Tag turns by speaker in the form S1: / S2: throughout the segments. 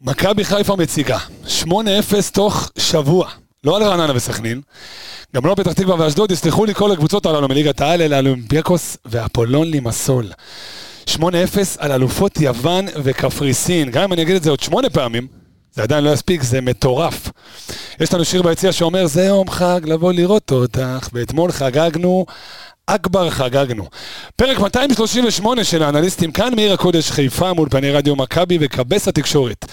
S1: מכבי חיפה מציגה, 8-0 תוך שבוע. לא על רעננה וסכנין, גם לא פתח תקווה ואשדוד, יסלחו לי כל הקבוצות הללו מליגת העל, אלא אולימפיאקוס ואפולון לימסול. 8-0 על אלופות יוון וקפריסין. גם אם אני אגיד את זה עוד שמונה פעמים, זה עדיין לא יספיק, זה מטורף. יש לנו שיר ביציע שאומר, זה יום חג, לבוא לראות אותך, ואתמול חגגנו, אכבר חגגנו. פרק 238 של האנליסטים כאן מעיר הקודש חיפה מול פני רדיו מכבי וכבס התקשורת.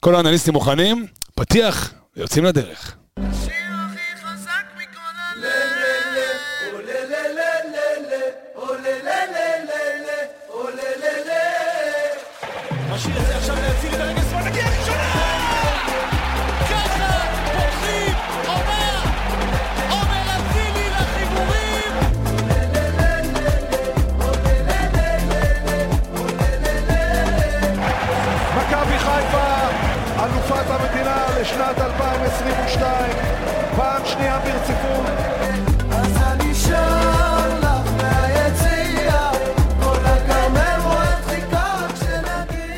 S1: כל האנליסטים מוכנים, פתיח, ויוצאים לדרך.
S2: השיר הכי חזק מכל הלב.
S3: משאיר את זה עכשיו להציל את הרגל שמאל, נגיע ראשונה!
S4: ככה פותחים עונה. עומר אצילי לחיבורים.
S3: מכבי חיפה, אלופת המדינה לשנת 2022, פעם שנייה ברציפות.
S2: אז אני שר לך מהיציע, כל הכרמל רועד חיכה רק שנגיע.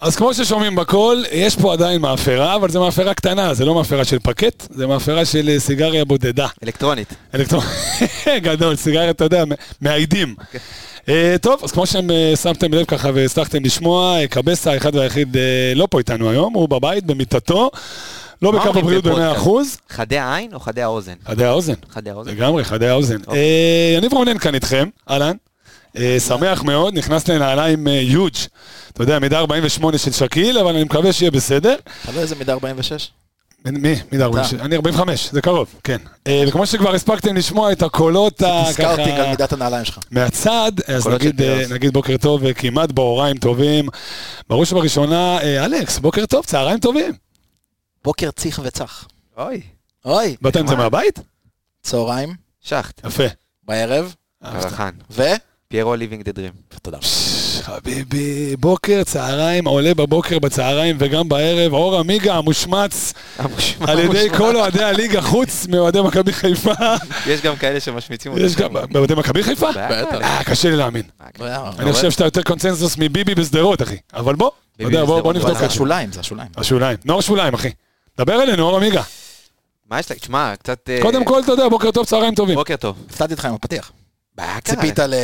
S1: אז כמו ששומעים בקול, יש פה עדיין מאפרה, אבל זו מאפרה קטנה, זה לא מאפרה של פקט, זה מאפרה של אה, סיגריה בודדה.
S5: אלקטרונית.
S1: אלקטרון... גדול, סיגריה, אתה יודע, מאיידים.
S5: אוקיי.
S1: אה, טוב, אז כמו שהם אה, שמתם לב ככה והצלחתם לשמוע, אה, קבסה האחד והיחיד אה, לא פה איתנו היום, הוא בבית, במיטתו, לא
S5: מה
S1: בקו
S5: אומרים
S1: הבריאות
S5: בפודקאסט?
S1: ב-100%.
S5: חדי העין או חדי האוזן?
S1: חדי האוזן.
S5: חדי האוזן.
S1: לגמרי, חדי האוזן.
S5: אוקיי.
S1: אה, יניב רונן כאן איתכם, אהלן. אה, שמח מאוד, נכנס לנעליים אה, יוג'. אתה יודע, מידה 48 של שקיל, אבל אני מקווה שיהיה בסדר.
S6: תלוי איזה מידה 46.
S1: מ- מי? מידה 46? אני 45, זה קרוב, כן. אה, וכמו שכבר הספקתם לשמוע את הקולות ה...
S6: נזכרתי
S1: ככה-
S6: על מידת הנעליים שלך.
S1: מהצד, אז
S5: קולות של
S1: נגיד, אה,
S5: פירס.
S1: נגיד בוקר טוב וכמעט בהוריים טובים. בראש ובראשונה, אה, אלכס, בוקר טוב, צהריים טובים.
S6: בוקר ציח וצח.
S5: אוי.
S6: אוי,
S1: באת עם זה מהבית?
S6: צהריים,
S5: שחט.
S1: יפה.
S6: בערב,
S5: הרחן.
S6: ו...
S5: פיירו ליבינג דה דרים.
S6: תודה.
S1: חביבי, בוקר, צהריים, עולה בבוקר, בצהריים וגם בערב, אור עמיגה המושמץ על ידי כל אוהדי הליגה, חוץ מאוהדי מכבי חיפה.
S5: יש גם כאלה שמשמיצים אותם.
S1: יש גם, באוהדי מכבי חיפה?
S5: בטח.
S1: אה, קשה לי להאמין.
S5: כן.
S1: אני חושב שאתה יותר קונצנזוס מביבי בשדרות, אחי. אבל בוא, אתה יודע, בוא
S5: בשדרות,
S1: בוא נבדוק
S5: וואלה.
S6: זה
S1: את זה.
S6: השוליים, זה השוליים.
S1: השוליים. נור שוליים, אחי. דבר אלינו, אור עמיגה.
S5: אה. מה יש לך? תשמע, קצת... אה,
S1: קודם כל, אתה יודע, בוקר טוב, צהריים טובים.
S5: בוקר טוב.
S6: הפתעתי אותך עם הפתיח.
S1: כן,
S5: מה קרה?
S6: ציפית
S1: אה.
S6: ל...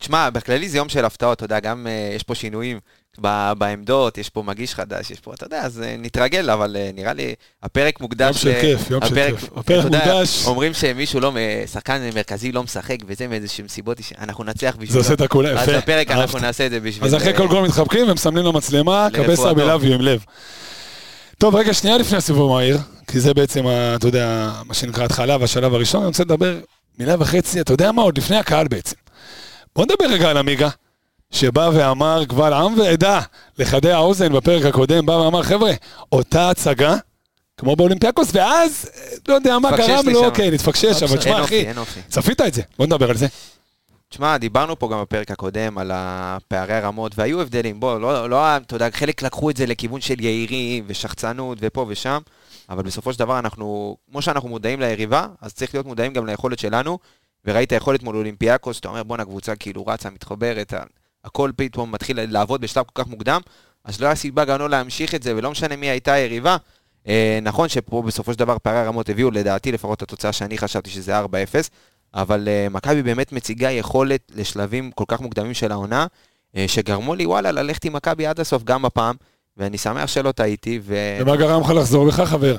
S5: תשמע, בכללי זה יום של הפתעות, אתה יודע, גם אה, יש פה שינויים ב- בעמדות, יש פה מגיש חדש, יש פה, אתה יודע, אז אה, נתרגל, אבל אה, נראה לי הפרק מוקדש...
S1: יום של
S5: ל-
S1: כיף, יום של
S5: הפרק-
S1: כיף. הפרק
S5: אתה יודע,
S1: מוקדש.
S5: אומרים שמישהו לא, מ- שחקן מרכזי לא משחק, וזה מאיזשהם סיבות, איש- אנחנו נצליח בשבילו.
S1: זה עושה את הכול,
S5: אז
S1: יפה.
S5: הפרק אנחנו
S1: אהבתי.
S5: נעשה את זה בשביל... אה,
S1: אז אחרי כל גול מתחבקים ומסמנים למצלמה,
S5: לרפואתו.
S1: קבסה בלאביו עם לב. טוב, רגע, שנייה לפני הסיבוב מהיר, כי זה בעצם, ה- אתה יודע, מה שנקרא התחלה והשלב הראשון, אני רוצה לדבר מילה וחצי, אתה יודע מה, עוד לפני הקהל בעצם. בוא נדבר רגע על עמיגה, שבא ואמר קבל עם ועדה לחדי האוזן בפרק הקודם, בא ואמר, חבר'ה, אותה הצגה, כמו באולימפיאקוס, ואז, אה, לא יודע מה
S5: התפקשש
S1: גרם
S5: לי
S1: לו,
S5: שם.
S1: כן, התפקשש, אבל
S5: אין
S1: תשמע,
S5: אופי,
S1: אחי,
S5: אין אופי.
S1: צפית את זה, בוא נדבר על זה.
S5: תשמע, דיברנו פה גם בפרק הקודם על הפערי הרמות, והיו הבדלים. בוא, לא, לא, ה- אתה יודע, חלק לקחו את זה לכיוון של יהירים ושחצנות ופה ושם, אבל בסופו של דבר אנחנו, כמו שאנחנו מודעים ליריבה, אז צריך להיות מודעים גם ליכולת שלנו, וראית יכולת מול אולימפיאקוס, אתה אומר, בואנה, קבוצה כאילו רצה, מתחברת, ה- הכל פתאום מתחיל לעבוד בשלב כל כך מוקדם, אז לא היה סיבה גם לא להמשיך את זה, ולא משנה מי הייתה היריבה. אה, נכון שפה בסופו של דבר פערי הרמות הביאו, לדעתי לפחות את התוצאה שאני חשבתי שזה 4-0, אבל אה, מכבי באמת מציגה יכולת לשלבים כל כך מוקדמים של העונה, אה, שגרמו לי וואלה ללכת עם מכבי עד הסוף גם הפעם, ואני שמח שלא טעיתי, ואין
S1: ומה גרם לך לחזור בך, חבר?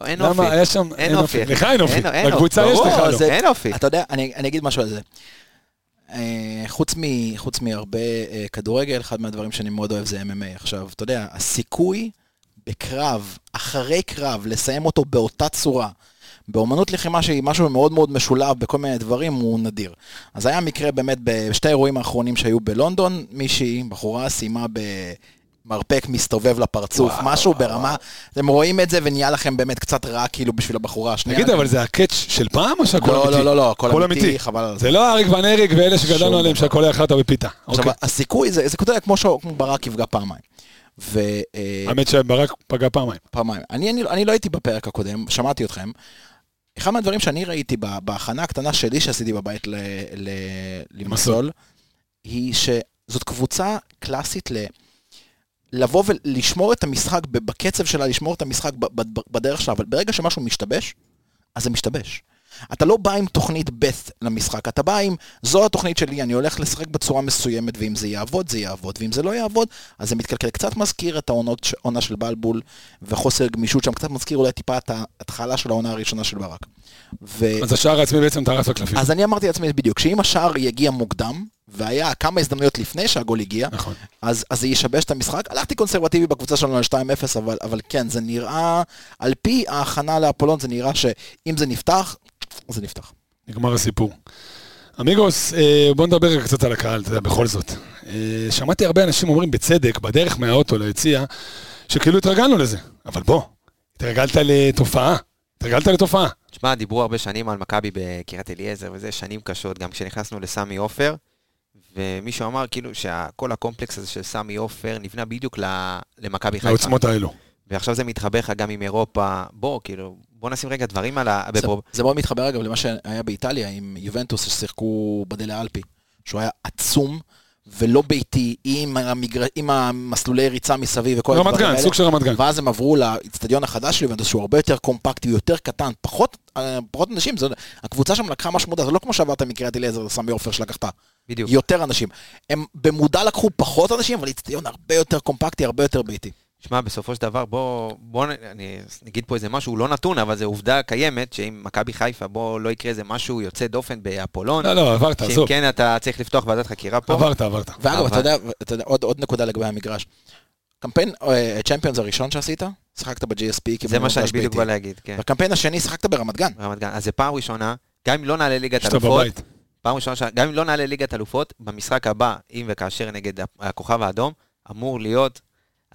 S5: אופי.
S1: למה היה שם,
S5: אין אופי.
S1: לך אין אופי,
S5: אין- אין
S1: לקבוצה יש
S5: ברור,
S1: לך לא.
S5: זה- אין אופי.
S6: אתה יודע, אני אני אגיד משהו על זה. אה, חוץ מ- חוץ מהרבה אה, כדורגל, אחד מהדברים שאני מאוד אוהב זה MMA. עכשיו, אתה יודע, הסיכוי בקרב, אחרי קרב, לסיים אותו באותה צורה, באומנות לחימה שהיא משהו מאוד מאוד משולב בכל מיני דברים, הוא נדיר. אז היה מקרה באמת בשתי האירועים האחרונים שהיו בלונדון, מישהי, בחורה, סיימה ב... מרפק מסתובב לפרצוף, וואו, משהו וואו. ברמה, אתם רואים את זה ונהיה לכם באמת קצת רע כאילו בשביל הבחורה השנייה.
S1: תגיד, אבל זה הקאץ' של פעם או שהכל
S6: לא,
S1: אמיתי?
S6: לא, לא, לא, הכל
S1: הכל
S6: אמיתי,
S1: אמיתי.
S6: חבל על זה.
S1: זה לא אריק ון אריק ואלה שגדלנו
S6: שום
S1: עליהם שהכל היה חרטא בפיתה.
S6: עכשיו,
S1: אוקיי.
S6: הסיכוי זה, זה כותב כמו, שהוא- כמו ברק יפגע פעמיים. ופעמיים.
S1: האמת שברק פגע פעמיים.
S6: אני, אני, אני לא הייתי בפרק הקודם, שמעתי אתכם. אחד מהדברים שאני ראיתי ב- בהכנה הקטנה שלי שעשיתי בבית ל- ל- למסול, היא שזאת קבוצה קלאסית ל... לבוא ולשמור את המשחק ב- בקצב שלה, לשמור את המשחק ב- ב- בדרך שלה, אבל ברגע שמשהו משתבש, אז זה משתבש. אתה לא בא עם תוכנית בית למשחק, אתה בא עם, זו התוכנית שלי, אני הולך לשחק בצורה מסוימת, ואם זה יעבוד, זה יעבוד, ואם זה לא יעבוד, אז זה מתקלקל. קצת מזכיר את העונות, עונה של בלבול, וחוסר גמישות שם, קצת מזכיר אולי טיפה את ההתחלה של העונה הראשונה של ברק. ו...
S1: אז השער העצמי בעצם טרף לקלפים.
S6: אה, אז אני אמרתי לעצמי בדיוק, שאם השער יגיע מוקדם, והיה כמה הזדמנויות לפני שהגול הגיע,
S1: נכון.
S6: אז, אז זה ישבש את המשחק. הלכתי קונסרבטיבי בקבוצה שלנו על 2-0, אבל, אבל כן, זה נראה, על פי ההכנה לאפולון, זה נראה שאם זה נפתח, זה נפתח.
S1: נגמר הסיפור. אמיגוס, אה, בוא נדבר רגע קצת על הקהל, אתה יודע, בכל זאת. אה, שמעתי הרבה אנשים אומרים, בצדק, בדרך מהאוטו ליציע, שכאילו התרגלנו לזה. אבל בוא, התרגלת לתופעה. התרגלת לתופעה.
S5: תשמע, דיברו הרבה שנים על מכבי בקריית אליעזר וזה, שנים קשות, גם כשנכנסנו לסמי עופר, ומישהו אמר כאילו שכל הקומפלקס הזה של סמי עופר נבנה בדיוק ל- למכבי חיפה.
S1: העוצמות האלו.
S5: ועכשיו זה מתחבר לך גם עם אירופה. בוא, כאילו, בוא נשים רגע דברים על ה...
S6: זה,
S5: בפרופ-
S6: זה מאוד מתחבר אגב למה שהיה באיטליה עם יובנטוס ששיחקו בדלה אלפי, שהוא היה עצום ולא ביתי עם, המגר... עם המסלולי ריצה מסביב וכל
S1: רמת גן, סוג של רמת גן.
S6: ואז הם עברו לאיצטדיון החדש של יובנטוס, שהוא הרבה יותר קומפקטי, הוא יותר קטן, פחות, אה, פחות אנשים, זה, הקבוצה שם לקחה משמעות, זה לא כמו שעברת מקריית אליעזר לסמי עופר שלקחת.
S5: בדיוק.
S6: יותר אנשים. הם במודע לקחו פחות אנשים, אבל איצטדיון הרבה יותר קומפקטי, הרבה יותר ביתי.
S5: שמע, בסופו של דבר, בוא, בוא, נ- אני נגיד פה איזה משהו, הוא לא נתון, אבל זו עובדה קיימת, שאם מכבי חיפה, בוא, לא יקרה איזה משהו יוצא דופן באפולון,
S1: לא, לא, עברת,
S5: שאם
S1: עזוב.
S5: כן, אתה צריך לפתוח ועדת חקירה פה.
S1: עברת, עברת.
S6: ואגב,
S5: אבל-
S6: אתה יודע, אתה יודע עוד, עוד נקודה לגבי המגרש. קמפיין אה, צ'מפיונס הראשון שעשית, שיחקת ב-GSP,
S5: זה מה שאני בדיוק בא להגיד, כן.
S6: בקמפיין השני שיחקת ברמת גן.
S5: ברמת גן. אז זה פעם ראשונה, גם אם לא נעלה ליגת
S1: שאתה
S5: אלופות,
S1: בבית.
S5: פעם ראשונה, ש- גם אם לא נעלה ליגת אלופות, במשחק הבא, אם וכאשר נגד ה- הכוכב האדום, אמור להיות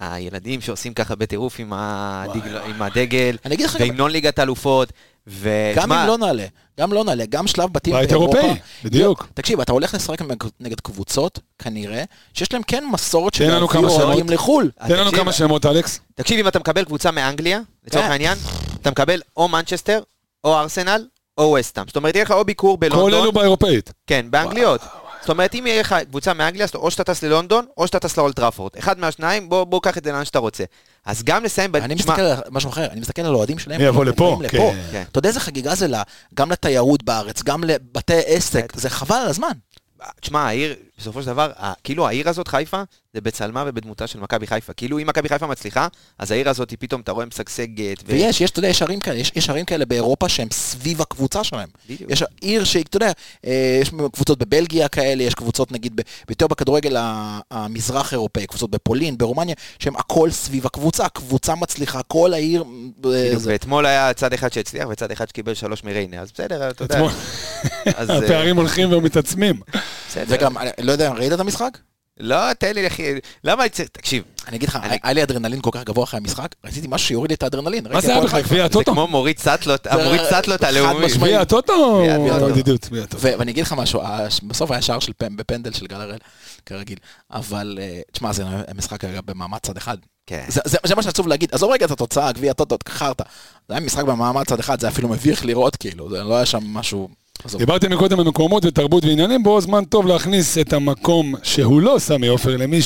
S5: הילדים שעושים ככה בטירוף עם, הדגל, עם הדגל,
S6: אני אגיד לך, גם-
S5: והמנון ליגת אלופות,
S6: גם
S5: ושמע,
S6: אם לא נעלה, גם לא נעלה, גם שלב בתים
S1: בית
S6: באירופה. לא,
S1: אירופאי, בדיוק.
S6: תקשיב, אתה הולך לשחק נגד- נגד קבוצות, כנראה, שיש להם כן מסורת
S1: תן
S6: של
S1: לנו
S6: להביא
S1: כמה שמות.
S6: אוהדים לחו"ל.
S1: תן לנו
S5: תקשיב,
S1: כמה שמות, אלכס.
S5: תקשיב, אם אתה מקבל קבוצה מאנגליה, לצורך
S6: כן.
S5: העניין, אתה מקבל או מנצ'סטר, או ארסנל, או ווסטהאם. זאת אומרת, יהיה לך או ביקור
S1: כל
S5: בלונדון,
S1: אלו באירופאית.
S5: כן, באנגליות. זאת אומרת, אם יהיה לך קבוצה מאנגליה, אז או שאתה טס ללונדון, או שאתה טס לאולטראפורד. אחד מהשניים, בוא בוא קח את זה לאן שאתה רוצה. אז גם לסיים ב...
S6: אני
S5: תשמע,
S6: מסתכל על משהו אחר, אני מסתכל על אוהדים שלהם.
S1: מי יבוא
S6: הם
S1: לפה?
S6: באים
S5: כן.
S6: אתה יודע איזה חגיגה זה לה- גם לתיירות בארץ, גם לבתי עסק, זה חבל על הזמן.
S5: כן. תשמע, העיר, בסופו של דבר, ה- כאילו העיר הזאת, חיפה, זה בצלמה ובדמותה של מכבי חיפה. כאילו, אם מכבי חיפה מצליחה, אז העיר הזאת, היא פתאום, אתה רואה, משגשגת. ו-
S6: ויש, יש, אתה יודע, יש ערים כאלה, יש, יש ערים כאלה באירופה שהם סביב הקבוצה שלהם.
S5: בדיוק.
S6: יש עיר שהיא, אתה יודע, אה, יש קבוצות בבלגיה כאלה, יש קבוצות נגיד, ב- יותר בכדורגל ה- המזרח אירופאי, קבוצות בפולין, ברומניה, שהם הכל סביב הקבוצה, הקבוצה מצליחה, כל העיר... אה,
S5: בדיוק,
S6: זה-
S5: ואתמול היה צד אחד שהצליח וצד אחד שקיבל שלוש מריינה, אז בסדר, אתה יודע.
S1: אתמול.
S5: אז, אה,
S1: הפערים הולכים ומתעצמים.
S5: בסדר.
S6: וגם, אני לא יודע, ראית את המשחק?
S5: לא, תן לי, אחי, למה אני צריך, תקשיב,
S6: אני אגיד לך,
S5: אני-
S6: היה לי אדרנלין כל כך גבוה אחרי המשחק, רציתי משהו שיוריד לי את האדרנלין.
S1: מה
S6: ראיתי
S1: זה היה
S6: הפועל
S1: בכלל? גביע
S5: זה
S1: הטוטו?
S5: כמו מוריד סטלות,
S6: זה-
S5: המוריד סטלות
S6: חד
S5: הלאומי.
S6: משמעית.
S1: גביע הטוטו?
S5: גביע הטוטו.
S1: ידידות, גביע הטוטו.
S6: ו- ואני אגיד לך משהו, הש- בסוף היה שער של פנ- בפנדל של גל הראל, כרגיל. אבל, אה, תשמע, זה משחק היה במעמד צד אחד.
S5: כן.
S6: זה, זה, זה מה שעצוב להגיד, עזוב רגע את התוצאה, גביע הטוטו, חרטא. זה היה משחק במעמד צד אחד, זה אפילו מביך לראות, כאילו, זה לא היה שם משהו... עזוב.
S1: דיברתם מקודם על מקומות ותרבות ועניינים, בו זמן טוב להכניס את המקום שהוא לא סמי עופר למי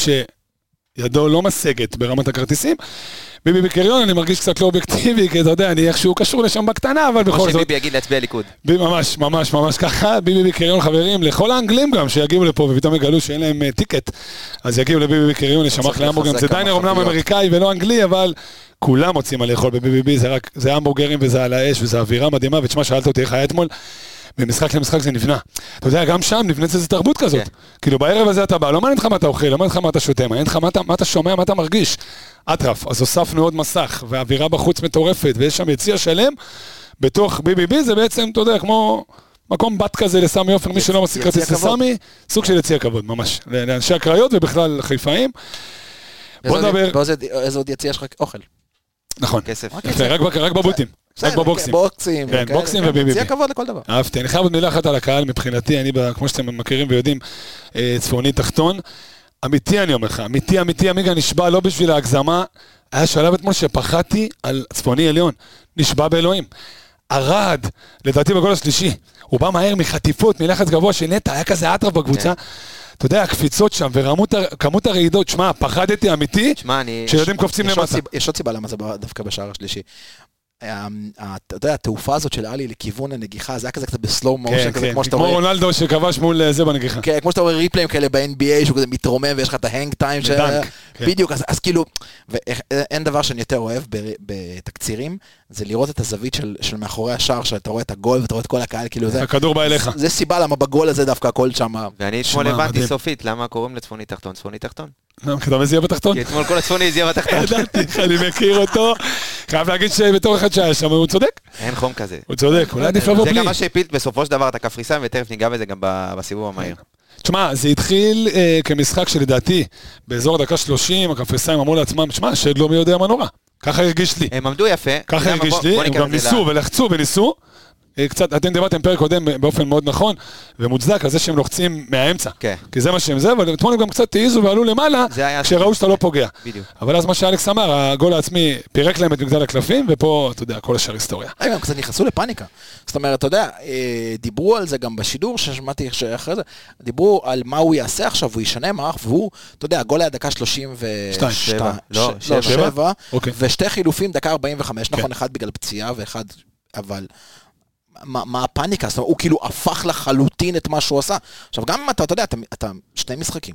S1: שידו לא משגת ברמת הכרטיסים. ביבי בקריון, אני מרגיש קצת לא אובייקטיבי, כי אתה יודע, אני איכשהו קשור לשם בקטנה, אבל
S5: כמו
S1: בכל זאת.
S5: שביבי יגיד להצביע ליכוד.
S1: בי- ממש, ממש, ממש ככה. ביבי בקריון, חברים, לכל האנגלים גם שיגיעו לפה ופתאום יגלו שאין להם אה, טיקט, אז יגיעו לביבי בקריון, ישמח
S6: צריך
S1: להמבורגרים. זה
S6: לחזק כמה
S1: דיינר אומנם
S6: חבילות.
S1: אמריקאי ולא אנגלי, אבל כולם מוצאים מה לאכול בביבי בי, זה רק, זה המבורגרים וזה על האש וזה אווירה מדהימה, ותשמע, שאלת אותי איך היה אתמול. ממשחק למשחק זה נבנה. אתה יודע, גם שם נבנית איזו תרבות כזאת.
S5: כן.
S1: כאילו, בערב הזה אתה בא, לא מעניין אותך מה אתה אוכל, לא מעניין אותך מה אתה שותה, מעניין אותך מה אתה- מה אתה שומע, מה אתה מרגיש. אטרף, אז הוספנו עוד מסך, והאווירה בחוץ מטורפת, ויש שם יציע שלם, בתוך BBB זה בעצם, אתה יודע, כמו מקום בת כזה לסמי עופר, מי שלא משיג
S6: יציע
S1: כרטיס
S6: כבוד.
S1: לסמי, סוג של יציע כבוד, ממש, לאנשי הקריות ובכלל חיפאים. בוא
S6: איזה עוד-
S1: נדבר,
S6: ואיזה- איזה עוד יציע יש לך? אוכל.
S1: נכון,
S5: כסף.
S1: יפה, רק בק- רק בבוטים, רק
S6: בסדר,
S1: בבוקסים.
S6: בוקסים.
S1: כן,
S6: וכאלה,
S1: בוקסים
S6: כן,
S1: וביבי.
S6: יציע כבוד לכל דבר.
S1: אהבתי. אני חייב עוד מילה אחת על הקהל מבחינתי, אני, ב- כמו שאתם מכירים ויודעים, אה, צפוני תחתון. אמיתי אני אומר לך, אמיתי, אמיתי, עמיגה נשבע לא בשביל ההגזמה. היה שלב אתמול שפחדתי על צפוני עליון, נשבע באלוהים. ערד,
S6: כן.
S1: לדעתי בגול השלישי, הוא בא מהר מחטיפות, מלחץ גבוה של נטע, היה כזה אטרף בקבוצה. אתה יודע, הקפיצות שם וכמות הר- כמות הרעידות, שמע, פחדתי אמיתי,
S5: שמע, אני...
S1: שילדים קופצים
S6: יש עוד
S1: למטה.
S6: סיב- יש עוד סיבה למה זה בא דווקא בשער השלישי. ה- ה- אתה יודע, התעופה הזאת של עלי לכיוון הנגיחה, זה היה כזה קצת בסלואו מושן,
S1: כן,
S6: כזה
S1: כן,
S6: כמו שאתה
S1: כמו
S6: רואה.
S1: רונלדו שכבש מול אה, זה בנגיחה.
S6: כן, כמו שאתה רואה ריפליים כאלה ב-NBA, שהוא כזה מתרומם ויש לך את ההנג טיים. ש-
S1: בדנק, כן.
S6: בדיוק, אז, אז כאילו, ואיך- אין דבר שאני יותר אוהב ב- בתקצירים, זה לראות את הזווית של, של מאחורי השער, שאתה רואה את הגול ואתה רואה את כל הקהל, כאילו זה...
S1: הכדור בא אליך.
S6: זה סיבה למה בגול הזה דווקא הכל שם...
S5: ואני אתמול
S1: שמע,
S5: הבנתי
S1: מדהים.
S5: סופית למה קוראים לצפוני תחתון צפוני תחתון.
S1: למה, כי לא, אתה מזיע בתחתון?
S5: כי
S6: כן.
S5: אתמול כל הצפוני הזיע בתחתון.
S1: ידעתי, אני מכיר אותו. חייב להגיד שבתור אחד שהיה שם, הוא צודק.
S5: אין חום כזה.
S1: הוא צודק, אולי עדיף לבוא
S5: זה
S1: בלי.
S5: גם מה שהפיל בסופו של דבר את הקפריסאים, ותכף ניגע בזה גם ב- בסיבוב המהיר.
S1: תשמע, זה התחיל אה, כמשחק שלדעתי, באזור הדקה 30, הקפריסאים אמרו לעצמם, שמע, שד לא מי יודע מה נורא. ככה הרגיש לי.
S5: הם עמדו יפה.
S1: ככה
S5: אה, למה?
S1: הרגיש
S5: בוא-
S1: לי,
S5: בוא
S1: הם
S5: ניכנס
S1: גם
S5: לזה.
S1: ניסו ולחצו וניסו. אה, קצת, אתם דיברתם פרק קודם באופן מאוד נכון ומוצדק על זה שהם לוחצים מהאמצע.
S5: כן.
S1: כי זה מה שהם זה, אבל אתמול הם גם קצת העיזו ועלו למעלה,
S5: זה היה-
S1: כשראו שאתה לא פוגע.
S5: בדיוק.
S1: אבל אז מה שאלכס אמר, הגול העצמי פירק להם את מגדל הקלפים, ופה, אתה יודע, כל השאר היסטוריה.
S6: רגע, הם קצת נכנסו לפאניקה. זאת אומרת, אתה יודע, אה, דיברו על זה גם בשידור ששמעתי ש- אחרי זה, דיברו על מה הוא יעשה עכשיו, הוא ישנה מערך, והוא, אתה יודע, הגול היה דקה 32,
S1: שתיים.
S5: שבע. לא, שבע.
S6: שבע,
S1: אוקיי.
S6: ושתי חילופים דקה 45,
S1: כן.
S6: נכון, אחד בגלל פציעה ואחד, אבל... מה, מה הפאניקה? זאת אומרת, הוא כאילו הפך לחלוטין את מה שהוא עשה. עכשיו, גם אם אתה, אתה יודע, אתה, אתה שני משחקים,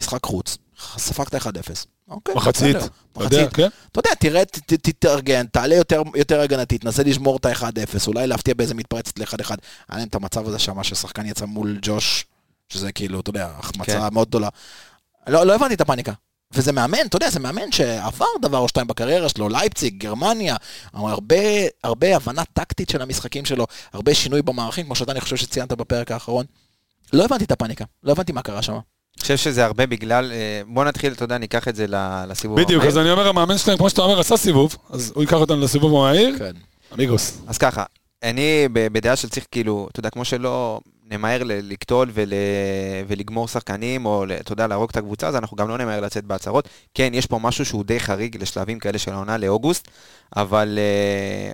S6: משחק חוץ, ספגת 1-0. אוקיי,
S1: מחצית.
S6: בסדר.
S1: אתה יודע,
S6: מחצית.
S1: כן?
S6: אתה יודע, תראה, ת- ת- תתארגן, תעלה יותר, יותר הגנתי, תנסה לשמור את ה-1-0, אולי להפתיע באיזה מתפרצת ל-1-1. היה להם את המצב הזה שם, ששחקן יצא מול ג'וש, שזה כאילו, אתה יודע, החמצה
S5: כן.
S6: מאוד גדולה. לא, לא הבנתי את הפאניקה. וזה מאמן, אתה יודע, זה מאמן שעבר דבר או שתיים בקריירה שלו, לייפציג, גרמניה, אבל הרבה, הרבה הבנה טקטית של המשחקים שלו, הרבה שינוי במערכים, כמו שאתה, אני חושב שציינת בפרק האחרון. לא הבנתי את הפאניקה, לא הבנתי מה קרה שם.
S5: אני חושב שזה הרבה בגלל... אה, בוא נתחיל, אתה יודע, ניקח את זה ל- לסיבוב המהיר.
S1: בדיוק, אז אני אומר, המאמן שלהם, כמו שאתה אומר, עשה סיבוב, אז הוא ייקח אותנו לסיבוב המהיר,
S6: כן.
S1: אמיגוס.
S5: אז ככה, אני ב- בדעה שצריך כאילו, אתה יודע, כמו שלא נמהר ל- לקטול ול, ולגמור שחקנים, או ל- אתה יודע, להרוג את הקבוצה, אז אנחנו גם לא נמהר לצאת בהצהרות. כן, יש פה משהו שהוא די חריג לשלבים כאלה של העונה לאוגוסט, אבל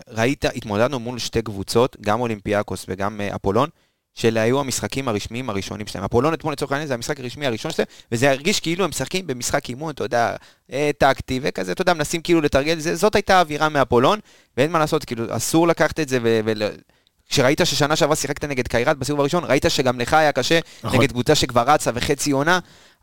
S5: uh, ראית, התמודדנו מול שתי קבוצות, גם אולימפיאקוס וגם uh, אפולון. שאלה היו המשחקים הרשמיים הראשונים שלהם. אפולון אתמול לצורך העניין זה המשחק הרשמי הראשון שלהם, וזה הרגיש כאילו הם משחקים במשחק אימון, אתה יודע, אה, טקטי וכזה, אתה יודע, מנסים כאילו לתרגל, זה, זאת הייתה האווירה מאפולון, ואין מה לעשות, כאילו, אסור לקחת את זה ו... ול... כשראית ששנה שעברה שיחקת נגד קיירת בסיבוב הראשון, ראית שגם לך היה קשה
S1: נכון.
S5: נכון. נגד קבוצה שכבר רצה וחצי עונה,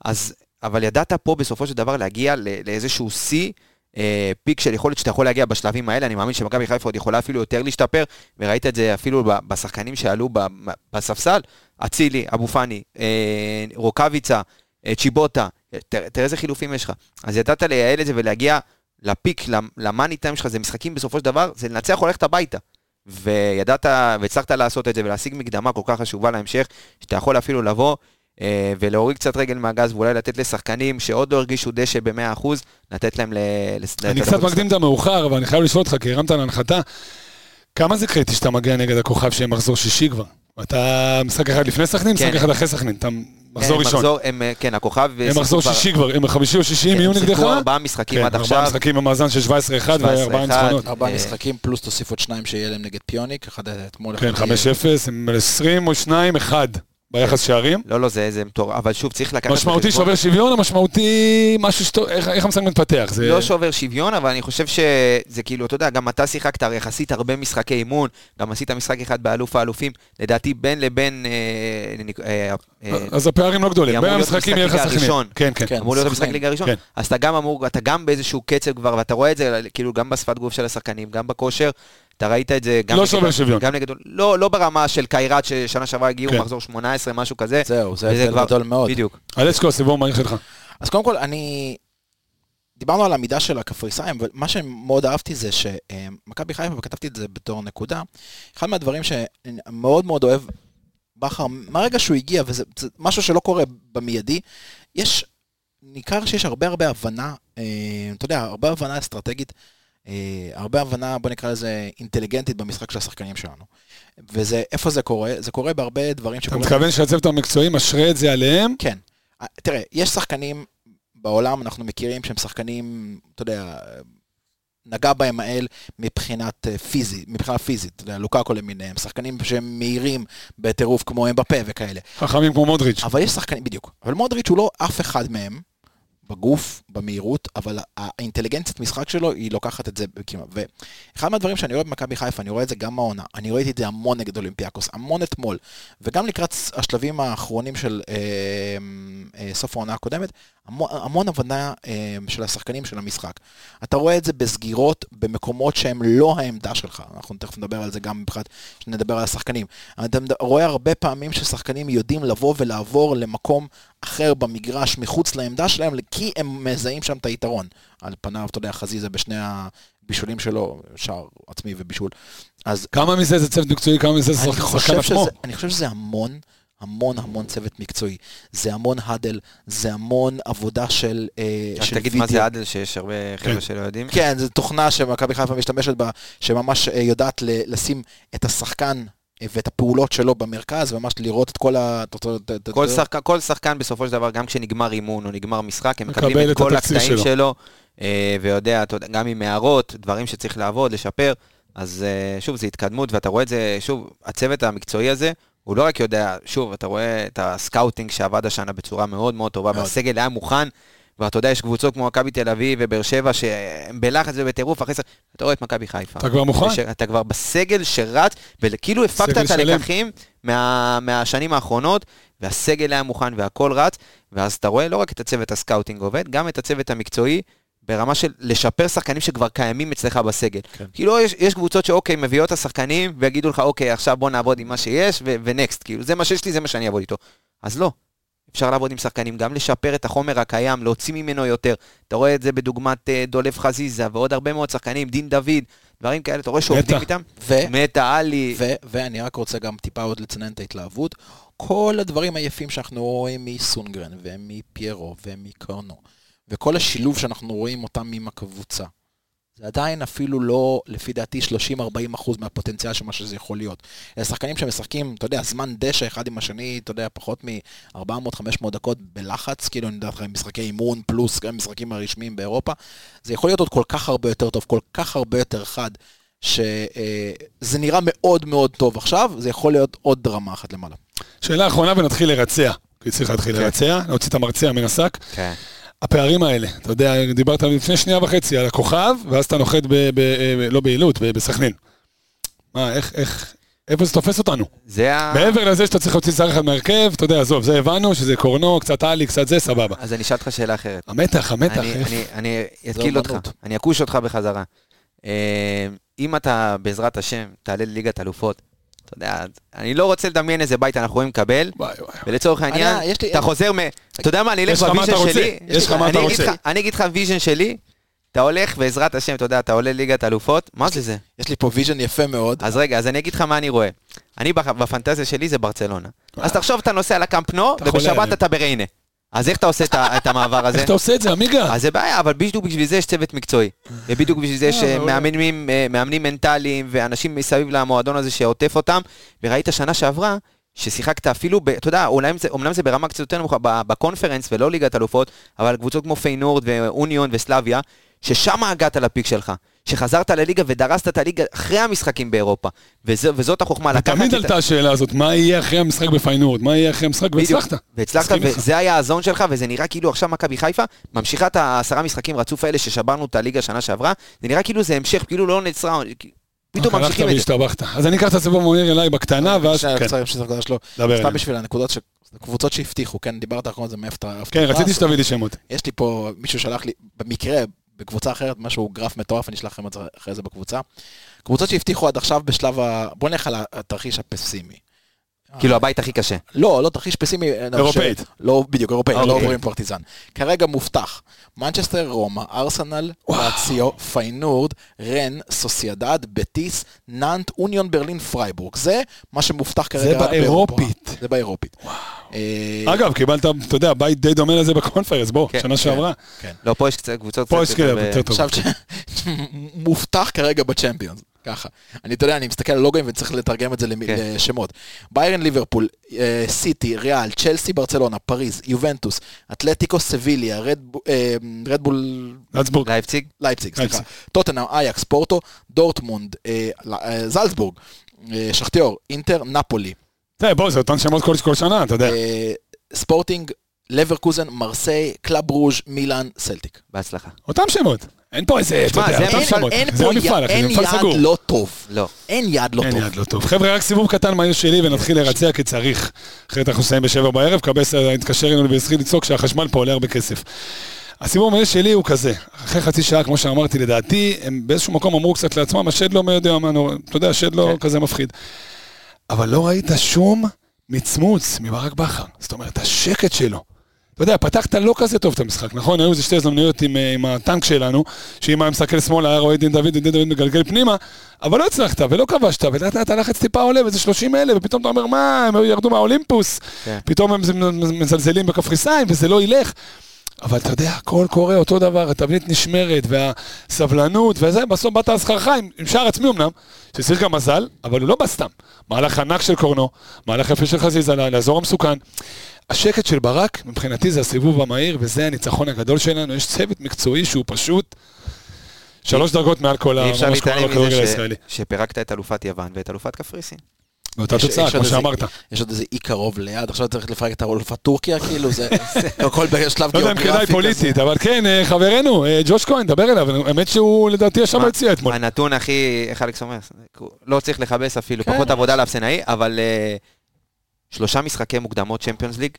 S5: אז, אבל ידעת פה בסופו של דבר להגיע ל- לאיזשהו שיא, אה, פיק של יכולת שאתה יכול להגיע בשלבים האלה, אני מאמין שמכבי חיפה עוד יכולה אפילו יותר להשתפר, וראית את זה אפילו ב- בשחקנים שעלו ב- בספסל, אצילי, אבו פאני, אה, רוקאביצה, אה, צ'יבוטה, אה, תראה תראה איזה חילופים יש לך. אז ידעת לייעל את זה ולהגיע לפיק, למ- למאני טיים שלך, זה משחקים בסופו של דבר, זה לנצח או ללכת הביתה. וידעת, והצלחת לעשות את זה ולהשיג מקדמה כל כך חשובה להמשך, שאתה יכול אפילו לבוא אה, ולהוריד קצת רגל מהגז ואולי לתת לשחקנים שעוד לא הרגישו דשא ב-100%, לתת להם ל... לס-
S1: אני
S5: לתת
S1: קצת
S5: להם-
S1: מקדים את המאוחר, אבל אני חייב לשאול אותך, כי הרמת להנחתה, כמה זה קריטי שאתה מגיע נגד הכוכב שיהיה מחזור שישי כבר? אתה משחק אחד לפני סכנין, משחק
S5: כן.
S1: אחד אחרי סכנין, אתה
S5: כן,
S1: מחזור
S5: הם
S1: ראשון.
S5: מחזור- הם, אה, כן, הכוכב...
S1: הם
S5: שיחקו
S1: מחזור
S5: כבר-
S1: שישי כבר, הם חמישי או שישי,
S5: כן,
S1: אם יהיו
S5: הם
S1: נגדך?
S5: שיחקו ארבעה משחקים
S1: כן,
S5: עד
S1: ארבעה
S5: עכשיו.
S1: משחקים במאזן של 17-1 וארבעה
S5: 17-1.
S1: ניצחונות.
S6: ארבעה
S5: אה,
S6: משחקים פלוס תוסיף עוד שניים שיהיה להם נגד פיוניק, אחד אתמול.
S1: כן,
S6: אחד
S1: 5-0, הם 22 1 ביחס שערים.
S5: לא, לא, זה זה מטורף, אבל שוב, צריך לקחת...
S1: משמעותי
S5: בחשבון-
S1: שובר שוויון, או משמעותי משהו שאתה... איך- איך המשחק מתפתח? זה...
S5: לא שובר שוויון, אבל אני חושב שזה כאילו, אתה יודע, גם אתה שיחקת הרי יחסית הרבה משחקי אימון, גם עשית משחק אחד באלוף האלופים, לדעתי בין לבין... אה, ניק- אה, אה,
S1: אז הפערים לא גדולים.
S5: אמור
S1: בין
S5: להיות
S1: המשחקים יהיה לך
S5: משחק ליגה
S1: סכנין.
S5: ראשון.
S1: כן, כן.
S6: כן.
S5: אמור להיות
S6: סכנין.
S5: המשחק ליגה ראשון,
S1: כן.
S5: אז אתה גם אמור, אתה גם באיזשהו קצב כבר, ואתה רואה את זה כאילו גם בשפת גוף של השחקנים, גם בכושר, אתה ראית את זה גם
S1: לא
S5: נגד-
S1: שובר שוויון.
S5: גם נגד, לא, לא ברמה של קיירת ששנה שעברה הגיעו
S1: כן.
S5: מחזור 18, משהו כזה,
S6: זהו, זה
S5: וזה
S6: הבדל
S5: כבר-
S6: גדול מאוד.
S5: בדיוק,
S1: אלצ'קו, הסיבוב המהיר שלך.
S6: אז קודם כל, אני... דיברנו על המידה של הקפריסאים, אבל מה שמאוד אהבתי זה שמכבי חיפה, וכתבתי את זה בתור נקודה, אחד מהדברים שאני מאוד מאוד אוהב בכר, מהרגע שהוא הגיע, וזה זה משהו שלא קורה במיידי, יש, ניכר שיש הרבה הרבה הבנה, אה, אתה יודע, הרבה הבנה אסטרטגית, אה, הרבה הבנה, בוא נקרא לזה, אינטליגנטית במשחק של השחקנים שלנו. וזה, איפה זה קורה? זה קורה בהרבה דברים
S1: אתה
S6: שקורים.
S1: מתכוון שהצוות המקצועי משרה את זה עליהם?
S6: כן. אה, תראה, יש שחקנים בעולם, אנחנו מכירים שהם שחקנים, אתה יודע, נגע בהם האל מבחינת אה, פיזי, מבחינה פיזית, אתה יודע, לוקאקו למיניהם, שחקנים שהם מהירים בטירוף כמו אמבפה וכאלה.
S1: חכמים כמו מודריץ'.
S6: אבל יש שחקנים, בדיוק. אבל מודריץ' הוא לא אף אחד מהם, בגוף, במהירות, אבל הא- האינטליגנציית משחק שלו, היא לוקחת את זה כמעט. ואחד מהדברים שאני רואה במכבי חיפה, אני רואה את זה גם העונה, אני ראיתי את זה המון נגד אולימפיאקוס, המון אתמול, וגם לקראת השלבים האחרונים של אה, אה, סוף העונה הקודמת, המון, המון הבנה אה, של השחקנים של המשחק. אתה רואה את זה בסגירות במקומות שהם לא העמדה שלך, אנחנו תכף נדבר על זה גם מבחינת, כשנדבר על השחקנים. אתה מד- רואה הרבה פעמים ששחקנים יודעים לבוא ולעבור למקום אחר במגרש מחוץ לעמדה שלהם, כי הם מזהים שם את היתרון. על פניו, אתה יודע, חזיזה בשני הבישולים שלו, שער עצמי ובישול. אז
S1: כמה מזה זה צוות מקצועי, כמה מזה זה
S6: אני
S1: שחקן
S6: חושב,
S1: עצמו.
S6: שזה, אני חושב שזה המון, המון המון צוות מקצועי. זה המון האדל, זה המון עבודה של, אה,
S5: רק
S6: של
S5: תגיד מה
S6: וידאו.
S5: זה עדל, שיש הרבה
S1: כן.
S5: חבר'ה שלא יודעים.
S6: כן, זו תוכנה שמכבי חיפה משתמשת בה, שממש אה, יודעת ל- לשים את השחקן אה, ואת הפעולות שלו במרכז, וממש לראות את כל ה... את אותו- את- את-
S5: כל
S6: את-
S5: שחקן, כל שחקן בסופו של דבר, גם כשנגמר אימון או נגמר משחק, הם
S1: מקבל
S5: מקבלים
S1: את
S5: את כל
S1: התקציב
S5: הקטעים
S1: שלו.
S5: שלו, אה, ויודע, אתה יודע, גם עם הערות, דברים שצריך לעבוד, לשפר, אז אה, שוב, זו התקדמות, ואתה רואה את זה, שוב, הצוות המקצועי הזה, הוא לא רק יודע, שוב, אתה רואה את הסקאוטינג שעבד השנה בצורה מאוד מאוד טובה,
S6: מאוד.
S5: והסגל היה מוכן, ואתה יודע, יש קבוצות כמו מכבי תל אביב ובאר שבע, שהם בלחץ ובטירוף, אחרי זה, אתה רואה את מכבי חיפה.
S1: אתה כבר לא מוכן?
S5: אתה כבר בסגל שרץ, וכאילו הפקת
S1: סגל
S5: את
S1: שלם.
S5: הלקחים מה, מהשנים האחרונות, והסגל היה מוכן והכל רץ, ואז אתה רואה לא רק את הצוות הסקאוטינג עובד, גם את הצוות המקצועי, ברמה של לשפר שחקנים שכבר קיימים אצלך בסגל.
S6: כן.
S5: כן. כאילו יש, יש קבוצות שאוקיי, מביאות את השחקנים, ויגידו לך, אוקיי, עכשיו בוא נעבוד עם מה שיש, ו- ונקסט, כאילו, זה מה שיש לי, זה מה שאני אעבוד איתו. אז לא. אפשר לעבוד עם שחקנים, גם לשפר את החומר הקיים, להוציא ממנו יותר. אתה רואה את זה בדוגמת אה, דולב חזיזה ועוד הרבה מאוד שחקנים, דין דוד, דברים כאלה, אתה רואה שעובדים
S1: נטע.
S5: איתם?
S6: ו...
S5: מתה עלי.
S6: ו- ואני רק רוצה גם טיפה עוד לצנן את ההתלהבות. כל הדברים היפים שאנחנו רואים מסונגרן ומפיירו ומקרנו, וכל השילוב שאנחנו רואים אותם עם הקבוצה, זה עדיין אפילו לא, לפי דעתי, 30-40 אחוז מהפוטנציאל של מה שזה יכול להיות. אלה שחקנים שמשחקים, אתה יודע, זמן דשא אחד עם השני, אתה יודע, פחות מ-400-500 דקות בלחץ, כאילו, אני יודע לך, משחקי אימון פלוס גם משחקים הרשמיים באירופה. זה יכול להיות עוד כל כך הרבה יותר טוב, כל כך הרבה יותר חד, שזה נראה מאוד מאוד טוב עכשיו, זה יכול להיות עוד רמה אחת למעלה.
S1: שאלה אחרונה ונתחיל לרצע. כי צריך להתחיל לרצע, להוציא את המרצע מן השק.
S5: כן.
S1: הפערים האלה, אתה יודע, דיברת לפני שנייה וחצי על הכוכב, ואז אתה נוחת ב... ב- ב- לא בעילות, ב- בסכנין. מה, איך, איך, איפה זה תופס אותנו?
S5: זה ה...
S1: מעבר לזה שאתה צריך להוציא שר אחד מהרכב, אתה יודע, עזוב, זה הבנו, שזה קורנו, קצת עלי, קצת זה, סבבה.
S5: אז אני אשאל אותך שאלה אחרת.
S1: המתח, המתח,
S5: אני-
S1: איך-
S5: אני- אני אתקיל אותך,
S6: אומנות.
S5: אני אכוש אותך בחזרה. אה, אם אתה, בעזרת השם, תעלה לליגת אלופות, אתה יודע, אני לא רוצה לדמיין איזה בית אנחנו יכולים לקבל,
S1: וואי, וואי.
S5: ולצורך העניין,
S6: יש לי-
S5: אתה חוזר מ... אתה יודע מה, אני אלך
S1: יש לך מה אתה
S5: בוויז'ן
S1: רוצה,
S5: שלי.
S1: יש לך מה
S5: אני
S1: אתה
S5: אגיד
S1: רוצה.
S5: לך- אני אגיד לך ויז'ן שלי, אתה הולך, בעזרת השם, אתה יודע, אתה עולה לליגת אלופות, מה זה זה?
S6: יש לי פה ויז'ן יפה מאוד.
S5: אז רגע, אז אני אגיד לך מה אני רואה. אני בח- בפנטזיה שלי זה ברצלונה. אז תחשוב, אתה נוסע לקמפנו,
S1: אה. אתה חולה עליהם.
S5: ובשבת אתה בריינה. אז איך אתה עושה את ה- את המעבר הזה?
S1: איך אתה עושה את זה, עמיגה?
S5: אז זה בעיה, אבל בדיוק בשביל זה יש צוות מקצועי. ובדיוק בשביל זה יש
S1: אה,
S5: אה,
S1: מעולה.
S5: מאמנים, אה, מאמנים מנטליים ואנשים מסביב למועדון הזה שעוטף אותם. וראית שנה שעברה, ששיחקת אפילו, ב, אתה יודע, אולי זה, אומנם זה ברמה קצת יותר נמוכה, ב- בקונפרנס ולא ליגת אלופות, אבל קבוצות כמו פיינורד ואוניון וסלביה, ששם הגעת לפיק שלך. שחזרת לליגה ודרסת את הליגה אחרי המשחקים באירופה. וזה, וזאת החוכמה, לקחת
S1: תמיד
S5: את...
S1: עלתה השאלה הזאת, מה יהיה אחרי המשחק בפיינורד? מה יהיה אחרי המשחק?
S5: בדיוק.
S1: והצלחת.
S5: והצלחת,
S1: מסכים איתך.
S5: וזה היה הזון שלך, וזה נראה כאילו עכשיו מכבי חיפה ממשיכה את העשרה משחקים רצוף האלה ששברנו את הליגה שנה שעברה, זה נראה כאילו זה המשך, כאילו לא נעצרה, פתאום
S1: רק הלכת
S5: ממשיכים את זה.
S1: והשתבחת. אז אני אקח את הסיבוב המהיר אליי בקטנה, ואז...
S6: אה, שנייה,
S1: כן,
S6: צריך להמשיך את הנקודה שלו.
S1: דבר
S6: סתם
S1: אליי.
S6: בשביל הנקודות ש... קבוצות שהבטיחו, כן, דיברת על זה מאיפה אתה... אה,
S1: כן, רציתי שתביא לי שמות.
S5: אה.
S6: יש לי פה, מישהו שלח לי, במקרה, בקבוצה אחרת, משהו, גרף מטורף, אני אשלח לכם את זה אחרי זה בקבוצה. קבוצות שהבטיחו עד עכשיו בשלב ה... בוא נלך על התרחיש הפסימי.
S5: כאילו הבית הכי קשה.
S6: לא, לא תרחיש פסימי. אה,
S1: אירופאית.
S6: ש- לא, בדיוק, אירופאית, לא
S5: אוקיי.
S6: עוברים פרטיזן. כרגע מובטח. מנצ'סטר, רומא, ארסנל, רציו, פיינורד, רן, סוסיידד, בטיס, נאנט, אוניון, ברלין, פרייבורג. זה מה שמובטח כרגע רק באירופה.
S1: באירופית.
S6: זה באירופית. אה,
S1: אגב, קיבלת, אתה יודע, בית די דומה לזה בקונפרנס, בוא,
S5: כן,
S1: שנה שעברה.
S5: לא, פה יש קצת קבוצות
S1: פה
S5: קצת
S1: יש כאלה,
S5: ב-
S1: יותר טוב.
S6: עכשיו, ש- מובטח כרגע בצ'מפיונס. ככה. אני, אתה יודע, אני מסתכל על לוגוים וצריך לתרגם את זה למי-
S5: כן.
S6: לשמות. ביירן ליברפול, אה, סיטי, ריאל, צ'לסי, ברצלונה, פריז, יובנטוס, אתלטיקו, סביליה, רדבו- אה, רדבול...
S1: לנצבורג.
S5: אה, לייפציג?
S6: לייפציג, סליחה.
S1: לייפציג.
S6: טוטנאם, אייקס, פורטו, דורטמונד, אה, ל- אה, זלצבורג, אה, שכטיור, אינטר, נפולי,
S1: תראה, בוא, זה אותן שמות כל- כל שנה, אתה יודע.
S6: אה, ספורטינג, לברקוזן, מרסיי, קלאב רוז', מילאן, סלטיק.
S5: בהצלחה.
S1: אותם שמות. אין פה איזה, אתה
S5: שמע,
S1: יודע,
S5: זה
S1: אותם
S5: המפעל,
S1: שמות.
S6: אין
S1: זה
S6: פה
S1: המפעל,
S6: י-
S1: אחי, זה
S6: אין
S1: מפעל סגור.
S6: יד לא טוב.
S5: לא.
S6: אין יד לא
S1: אין
S6: טוב.
S1: יד לא טוב. חבר'ה, רק סיבוב קטן מהיר שלי ונתחיל לרצע כי צריך. אחרת אנחנו נסיים בשבע בערב, קבס התקשר אלינו והתחיל לצעוק שהחשמל פה עולה הרבה כסף. הסיבוב המהיר שלי הוא כזה, אחרי חצי שעה, כמו שאמרתי, לדעתי, הם באיזשהו מקום אמרו קצת לעצמם, השד לא מי יודע מה נורא, אתה יודע, השד
S6: כן.
S1: לא כזה מפחיד. אבל לא ראית שום מצמוץ מברק בכר. זאת אומרת, השקט שלו. אתה יודע, פתחת לא כזה טוב את המשחק, נכון? היו איזה שתי הזדמנויות עם, אה, עם הטנק שלנו, שאם היה מסתכל שמאלה היה רואה את דין דוד, את דין דוד מגלגל פנימה, אבל לא הצלחת ולא כבשת, ולאט לאט הלחץ טיפה עולה, וזה 30 אלף, ופתאום אתה אומר, מה, הם ירדו מהאולימפוס,
S5: כן.
S1: פתאום הם מזלזלים בקפריסאים, וזה לא ילך. אבל אתה יודע, הכל קורה אותו דבר, התבנית נשמרת, והסבלנות, וזה, בסוף באת על סחרחיים, עם, עם שער עצמי אמנם, שצריך גם מזל, אבל הוא לא בא סתם. מהלך ענק של קורנו, מהלך יפה של חזיזה, לאזור המסוכן. השקט של ברק, מבחינתי זה הסיבוב המהיר, וזה הניצחון הגדול שלנו. יש צוות מקצועי שהוא פשוט שלוש דרגות מעל לא, כל ה-
S5: אי
S1: מה
S5: אפשר
S1: שקורה
S5: להתעלם
S1: בכדורגל
S5: מזה ש-
S1: הישראלי.
S5: שפירקת את אלופת יוון ואת אלופת קפריסין.
S1: באותה
S6: יש-
S1: תוצאה,
S6: יש
S1: כמו
S6: עוד איזה-
S1: שאמרת. לא
S6: יש עוד איזה אי קרוב ליד, עכשיו צריך לפרק את האולפת טורקיה, כאילו, זה זה הכל בשלב
S1: לא יודע אם כדאי פוליטית, אבל כן, אה, חברנו, אה, ג'וש כהן, דבר אליו, האמת שהוא לדעתי ישב
S5: מה?
S1: ביציע אתמול.
S5: הנתון הכי, איך אלכס אומר? לא צריך לכבס אפילו,
S6: כן.
S5: פחות עבודה לאפסנאי, אבל אה, שלושה משחקי מוקדמות צ'מפיונס ליג,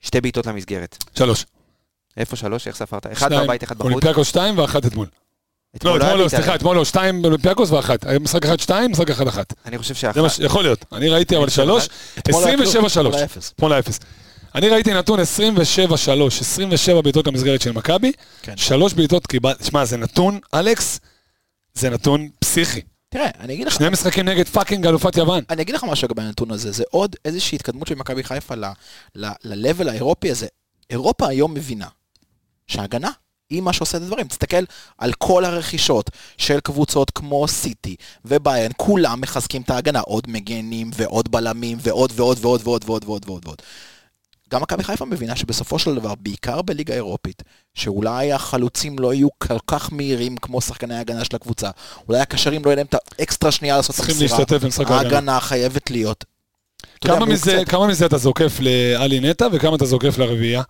S5: שתי בעיטות למסגרת.
S1: שלוש.
S5: איפה שלוש? איך ספרת? אחד
S1: שניים,
S5: בבית, אחד בחוץ.
S1: אולימפיאקוס שתיים ואחת אתמול. לא,
S5: אתמול היה
S1: אתמול לא,
S5: בעיטה.
S1: סליחה, אתמול לא, שתיים באולימפיאקוס ואחת. היה משחק אחד שתיים, משחק אחד אחת.
S5: אני חושב
S1: זה
S5: שאחת.
S1: מה ש... יכול להיות. אני ראיתי אבל שלוש, 27 שלוש. אתמול היה אפס. אני ראיתי נתון 27-3, 27 בעיטות למסגרת של מכבי,
S6: כן.
S1: שלוש בעיטות קיבלת, שמע זה נתון, אלכס, זה נתון פסיכי.
S6: תראה, אני אגיד לך,
S1: שני משחקים נגד פאקינג אלופת יוון.
S6: אני אגיד לך משהו לגבי הנתון הזה, זה עוד איזושהי התקדמות של מכבי חיפה ל-level האירופי הזה. אירופה היום מבינה שהגנה היא מה שעושה את הדברים. תסתכל על כל הרכישות של קבוצות כמו סיטי וביירן, כולם מחזקים את ההגנה, עוד מגנים ועוד בלמים ועוד ועוד ועוד ועוד ועוד ועוד ועוד ועוד. גם מכבי חיפה מבינה שבסופו של דבר, בעיקר בליגה האירופית, שאולי החלוצים לא יהיו כל כך מהירים כמו שחקני ההגנה של הקבוצה, אולי הקשרים לא יהיה להם את האקסטרה שנייה לעשות את
S1: צריכים
S6: המסירה.
S1: להשתתף במשחק ההגנה.
S6: ההגנה חייבת להיות. אתה יודע,
S1: כמה מזה-
S6: מוקצת.
S1: כמה מזה אתה זוקף לאלי נטע וכמה אתה זוקף לרביעייה?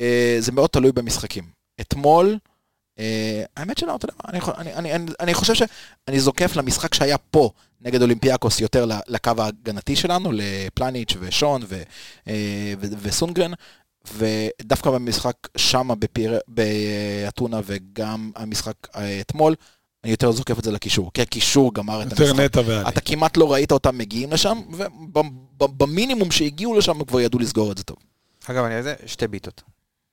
S6: אה, זה מאוד תלוי במשחקים. אתמול, אה, האמת שלא, אתה יודע מה, אני יכול- אני- אני- אני- אני חושב שאני זוקף למשחק שהיה פה נגד אולימפיאקוס יותר ל- לקו ההגנתי שלנו, לפלניץ' ושון ו- אה, ו- וסונגרן. ודווקא במשחק שמה בפיר- באתונה וגם המשחק אה, אתמול, אני יותר זוקף את זה לקישור, כי הקישור גמר את
S1: יותר
S6: המשחק.
S1: נטע ואלי.
S6: אתה כמעט לא ראית אותם מגיעים לשם, ובמינימום שהגיעו לשם הם כבר ידעו לסגור את זה טוב.
S5: אגב, אני יודע, שתי בעיטות.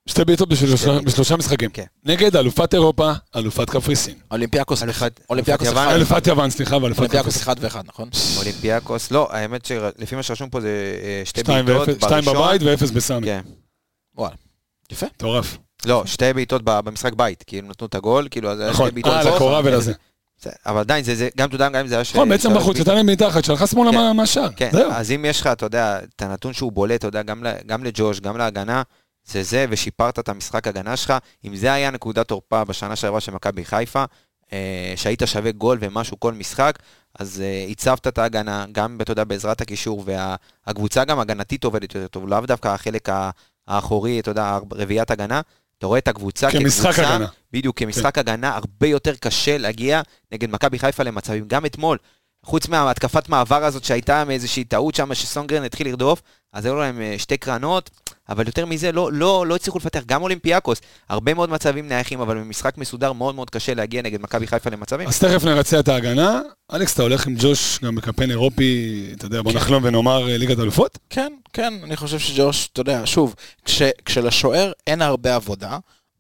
S1: שתי בעיטות בשלושה-
S5: שתי בעיטות.
S1: בשלושה משחקים.
S5: כן.
S1: נגד אלופת אירופה, אלופת קפריסין.
S6: אולימפיאקוס
S5: אלופת-
S6: אולימפיאקוס
S5: אה, אלופת יוון.
S6: אחד.
S1: אלופת יוון, סליחה, ואלופת
S6: אולימפיאקוס
S1: קפריסין.
S6: 1 ו-1, נכון?
S5: אולימפיאקוס, לא, האמת שלפי מה שרשום פה זה אה, שתי
S1: שתיים
S5: בעיטות
S1: ואפס- שתיים
S5: בראשון.
S1: בבית ואפס בסמי.
S5: כן.
S6: וואלה. יפה.
S1: מטורף.
S5: לא, שתי בעיטות ב- במשחק בית, כאילו נתנו את הגול, כאילו, אז היה
S1: נכון.
S5: שתי בעיטות.
S1: אה,
S5: בסוף,
S1: לקורה
S5: אבל-
S1: ולזה.
S5: זה- אבל עדיין, זה- זה גם אתה יודע, גם אם זה היה... ש-
S1: נכון, בעצם
S5: שלוש
S1: בחוץ,
S5: בעיטות.
S1: נתן להם בעיטה אחת, שלחה שמאלה
S5: כן.
S1: מה- מהשאר.
S5: כן,
S1: זהו.
S5: אז אם יש לך, אתה יודע, את הנתון שהוא בולט, אתה יודע, גם, ל- גם לג'וש, גם להגנה, זה זה, ושיפרת את המשחק הגנה שלך. אם זה היה נקודת תורפה בשנה שעברה של מכבי חיפה, אה, שהיית שווה גול ומשהו כל משחק, אז אה, הצבת את ההגנה, גם, אתה יודע, בעזרת הקישור, והקבוצה גם הגנתית עובדת יותר טוב, לאו דווקא החלק ה- האחורי, אתה יודע, רביעיית הגנה. אתה רואה את הקבוצה
S1: כמשחק
S5: כקבוצה,
S1: הגנה.
S5: בדיוק, כמשחק הגנה הרבה יותר קשה להגיע נגד מכבי חיפה למצבים. גם אתמול, חוץ מהתקפת מעבר הזאת שהייתה מאיזושהי טעות שם, שסונגרן התחיל לרדוף, אז היו להם אה, שתי קרנות, אבל יותר מזה, לא, לא, לא הצליחו לפתח. גם אולימפיאקוס, הרבה מאוד מצבים נייחים, אבל במשחק מסודר מאוד מאוד קשה להגיע נגד מכבי חיפה למצבים.
S1: אז תכף נרצה את ההגנה. אלכס, אתה הולך עם ג'וש גם בקמפיין אירופי, אתה יודע, בוא
S5: כן.
S1: נחלום ונאמר אה, ליגת אלופות?
S6: כן, כן, אני חושב שג'וש, אתה יודע, שוב, כש- כשלשוער אין הרבה עבודה,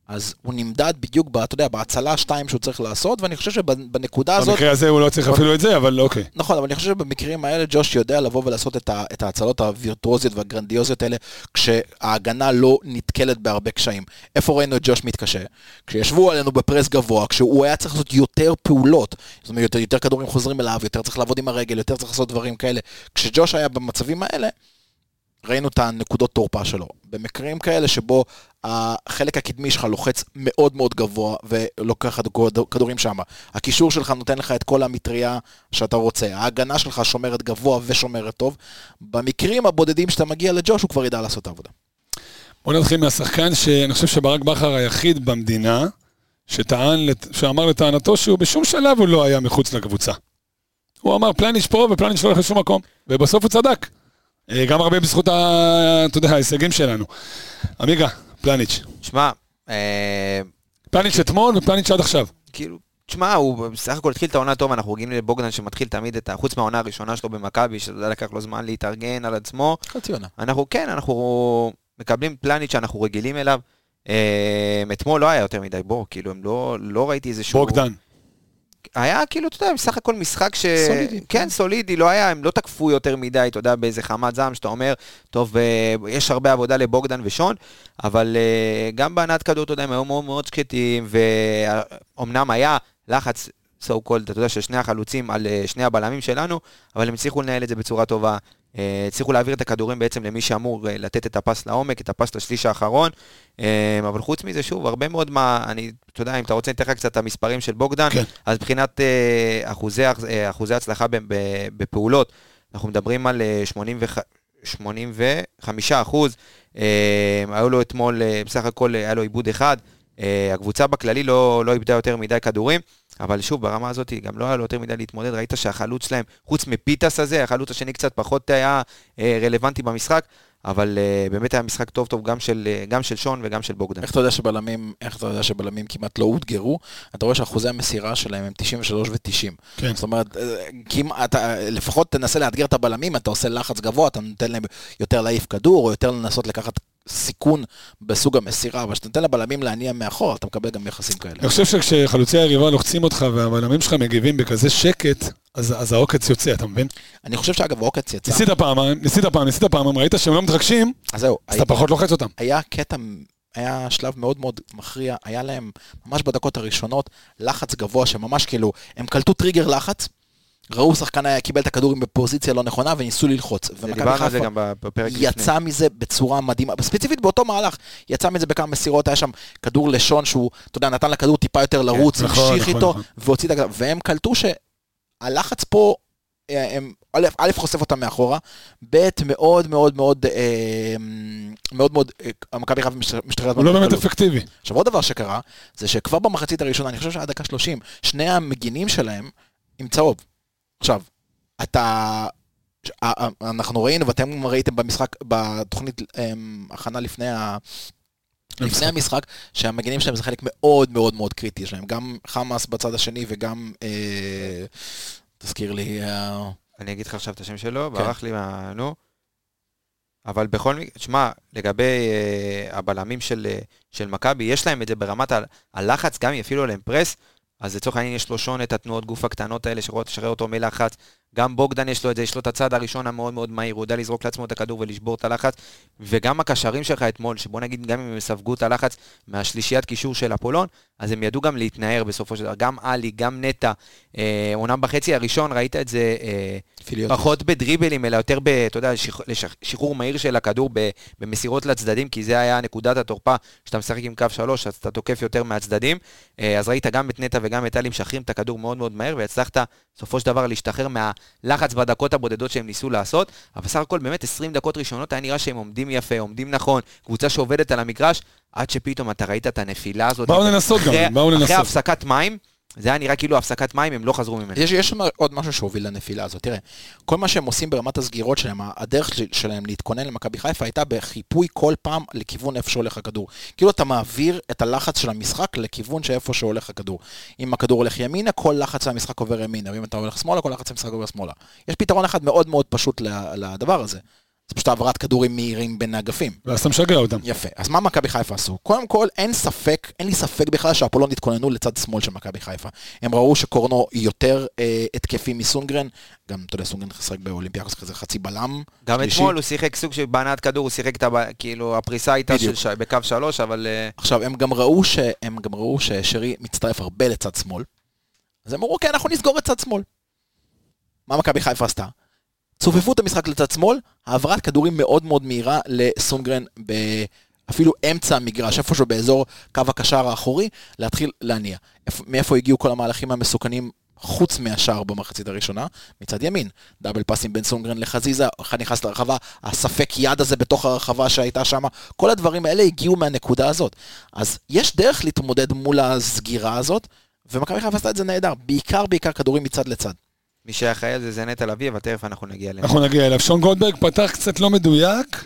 S6: אז הוא נמדד בדיוק, ב- אתה יודע, בהצלה 2 שהוא צריך לעשות, ואני חושב שבנקודה הזאת...
S1: במקרה הזה הוא לא צריך אפילו את זה, אבל אוקיי.
S6: נכון, אבל אני חושב שבמקרים האלה ג'וש יודע לבוא ולעשות את, ה, את ההצלות הווירטואוזיות והגרנדיוזיות האלה, כשההגנה לא נתקלת בהרבה קשיים. איפה ראינו את ג'וש מתקשה? כשישבו עלינו בפרס גבוה, כשהוא היה צריך לעשות יותר פעולות, זאת אומרת, יותר, יותר כדורים חוזרים אליו, יותר צריך לעבוד עם הרגל, יותר צריך לעשות דברים כאלה. כשג'וש היה במצבים האלה, ראינו את הנקודות תורפה שלו. במקרים כאלה שבו החלק הקדמי שלך לוחץ מאוד מאוד גבוה ולוקח כדור- כדורים שם. הקישור שלך נותן לך את כל המטריה שאתה רוצה. ההגנה שלך שומרת גבוה ושומרת טוב. במקרים הבודדים שאתה מגיע לג'וש, הוא כבר ידע לעשות את העבודה.
S1: בוא נתחיל מהשחקן שאני חושב שברק בכר היחיד במדינה שטען, לת- שאמר לטענתו שהוא בשום שלב הוא לא היה מחוץ לקבוצה. הוא אמר פלניץ' פה ופלניץ' לא הולך לשום מקום, ובסוף הוא צדק. אה, גם הרבה בזכות, ה... אתה יודע, ההישגים שלנו. עמיגה, פלניץ'.
S5: שמע, אה,
S1: פלניץ' אתמול ופלניץ' עד עכשיו.
S5: כאילו, תשמע, הוא בסך הכל התחיל את העונה טוב, אנחנו רגילים לבוגדן שמתחיל תמיד את ה... חוץ מהעונה הראשונה שלו במכבי, שזה לקח לו זמן להתארגן על עצמו.
S6: חצי עונה.
S5: אנחנו כן, אנחנו מקבלים פלניץ' שאנחנו רגילים אליו. אה, אתמול לא היה יותר מדי בור, כאילו, הם לא, לא ראיתי איזה שהוא...
S1: בוגדן.
S5: היה כאילו, אתה יודע, בסך הכל משחק ש...
S6: סולידי.
S5: כן, סולידי, לא היה, הם לא תקפו יותר מדי, אתה יודע, באיזה חמת זעם שאתה אומר, טוב, אה, יש הרבה עבודה לבוגדן ושון, אבל אה, גם בענת כדור, אתה יודע, הם היו מאוד מאוד שקטים, ואומנם היה לחץ, so called, אתה יודע, של שני החלוצים על אה, שני הבלמים שלנו, אבל הם הצליחו לנהל את זה בצורה טובה. אה, הצליחו להעביר את הכדורים בעצם למי שאמור אה, לתת את הפס לעומק, את הפס לשליש האחרון. אה, אבל חוץ מזה, שוב, הרבה מאוד מה, אני, אתה יודע, אם אתה רוצה, אני אתן לך קצת את המספרים של בוגדן.
S1: כן.
S5: אז מבחינת אה, אחוזי, הח- אה, אחוזי הצלחה ב- ב- בפעולות, אנחנו מדברים על אה, 85 85 אחוז. אה, היו לו אתמול, אה, בסך הכל אה, היה לו עיבוד אחד. אה, הקבוצה בכללי לא, לא איבדה יותר מדי כדורים, אבל שוב, ברמה הזאת גם לא היה לו יותר מדי להתמודד. ראית שהחלוץ שלהם, חוץ מפיטס הזה, החלוץ השני קצת פחות היה אה, רלוונטי במשחק, אבל אה, באמת היה משחק טוב טוב גם של, אה, גם של שון וגם של בוגדן.
S6: איך אתה יודע שבלמים, איך אתה יודע שבלמים כמעט לא אותגרו? אתה רואה שאחוזי המסירה שלהם הם 93 ו-90.
S1: כן.
S6: זאת אומרת, אה, כמעט, אתה, אה, לפחות תנסה לאתגר את הבלמים, אתה עושה לחץ גבוה, אתה נותן להם יותר להעיף כדור, או יותר לנסות לקחת סיכון בסוג המסירה, אבל כשאתה נותן לבלמים להניע מאחור, אתה מקבל גם יחסים כאלה.
S1: אני חושב שכשחלוצי היריבה לוחצים אותך והבלמים שלך מגיבים בכזה שקט, אז, אז העוקץ יוצא, אתה מבין?
S6: אני חושב שאגב, עוקץ יצא,
S1: ניסית פעם, ניסית פעם, ניסית פעם, אם ראית שהם לא מתרגשים,
S6: אז זהו,
S1: אז אתה פחות לוחץ אותם. לא
S6: היה קטע, היה שלב מאוד מאוד מכריע, היה להם ממש בדקות הראשונות לחץ גבוה שממש כאילו, הם קלטו טריגר לחץ, ראו שחקן היה קיבל את הכדורים בפוזיציה לא נכונה וניסו ללחוץ. ומכבי
S5: דיברנו על זה
S6: חיפה
S5: גם בפרק לפני.
S6: יצא מזה בצורה מדהימה, ספציפית באותו מהלך, יצא מזה בכמה מסירות, היה שם כדור לשון שהוא, אתה יודע, נתן לכדור טיפה יותר לרוץ,
S1: כן, נכון,
S6: המשיך
S1: נכון,
S6: איתו,
S1: נכון.
S6: והוציא את הכדור, והם קלטו שהלחץ פה, אה, הם, א', א', חושף אותם מאחורה, ב', מאוד מאוד מאוד, אה, מאוד מאוד, אה, מכבי חיפה משתחררת.
S1: הוא לא באמת
S6: בקלות.
S1: אפקטיבי.
S6: עכשיו עוד דבר שקרה, זה שכבר במחצית הראשונה, אני חושב שעד דקה 30, שני המגינים שלהם עם צהוב. עכשיו, אתה... ש- ה- ה- אנחנו ראינו, ואתם ראיתם במשחק, בתוכנית אמ, הכנה לפני, ה... לפני המשחק, שהמגינים שלהם זה חלק מאוד מאוד מאוד קריטי שלהם. גם חמאס בצד השני וגם, אה, תזכיר לי, אה,
S5: אני אגיד לך עכשיו את השם שלו,
S6: כן.
S5: ברח לי מה... נו. אבל בכל מקרה, תשמע, לגבי אה, הבלמים של, אה, של מכבי, יש להם את זה ברמת ה- הלחץ, גם אם יפעילו עליהם פרס, אז לצורך העניין יש לו שון את התנועות גוף הקטנות האלה שרואות לשחרר אותו מלחץ. גם בוגדן יש לו את זה, יש לו את הצד הראשון המאוד מאוד מהיר, הוא יודע לזרוק לעצמו את הכדור ולשבור את הלחץ. וגם הקשרים שלך אתמול, שבוא נגיד גם אם הם ספגו את הלחץ מהשלישיית קישור של אפולון, אז הם ידעו גם להתנער בסופו של דבר. גם עלי, גם נטע. אה, אומנם בחצי הראשון ראית את זה... אה,
S6: פיליוט.
S5: פחות בדריבלים, אלא יותר, ב, אתה יודע, שח, לשח, שחרור מהיר של הכדור ב, במסירות לצדדים, כי זה היה נקודת התורפה, כשאתה משחק עם קו שלוש, אז אתה תוקף יותר מהצדדים. אה, אז ראית גם את נטע וגם את טלי משחררים את הכדור מאוד מאוד מהר, והצלחת בסופו של דבר להשתחרר מהלחץ בדקות הבודדות שהם ניסו לעשות. אבל בסך הכל באמת 20 דקות ראשונות היה נראה שהם עומדים יפה, עומדים נכון, קבוצה שעובדת על המגרש, עד שפתאום אתה ראית את הנפילה הזאת.
S1: באו לנסות גם,
S5: אחרי-
S1: באו
S5: אחרי
S1: לנסות.
S5: הפסקת מים, זה היה נראה כאילו הפסקת מים, הם לא חזרו ממנה.
S6: יש, יש שם עוד משהו שהוביל לנפילה הזאת. תראה, כל מה שהם עושים ברמת הסגירות שלהם, הדרך של- שלהם להתכונן למכבי חיפה הייתה בחיפוי כל פעם לכיוון איפה שהולך הכדור. כאילו אתה מעביר את הלחץ של המשחק לכיוון שאיפה שהולך הכדור. אם הכדור הולך ימינה, כל לחץ של המשחק עובר ימינה, ואם אתה הולך שמאלה, כל לחץ של המשחק עובר שמאלה. יש פתרון אחד מאוד מאוד פשוט ל- לדבר הזה. זה פשוט העברת כדורים מהירים בין האגפים.
S1: ואז אתה משגע אותם.
S6: יפה. אז מה מכבי חיפה עשו? קודם כל, אין ספק, אין לי ספק בכלל שהפולון התכוננו לצד שמאל של מכבי חיפה. הם ראו שקורנו יותר אה, התקפי מסונגרן, גם, אתה יודע, סונגרן שיחק באולימפיאקוס כזה חצי בלם.
S5: גם
S6: שלישי.
S5: אתמול הוא שיחק סוג של בהנעת כדור, הוא שיחק את ה... כאילו, הפריסה הייתה של
S6: בדיוק.
S5: ש- בקו שלוש, אבל... אה,
S6: עכשיו, הם גם ראו שהם גם ראו ששרי מצטרף הרבה לצד שמאל. אז הם אמרו, אוקיי, אנחנו נסגור את צד שמאל. מה מכבי חיפה עשתה? צופפו את המשחק לצד שמאל, העברת כדורים מאוד מאוד מהירה לסונגרן ב... אפילו אמצע המגרש, איפשהו באזור קו הקשר האחורי, להתחיל להניע. איפ- מאיפה הגיעו כל המהלכים המסוכנים חוץ מהשער במחצית הראשונה? מצד ימין. דאבל פאסים בין סונגרן לחזיזה, אחד נכנס לרחבה, הספק יד הזה בתוך הרחבה שהייתה שם, כל הדברים האלה הגיעו מהנקודה הזאת. אז יש דרך להתמודד מול הסגירה הזאת, ומכבי חיפה עשתה את זה נהדר, בעיקר בעיקר כדורים מצד לצד.
S5: מי שהיה אחראי על זה זה נטע לביא, אבל תכף אנחנו נגיע אליהם.
S1: אנחנו נגיע אליו. שון גולדברג פתח קצת לא מדויק,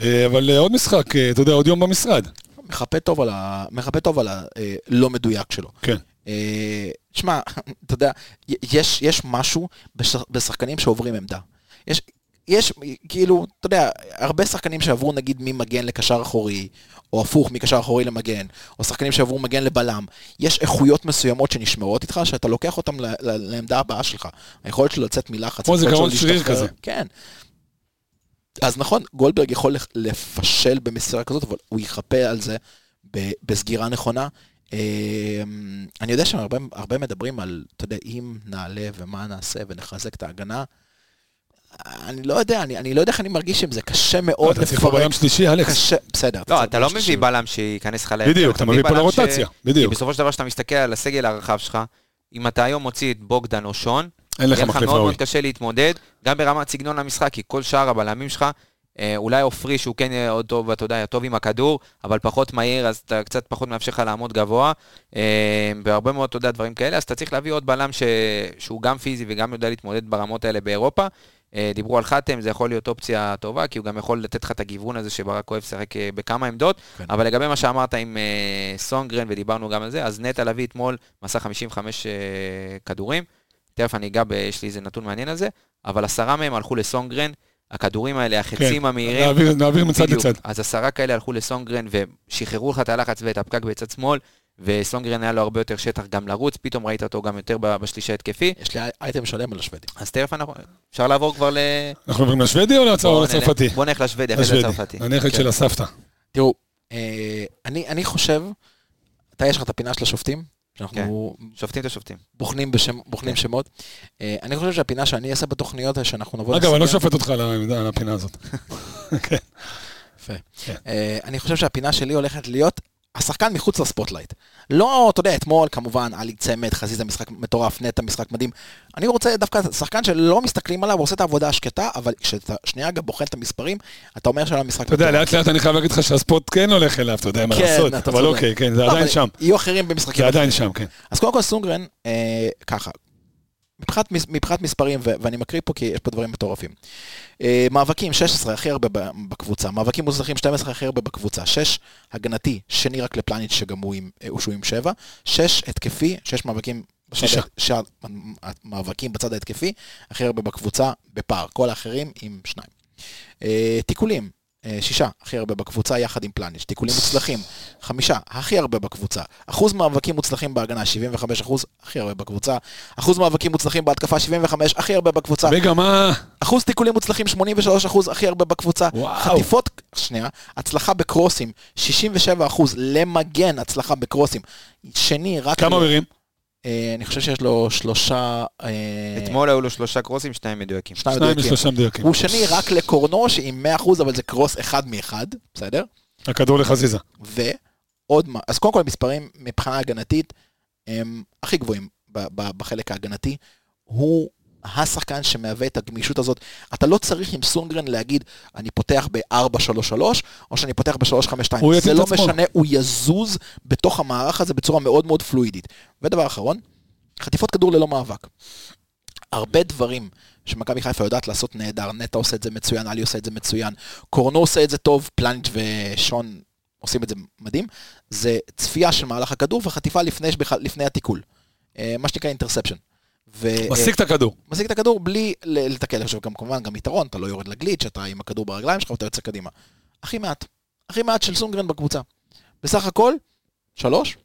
S1: אה, אבל אה, עוד משחק, אה, אתה יודע, עוד יום במשרד.
S6: מחפה טוב על ה... מחפה טוב על הלא מדויק שלו.
S1: כן.
S6: אה, תשמע, אתה יודע, י- יש, יש משהו בש, בשחקנים שעוברים עמדה. יש, יש, כאילו, אתה יודע, הרבה שחקנים שעברו נגיד ממגן לקשר אחורי, או הפוך, מקשר אחורי למגן, או שחקנים שעברו מגן לבלם, יש איכויות מסוימות שנשמרות איתך, שאתה לוקח אותן ל, ל, לעמדה הבאה שלך. היכולת שלו לצאת מלחץ.
S1: כמו
S6: היכולת שלו
S1: זיכרון שריר
S6: להשתחרר.
S1: כזה.
S6: כן. אז נכון, גולדברג יכול לח- לפשל במסירה כזאת, אבל הוא יחפה על זה ב- בסגירה נכונה. אמ, אני יודע שהרבה הרבה מדברים על, אתה יודע, אם נעלה ומה נעשה ונחזק את ההגנה. אני לא יודע, אני, אני לא יודע איך אני מרגיש עם זה, קשה מאוד
S1: אתה צריך פה בלם שלישי, אלכס.
S6: קשה, בסדר.
S5: לא,
S6: צריך
S5: אתה לא
S6: בלם שלישי.
S5: מביא בלם שייכנס לך להרכב,
S1: בדיוק, אתה מביא פה
S5: בלם
S1: לרוטציה,
S5: ש- כי
S1: בדיוק.
S5: בסופו של דבר, כשאתה מסתכל על הסגל הרחב שלך, אם אתה היום מוציא את בוגדן או שון,
S1: אין לך
S5: יהיה לך
S1: מחליף
S5: מאוד
S1: ראוי.
S5: מאוד קשה להתמודד, גם ברמת סגנון המשחק, כי כל שאר הבלמים שלך, אה, אולי עופרי שהוא כן אה, עוד טוב, אתה יודע, טוב עם הכדור, אבל פחות מהיר, אז אתה קצת פחות מאפשר לך לעמוד גבוה, אה, בהרבה מאוד, אתה יודע, דברים כאלה, אז אתה צריך להביא עוד בלם ש... שהוא גם פיזי וגם יודע להתמודד ברמות האלה באירופה. אה, דיברו על חתם, זה יכול להיות אופציה טובה, כי הוא גם יכול לתת לך את הגיוון הזה שברק אוהב לשחק אה, בכמה עמדות,
S6: כן.
S5: אבל לגבי מה שאמרת עם אה, סונגרן, ודיברנו גם על זה, אז נטע לביא אתמול מסע 55 אה, כדורים, תכף אני אגע, ב- יש לי איזה נתון מעניין על זה, אבל עשרה מהם הלכו לסונגרן, הכדורים האלה, החצים המהירים,
S1: נעביר- נעביר כן, מצד
S5: בדיוק.
S1: לצד.
S5: אז עשרה כאלה הלכו לסונגרן ושחררו לך את הלחץ ואת הפקק בצד שמאל, וסונגרן היה לו הרבה יותר שטח גם לרוץ, פתאום ראית אותו גם יותר ב- בשליש ההתקפי,
S6: יש לי אייטם שלם על השוודי.
S5: אז תכף אנחנו... אפשר לעבור כבר ל...
S1: אנחנו עוברים לשוודי או לצ- או
S5: בוא נלך-
S1: לצרפתי?
S5: בוא נלך לשוודי, אחרי זה
S1: לשוודי.
S5: לצרפתי. כן. אוקיי.
S1: הנכד של הסבתא.
S6: תראו, אה, אני, אני חושב, אתה יש לך את הפינה של השופטים, שאנחנו
S5: שופטים את השופטים.
S6: בוחנים, בשם, בוחנים
S5: כן.
S6: שמות. אה, אני חושב שהפינה שאני אעשה בתוכניות זה שאנחנו נבוא...
S1: אגב, אני לא
S6: לסקר-
S1: שופט אותך על העמדה- על הפינה הזאת. כן.
S6: יפה.
S1: כן.
S6: אה, אני חושב שהפינה שלי הולכת להיות השחקן מחוץ לספוטלייט. לא, אתה יודע, אתמול כמובן, עלי צמד, חזיזה משחק מטורף, נטע משחק מדהים. אני רוצה דווקא שחקן שלא מסתכלים עליו, הוא עושה את העבודה השקטה, אבל כשאתה שנייה גם בוחן את המספרים, אתה אומר שהיה לו משחק
S1: אתה יודע, לאט לאט אני חייב להגיד לך שהספורט כן הולך אליו, אתה יודע מה
S6: כן,
S1: לעשות.
S6: אתה
S1: אבל
S6: צודק.
S1: אוקיי, כן, זה
S6: לא,
S1: עדיין
S6: אבל
S1: שם.
S6: יהיו אחרים במשחקים.
S5: אוקיי.
S1: זה עדיין שם, כן.
S6: אז קודם כל סונגרן, אה, ככה, מבחינת, מס- מבחינת מספרים, ו- ואני מקריא פה כי יש פה דברים מטורפים. אה, מאבקים, 16 הכי הרבה ב- בקבוצה, מאבקים מוצלחים, 12 הכי הרבה בקבוצה, 6 הגנתי, שני רק לפלניץ' שגם הוא עם, אה, הוא שהוא עם 7, 6 התקפי, 6 מאבקים. בצד
S1: שישה.
S6: ה- שע- מאבקים בצד ההתקפי, הכי הרבה בקבוצה בפער, כל האחרים עם שניים. אה, תיקולים, אה, שישה הכי הרבה בקבוצה יחד עם פלניץ', תיקולים מוצלחים, חמישה הכי הרבה בקבוצה, אחוז מאבקים מוצלחים בהגנה, 75 אחוז הכי הרבה בקבוצה, אחוז מאבקים מוצלחים בהתקפה, 75 הכי הרבה בקבוצה,
S1: רגע, מה...
S6: אחוז תיקולים מוצלחים, 83 אחוז הכי הרבה בקבוצה,
S1: וואו.
S6: חטיפות, שנייה, הצלחה בקרוסים, 67 אחוז למגן הצלחה בקרוסים, שני רק...
S1: כמה מרים?
S6: אה, אני חושב שיש לו שלושה... אה,
S5: אתמול היו לו שלושה קרוסים, שניים מדויקים.
S6: שניים
S1: שניים
S6: מדויקים.
S1: ושלושה מדויקים.
S6: כן. הוא שני רק לקורנו שעם 100% אבל זה קרוס אחד מאחד, בסדר?
S1: הכדור לחזיזה.
S6: ועוד מה, אז קודם כל המספרים מבחינה הגנתית הם הכי גבוהים ב- ב- בחלק ההגנתי. הוא השחקן שמהווה את הגמישות הזאת. אתה לא צריך עם סונגרן להגיד, אני פותח ב-4-3-3, או שאני פותח ב-3-5-2.
S1: הוא יתאים
S6: זה
S1: את
S6: לא
S1: עצמו.
S6: משנה, הוא יזוז בתוך המערך הזה בצורה מאוד מאוד פלואידית. ודבר אחרון, חטיפות כדור ללא מאבק. הרבה דברים שמכבי חיפה יודעת לעשות נהדר, נטע עושה את זה מצוין, עלי עושה את זה מצוין, קורנו עושה את זה טוב, פלניץ' ושון עושים את זה מדהים, זה צפייה של מהלך הכדור וחטיפה לפני, שבכלל- לפני התיקול. אה, מה שנקרא אינטרספשן. ו-
S1: משיג את הכדור.
S6: משיג את הכדור בלי ל- לתקל. עכשיו, גם, כמובן, גם יתרון, אתה לא יורד לגליץ', אתה עם הכדור ברגליים שלך ואתה יוצא קדימה. הכי מעט. הכי מעט של סונגרן בקבוצה. בסך הכל, שלוש,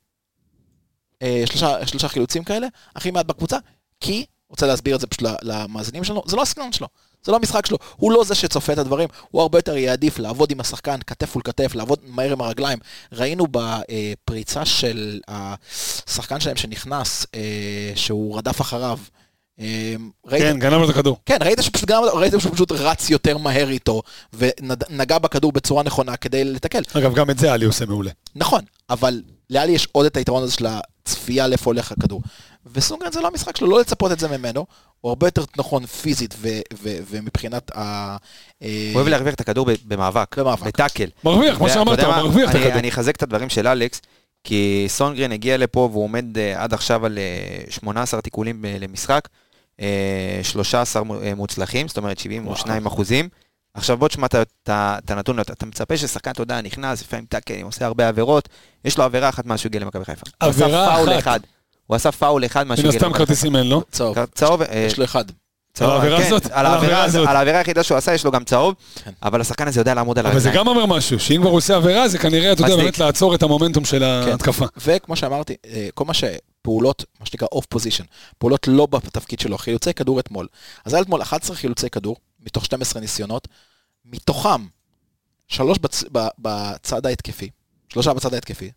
S6: אה, שלושה, שלושה חילוצים כאלה, הכי מעט בקבוצה, כי, רוצה להסביר את זה פשוט ל- למאזינים שלנו, זה לא הסגנון שלו. זה לא המשחק שלו, הוא לא זה שצופה את הדברים, הוא הרבה יותר יעדיף לעבוד עם השחקן כתף מול כתף, לעבוד מהר עם הרגליים. ראינו בפריצה של השחקן שלהם שנכנס, אה, שהוא רדף אחריו. אה, ראית,
S1: כן, גנב לו את הכדור.
S6: כן, ראית שפשוט, גם, ראית שהוא פשוט רץ יותר מהר איתו, ונגע בכדור בצורה נכונה כדי לתקל.
S1: אגב, גם את זה עלי עושה מעולה.
S6: נכון, אבל לאלי יש עוד את היתרון הזה של הצפייה לאיפה הולך הכדור. וסונגרן זה לא המשחק שלו, לא לצפות את זה ממנו, הוא הרבה יותר נכון פיזית ו- ו- ומבחינת ה... אה,
S5: הוא אוהב להרוויח את הכדור ב- במאבק,
S6: במאבק.
S5: בטאקל.
S1: מרוויח, כמו
S5: ואתה
S1: שאמרת,
S5: יודע מה?
S1: הוא מרוויח את
S5: אני-
S1: הכדור.
S5: אני אחזק את הדברים של אלכס, כי סונגרן הגיע לפה והוא עומד אה, עד עכשיו על אה, 18 תיקולים אה, למשחק, אה, 13 מו- אה, מוצלחים, זאת אומרת 72 אחוזים. עכשיו בוא תשמע את ה- את ה- את הנתון, אתה אתה מצפה ששחקן, אתה יודע, נכנס, לפעמים טאקל, עושה הרבה עבירות, יש לו עבירה אחת מאז שהוא הגיע למכבי חיפה. הוא עשה
S1: עבירה
S5: פאול
S1: אחת.
S5: אחד. הוא עשה פאול אחד מאז
S1: מן
S5: שהוא הגיע
S1: הסתם
S5: למכבי חיפה.
S1: כרטיסים אין לא? לו.
S6: צהוב,
S5: צהוב, אה,
S6: יש לו אחד.
S1: על
S5: צהוב,
S1: העבירה
S5: כן,
S1: הזאת?
S5: על העבירה הזאת. על העבירה היחידה שהוא עשה יש לו גם צהוב,
S6: כן.
S5: אבל השחקן הזה יודע לעמוד על
S1: אבל זה
S5: הרגליים.
S1: גם אומר משהו, שאם כבר הוא עושה עבירה, זה כנראה, אתה יודע,
S5: מצדיק.
S1: באמת לעצור את המומנטום של ההתקפה.
S6: וכמו שאמרתי, אה, כל מה שפעולות, מה שנקרא אוף פוזיישן, פעולות לא בתפקיד שלו, חילוצי כדור אתמול. אז היה אתמול 11 חילוצי כדור, מתוך 12 ניסיונות, מתוכם שלוש בצ... ב... בצד ההתקפי, שלושה בצד ההתקפי,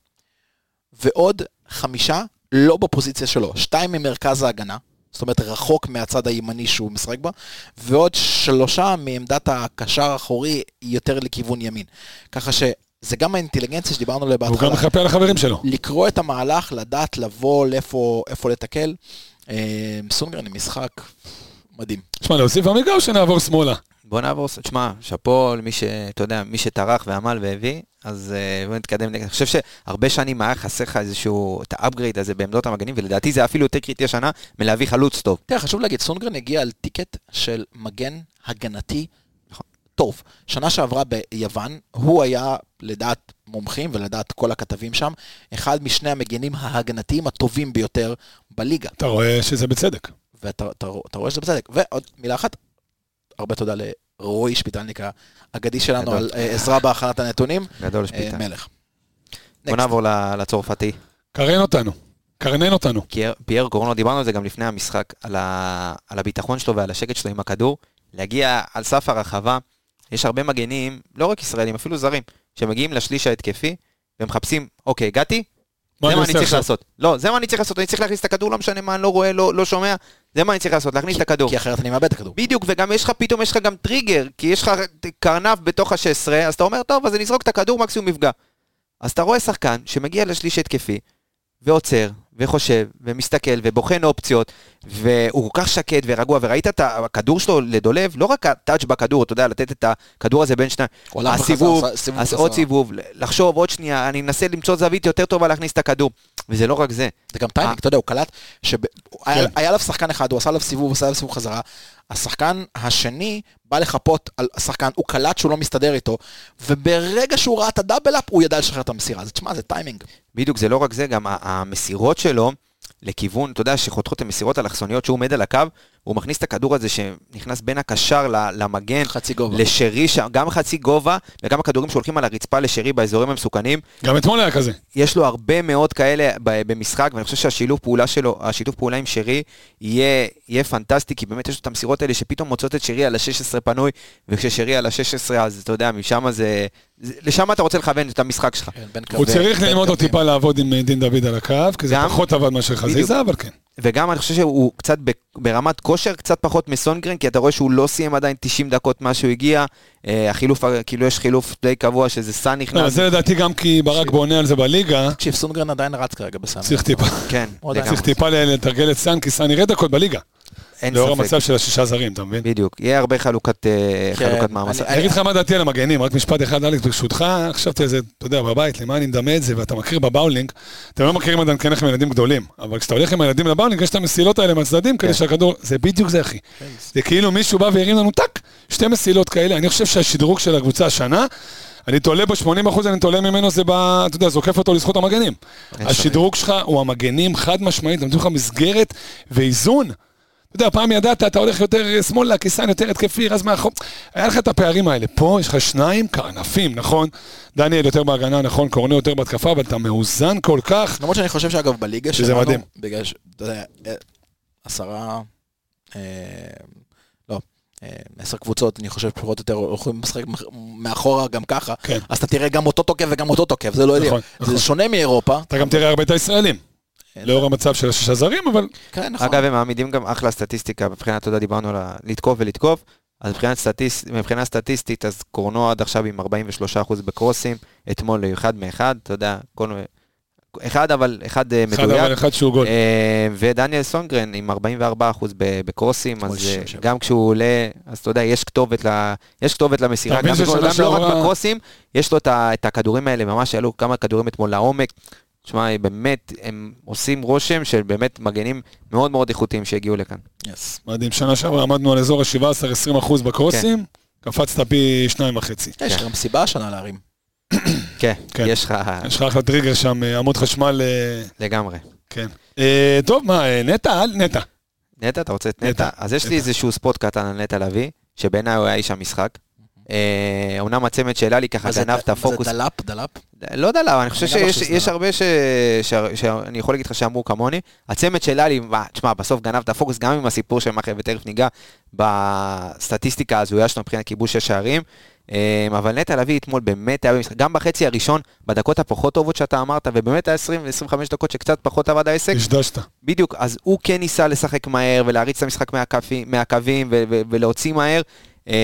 S6: ועוד חמישה לא בפוזיציה שלו, שתיים ממרכז ההגנה, זאת אומרת רחוק מהצד הימני שהוא משחק בה, ועוד שלושה מעמדת הקשר האחורי יותר לכיוון ימין. ככה שזה גם האינטליגנציה שדיברנו עליה
S1: הוא
S6: בהתחלה.
S1: גם מחפה על החברים שלו.
S6: לקרוא את המהלך, לדעת לבוא, לאיפה, איפה לתקל. אה, סונגרן עם משחק מדהים.
S1: תשמע, להוסיף עמיגה או שנעבור שמאלה?
S5: בוא נעבור, תשמע, שאפו למי ש... אתה יודע, מי שטרח ועמל והביא, אז אה, בוא נתקדם. אני חושב שהרבה שנים היה חסר לך איזשהו, את האפגרייד הזה בעמדות המגנים, ולדעתי זה אפילו יותר קריטי השנה מלהביא חלוץ טוב.
S6: תראה, חשוב להגיד, סונגרן הגיע על טיקט של מגן הגנתי נכון. טוב. שנה שעברה ביוון, הוא היה, לדעת מומחים ולדעת כל הכתבים שם, אחד משני המגנים ההגנתיים הטובים ביותר בליגה.
S1: אתה רואה שזה בצדק.
S6: ואתה אתה, אתה רואה שזה בצדק. ועוד מילה אחת, הרבה תודה לרועי שפיטלניק האגדי שלנו
S5: גדול.
S6: על אה, עזרה בהכנת הנתונים.
S5: גדול
S6: אה,
S5: שפיטה.
S6: מלך.
S5: בוא
S6: Next.
S5: נעבור ל- לצרפתי.
S1: קרן אותנו. קרנן אותנו.
S5: פייר- פייר קורנו, דיברנו על זה גם לפני המשחק, על, ה, על הביטחון שלו ועל השקט שלו עם הכדור, להגיע על סף הרחבה. יש הרבה מגנים, לא רק ישראלים, אפילו זרים, שמגיעים לשליש ההתקפי, ומחפשים, אוקיי, הגעתי,
S1: מה
S5: זה
S1: אני
S5: מה
S1: עושה
S5: אני צריך
S1: עכשיו?
S5: לעשות. לא, זה מה אני צריך לעשות, אני צריך להכניס את הכדור, לא משנה מה, אני לא רואה, לא, לא שומע, זה מה אני צריך לעשות, להכניס את הכדור.
S6: כי אחרת אני מאבד את הכדור.
S5: בדיוק, וגם יש לך, פתאום יש לך גם טריגר, כי יש לך קרנף בתוך ה-16, אז אתה אומר, טוב, אז אני אזרוק את הכדור, מקסימום מפגע. אז אתה רואה שחקן שמגיע לשליש התקפי, ועוצר, וחושב, ומסתכל, ובוחן אופציות, והוא כל כך שקט ורגוע, וראית את הכדור שלו לדולב, לא רק הטאץ' בכדור, אתה יודע, לתת את הכדור הזה בין שניים,
S6: עולם וחזרה,
S5: הסיבוב,
S6: עשה- סיבוב
S5: אז
S6: חזרה.
S5: עוד סיבוב, לחשוב עוד שנייה, אני מנסה למצוא זווית יותר טובה להכניס את הכדור, וזה לא רק זה.
S6: זה גם טיימינג,
S5: אה.
S6: אתה יודע, הוא קלט, שהיה
S1: כן.
S6: עליו שחקן אחד, הוא עשה עליו סיבוב, עשה עליו סיבוב חזרה, השחקן השני בא לחפות על השחקן, הוא קלט שהוא לא מסתדר איתו, וברגע שהוא ראה את הדאבל-אפ, הוא ידע לשחרר את המסירה. אז תשמע, זה טיימינג.
S5: בדיוק, זה לא רק זה, גם ה- המסירות שלו לכיוון, אתה יודע, שחותכות את המסירות אלכסוניות שהוא עומד על הקו, הוא מכניס את הכדור הזה שנכנס בין הקשר ל- למגן,
S6: חצי גובה.
S5: לשרי, שם, גם חצי גובה, וגם הכדורים שהולכים על הרצפה לשרי באזורים המסוכנים.
S1: גם אתמול היה כזה.
S5: יש לו הרבה מאוד כאלה ב- במשחק, ואני חושב שהשילוב פעולה שלו, השיתוף פעולה עם שרי, יהיה, יהיה פנטסטי, כי באמת יש לו את המסירות האלה שפתאום מוצאות את שרי על ה-16 פנוי, וכששרי על ה-16, אז אתה יודע, משם זה... זה- לשם אתה רוצה לכוון את המשחק שלך.
S6: כן, בין
S1: הוא
S6: קווי-
S1: צריך
S6: בין
S1: ללמוד עוד
S6: קווים.
S1: טיפה לעבוד עם אה, דין דוד על הקו, כי זה
S5: גם-
S1: פחות עבד מאשר חזיזה, אבל כן.
S5: וגם אני חושב שהוא קצת ב- ברמת כושר, קצת פחות מסונגרן, כי אתה רואה שהוא לא סיים עדיין 90 דקות מאז שהוא הגיע. אה, החילוף, ה- כאילו יש חילוף די קבוע שזה סאן
S1: לא,
S5: נכנס.
S1: זה לדעתי גם כי ברק בונה על זה בליגה,
S6: תקשיב, סונגרן עדיין רץ כרגע בסאן.
S1: צריך טיפה.
S5: כן,
S6: הוא עדיין.
S5: לגמרי,
S1: צריך טיפה ל- לתרגל את סאן, כי סאן יראה דקות בליגה.
S5: אין
S1: לאור
S5: ספק.
S1: המצב של השישה זרים, אתה מבין?
S5: בדיוק, יהיה הרבה חלוקת, אה,
S6: כן,
S5: חלוקת
S6: אני-
S5: מעמסה.
S1: אני אגיד לך מה דעתי על המגנים, רק משפט אחד, אלכס, ברשותך. חשבתי על זה, אתה יודע, בבית, למה אני מדמה את זה, ואתה מכיר בבאולינג, אתם לא מכירים עדיין כנך מילדים גדולים, אבל כשאתה הולך עם הילדים לבאולינג, יש את המסילות האלה מהצדדים, כדי שהכדור... זה בדיוק זה, אחי. זה כאילו מישהו בא והרים לנו טאק, שתי מסילות כאלה. אני חושב שהשדרוג של הקבוצה השנה, אני תולה בו 80%, אני תולה ממנו, זה ב... אתה יודע, זוקף אותו לזכות המגנים.
S5: ספק.
S1: השדרוג שלך הוא המגנים, חד משמעית, נותנים לך מסגרת ואיזון. אתה יודע, פעם ידעת, אתה הולך יותר אה, שמאלה, כיסן יותר התקפי, רז מאחור. היה לך את הפערים האלה. פה יש לך שניים כענפים, נכון? דניאל יותר בהגנה, נכון? קורנו יותר בהתקפה, אבל אתה מאוזן כל כך.
S6: למרות שאני חושב שאגב, בליגה
S1: שזה
S6: שלנו...
S1: מדהים.
S6: בגלל ש... אתה יודע, אה, עשרה... אה, לא, אה, עשר קבוצות, אני חושב, פחות או יותר, הולכים לשחק מח- מאחורה גם ככה.
S1: כן.
S6: אז אתה תראה גם אותו תוקף וגם אותו תוקף, זה לא יודע.
S1: נכון, נכון.
S6: זה שונה מאירופה.
S1: אתה גם תראה הרבה את הישראלים.
S6: אה,
S1: לאור המצב של השישה זרים, אבל
S6: כן, נכון.
S5: אגב, הם מעמידים גם אחלה סטטיסטיקה, מבחינת, אתה יודע, דיברנו על ה- לתקוף ולתקוף, אז מבחינת סטטיס- מבחינה סטטיסטית, אז קורנו עד עכשיו עם 43% בקרוסים, אתמול אחד מאחד, אתה יודע, כל... אחד אבל, אחד אה,
S1: אחד אבל
S5: מדויק,
S1: אחד שהוא גול.
S5: אה, ודניאל סונגרן עם 44% ב- בקרוסים, אז
S6: אוי,
S5: אה,
S6: שם, שם.
S5: גם כשהוא עולה, אז אתה יודע, יש כתובת ל- יש כתובת למסירה,
S1: אתה מבין
S5: גם בגול,
S1: ששנה
S5: גם לא רק
S1: שעברה-
S5: בקרוסים, יש לו את ה- את הכדורים האלה, ממש עלו כמה כדורים אתמול לעומק. שמע, באמת, הם עושים רושם של באמת מגנים מאוד מאוד איכותיים שהגיעו לכאן.
S6: Yes.
S1: מדהים, שנה שעברה עמדנו על אזור ה-17-20 אחוז בקרוסים, קפצת פי שניים וחצי.
S6: אה, יש גם סיבה השנה להרים.
S5: כן,
S1: כן.
S5: יש לך
S1: יש לך אחלה טריגר שם, אה, עמוד חשמל, אה,
S5: לגמרי. כן.
S1: אה, טוב, מה, אה, נטע? אל- נטע.
S5: נטע, אתה רוצה את
S1: נטע,
S5: נטע? אז יש
S1: נטע.
S5: לי איזשהו ספוט קטן על נטע לביא, שבעיניי הוא היה איש המשחק. אה, אומנם הצמד שלה לי ככה
S6: מה זה,
S5: גנב את
S6: ד-
S5: הפוקוס.
S6: זה דלאפ, דלאפ.
S5: לא יודע למה, אני חושב
S6: אני גם חושב
S5: שיש
S6: שזה
S5: יש
S6: לא.
S5: הרבה ש... ש... שאני יכול להגיד לך שאמרו כמוני. הצמד של אלי, מה, תשמע, בסוף גנב את הפוקוס גם עם הסיפור של מאחר, ותכף ניגע בסטטיסטיקה הזויה שלו מבחינת כיבוש השערים. אמ, אבל נטע לביא אתמול באמת היה במשחק, גם בחצי הראשון, בדקות הפחות טובות שאתה אמרת, ובאמת היה 20 ו-25 דקות שקצת פחות עבד העסק.
S1: דשדשת.
S5: בדיוק, אז הוא כן ניסה לשחק מהר ולהריץ את המשחק מהקפי, מהקווים ו- ו- ולהוציא מהר. אמ,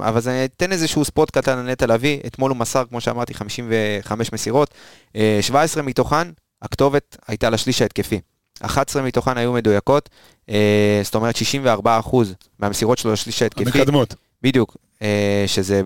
S5: אבל אני אתן איזשהו ספוט קטן לנטע לביא, אתמול הוא מסר, כמו שאמרתי, 55 מסירות, אה, 17 מתוכן, הכתובת הייתה לשליש ההתקפי. 11 מתוכן היו מדויקות, אה, זאת אומרת 64% מהמסירות שלו לשליש ההתקפי,
S1: המקדמות.
S5: בדיוק, אה, שזה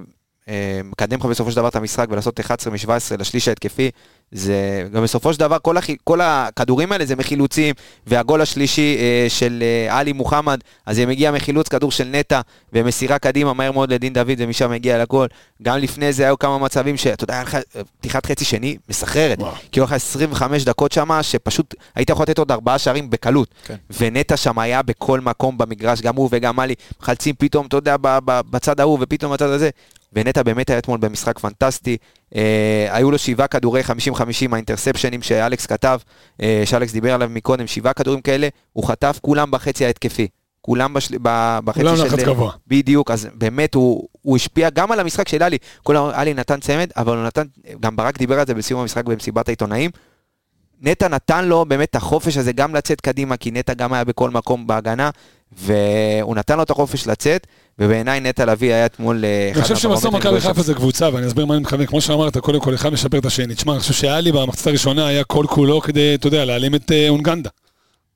S5: אה, מקדם לך בסופו של דבר את המשחק ולעשות 11 מ-17 לשליש ההתקפי, זה גם בסופו של דבר כל, החי, כל הכדורים האלה זה מחילוצים, והגול השלישי אה, של אה, עלי מוחמד, אז זה מגיע מחילוץ כדור של נטע, ומסירה קדימה מהר מאוד לדין דוד, ומשם מגיע לגול. גם לפני זה היו כמה מצבים שאתה יודע, היה לך אה, פתיחת חצי שני מסחררת.
S1: וואו.
S5: כאילו היה לך 25 דקות שם, שפשוט היית יכול לתת עוד ארבעה שערים בקלות.
S6: כן.
S5: ונטע שם היה בכל מקום במגרש, גם הוא וגם עלי, מחלצים פתאום, אתה יודע, ב- ב- בצד ההוא ופתאום בצד הזה. ונטע באמת היה אתמול במשחק פנטסטי. אה, היו לו שבעה כדורי 50-50 האינטרספשנים שאלכס כתב, אה, שאלכס דיבר עליו מקודם, שבעה כדורים כאלה, הוא חטף כולם בחצי ההתקפי. כולם בשל... ב- בחצי
S1: כולם
S5: של...
S1: לחץ גבוה.
S5: בדיוק, אז באמת הוא, הוא השפיע גם על המשחק של עלי. כל ה- עלי נתן צמד, אבל הוא נתן, גם ברק דיבר על זה בסיום המשחק במסיבת העיתונאים. נטע נתן לו באמת את החופש הזה גם לצאת קדימה, כי נטע גם היה בכל מקום בהגנה, והוא נתן לו את החופש לצאת, ובעיניי נטע לביא היה אתמול אה, אחד
S1: אני חושב שבסוף
S5: מהפרמטרים
S1: מכבי
S5: הגדולים
S1: חיפה זה קבוצה, ואני אסביר מה אני מכוון. כמו שאמרת, קודם כל אחד משפר את השני. תשמע, אני חושב שאלי במחצית הראשונה היה כל כולו כדי, אתה יודע, להעלים את אה, אונגנדה.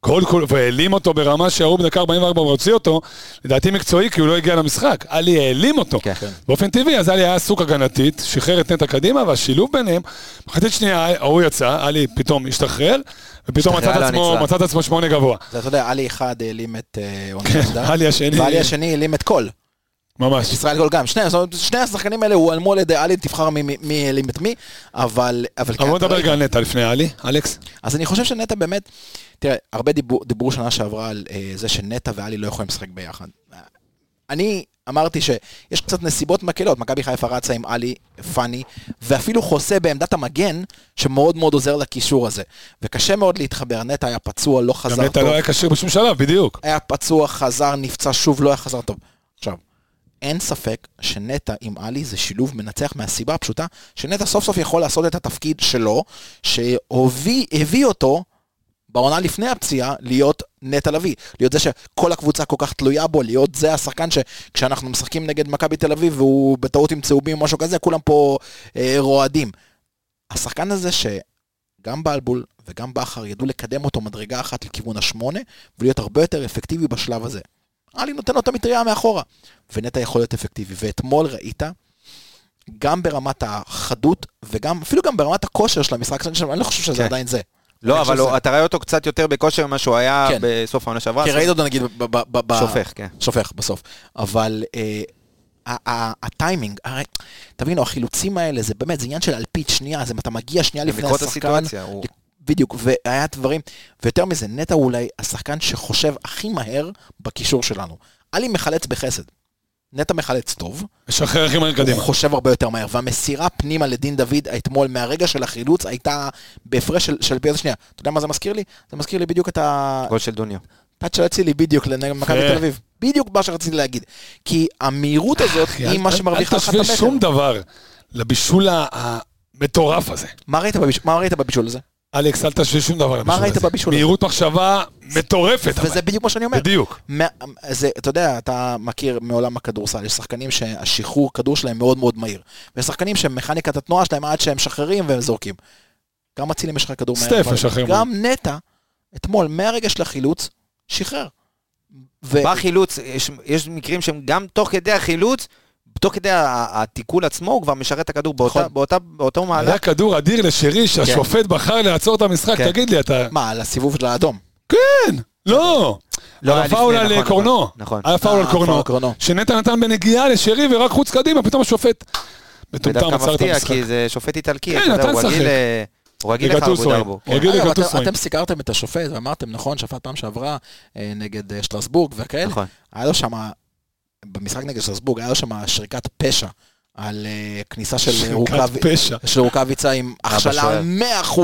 S1: כל כולו, והעלים אותו ברמה שההוא בדקה 44 והוציא אותו, לדעתי מקצועי, כי הוא לא הגיע למשחק. אלי העלים אותו.
S5: כן. כן.
S1: באופן טבעי, אז עלי היה עסוק הגנתית, שחרר את נטע קדימה, והשילוב ביניהם, מחצית שנייה, ההוא יצא, עלי פתאום השתחרר, ופתאום מצא את
S5: השתחררה
S1: עצמו-
S5: לנצרה.
S1: מצא את עצמו שמונה גבוה.
S6: זה, אתה יודע, עלי אחד העלים את אה, אונגנדה,
S1: עלי השני,
S6: ועלי השני העלים את קול.
S1: ממש.
S6: ישראל גול גם. שני, זאת אומרת, שני השחקנים האלה הועלמו על ידי עלי, תבחר מי- מי- מי העלים את מי, אבל... אבל
S1: אבל
S6: כן,
S1: בוא
S6: אתה
S1: נדבר
S6: ראית.
S1: רגע על נטע לפני עלי, אלכס.
S6: אז אני חושב שנטע באמת, תראה, הרבה דיבור, דיברו שנה שעברה על אה, זה שנטע ואלי לא יכולים לשחק ביחד. אני אמרתי שיש קצת נסיבות מקלות, מכבי חיפה רצה עם עלי, פאני, ואפילו חוסה בעמדת המגן, שמאוד מאוד עוזר לקישור הזה. וקשה מאוד להתחבר, נטע היה פצוע, לא חזר
S1: גם
S6: טוב.
S1: נטע לא היה כשיר בשום שלב, בדיוק.
S6: היה פצוע, חזר, נפצע שוב, לא היה חזר טוב. עכשיו, אין ספק שנטע עם עלי זה שילוב מנצח מהסיבה הפשוטה שנטע סוף סוף יכול לעשות את התפקיד שלו, שהביא אותו בעונה לפני הפציעה להיות נטע לביא, להיות זה שכל הקבוצה כל כך תלויה בו, להיות זה השחקן שכשאנחנו משחקים נגד מכבי תל אביב והוא בטעות עם צהובים או משהו כזה, כולם פה אה, רועדים. השחקן הזה שגם בלבול וגם בכר ידעו לקדם אותו מדרגה אחת לכיוון השמונה, ולהיות הרבה יותר אפקטיבי בשלב הזה. עלי נותן לו את המטריה מאחורה, ונטע יכול להיות אפקטיבי. ואתמול ראית, גם ברמת החדות, וגם, אפילו גם ברמת הכושר של המשחק, אני לא חושב שזה
S5: כן.
S6: עדיין זה.
S5: לא,
S6: אני
S5: אבל
S6: חושב
S5: הוא- אתה רואה אותו קצת יותר בכושר ממה שהוא היה
S6: כן.
S5: בסוף העונה שעברה.
S6: כי
S5: אז
S6: ראית אותו נגיד ב- ב- ב- ב-
S5: שופך, כן.
S6: שופך בסוף. אבל אה, ה- ה- הטיימינג, הרי, תבינו, החילוצים האלה זה באמת, זה עניין של אלפית, שנייה, זה אם אתה מגיע שנייה
S5: גם
S6: לפני
S5: לקרוא את
S6: השחקן,
S5: הסיטואציה, הוא-
S6: בדיוק, והיה דברים, ויותר מזה, נטע הוא אולי השחקן שחושב הכי מהר בקישור שלנו. עלי מחלץ בחסד. נטע מחלץ טוב,
S1: משחרר הכי מהר
S6: קדימה.
S1: קדימה.
S6: הוא חושב הרבה יותר מהר, והמסירה פנימה לדין דוד אתמול, מהרגע של החילוץ, הייתה בהפרש של, של פי איזה שנייה. אתה יודע מה זה מזכיר לי? זה מזכיר לי בדיוק את ה...
S5: גול של דוניו.
S6: פאט שרציתי לי בדיוק לנגד מכבי
S1: כן.
S6: תל אביב. בדיוק מה שרציתי להגיד. כי המהירות הזאת
S1: אחי,
S6: היא
S1: אל-
S6: מה
S1: אל-
S6: שמרוויח לך את
S1: אל תשווה
S6: המכר.
S1: שום דבר לבישול ה- המטורף הזה.
S6: מה ראית בבישול- מה ראית בבישול הזה?
S1: אלכס, אל תשווה שום דבר לבישול הזה.
S6: ראית בבישול הזה?
S1: מהירות מחשבה מטורפת. אבל.
S6: וזה בדיוק מה שאני אומר.
S1: בדיוק.
S6: מה- זה, אתה יודע, אתה מכיר מעולם הכדורסל, יש שחקנים שהשחרור כדור שלהם מאוד מאוד מהיר. ויש שחקנים שמכניקת התנועה שלהם עד שהם משחררים והם זורקים. גם אצילי משחרר כדור מהר.
S1: סטף
S6: אבל
S1: משחרר
S6: גם נטע, אתמול, מהרגע של החילוץ, שחרר. ו-
S5: בחילוץ, יש, יש מקרים שהם גם תוך כדי החילוץ, תוך כדי ה- התיקול עצמו, הוא כבר משרת את הכדור באותה,
S6: נכון.
S5: באותה, באותו מהלך.
S1: היה כדור אדיר לשרי שהשופט בחר לעצור את המשחק,
S5: כן.
S1: תגיד לי, אתה...
S6: מה, על הסיבוב של האדום.
S1: כן! לא!
S5: לא,
S1: על
S5: היה לפני,
S1: הפאול על אה,
S5: נכון,
S1: קורנו.
S5: נכון, נכון.
S1: היה פאול
S6: אה,
S1: על קורנו.
S6: הפאול קורנו.
S1: שנטע נתן בנגיעה לשרי ורק חוץ קדימה, פתאום השופט מטומטם
S5: ודווקא
S1: עצר את
S5: מפתיע,
S1: המשחק.
S5: כי זה שופט איטלקי,
S1: כן,
S5: אתה יודע,
S1: נתן
S5: הוא רגיל,
S1: לשחק.
S5: אה, הוא רגיל לך
S1: בגטוס
S5: אבו
S1: רואים.
S5: דרבו.
S1: רגיל
S6: כן. אגב,
S1: לגטוס
S6: אתם-
S1: רואים.
S6: אה, אתם סיקרתם את השופט ואמרתם, נכון, שפט פעם שעברה אה, נגד אה, שטרסבורג
S1: כן.
S6: וכאלה.
S5: נכון.
S6: היה לו שם, במשחק נגד שטרסבורג, היה לו שם שריקת פשע על אה, כניסה של
S1: שריקת
S6: רוקאבי-
S1: פשע.
S6: של רוקאביצה עם הכשלה
S5: בשוער.
S6: 100%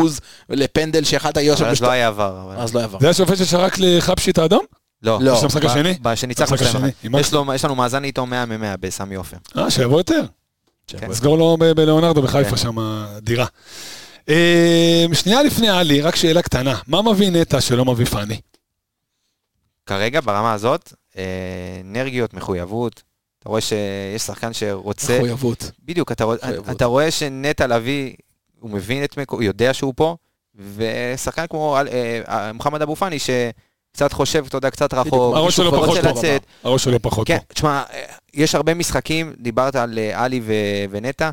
S6: לפנדל שיכלת להיות שם
S5: אבל אז לא
S6: בשטר...
S5: היה עבר. אבל-
S6: אז לא עבר.
S1: זה השופט ששרק לחפשי את האדום?
S5: לא.
S6: לא.
S1: במשחק
S5: ב-
S1: השני?
S5: ב- שניצחנו
S1: במשחק
S5: שלהם.
S1: השני, עם
S5: יש לו- יש לנו מאזן איתו 100 מ-100 בסמי עופר.
S1: אה, שיבוא יותר.
S5: כן.
S1: סגור לו ב- בלאונרדו בחיפה
S5: כן.
S1: שם, דירה. אה, שנייה לפני עלי, רק שאלה קטנה. מה מביא נטע שלא מביא פאני?
S5: כרגע, ברמה הזאת, אה, אנרגיות, מחויבות. אתה רואה שיש שחקן שרוצה...
S6: מחויבות.
S5: בדיוק, אתה, רוא-
S6: מחויבות.
S5: אתה רואה שנטע לביא, הוא מבין את מקו, הוא יודע שהוא פה, ושחקן כמו אה, אה, מוחמד אבו פאני, שקצת חושב, אתה יודע, קצת רחוק,
S1: הראש שלו
S5: רוצה
S1: פחות פה.
S5: לצאת.
S1: הראש שלו פחות
S5: כן,
S1: פה.
S5: תשמע, אה, יש הרבה משחקים, דיברת על אה, עלי ו- ונטע,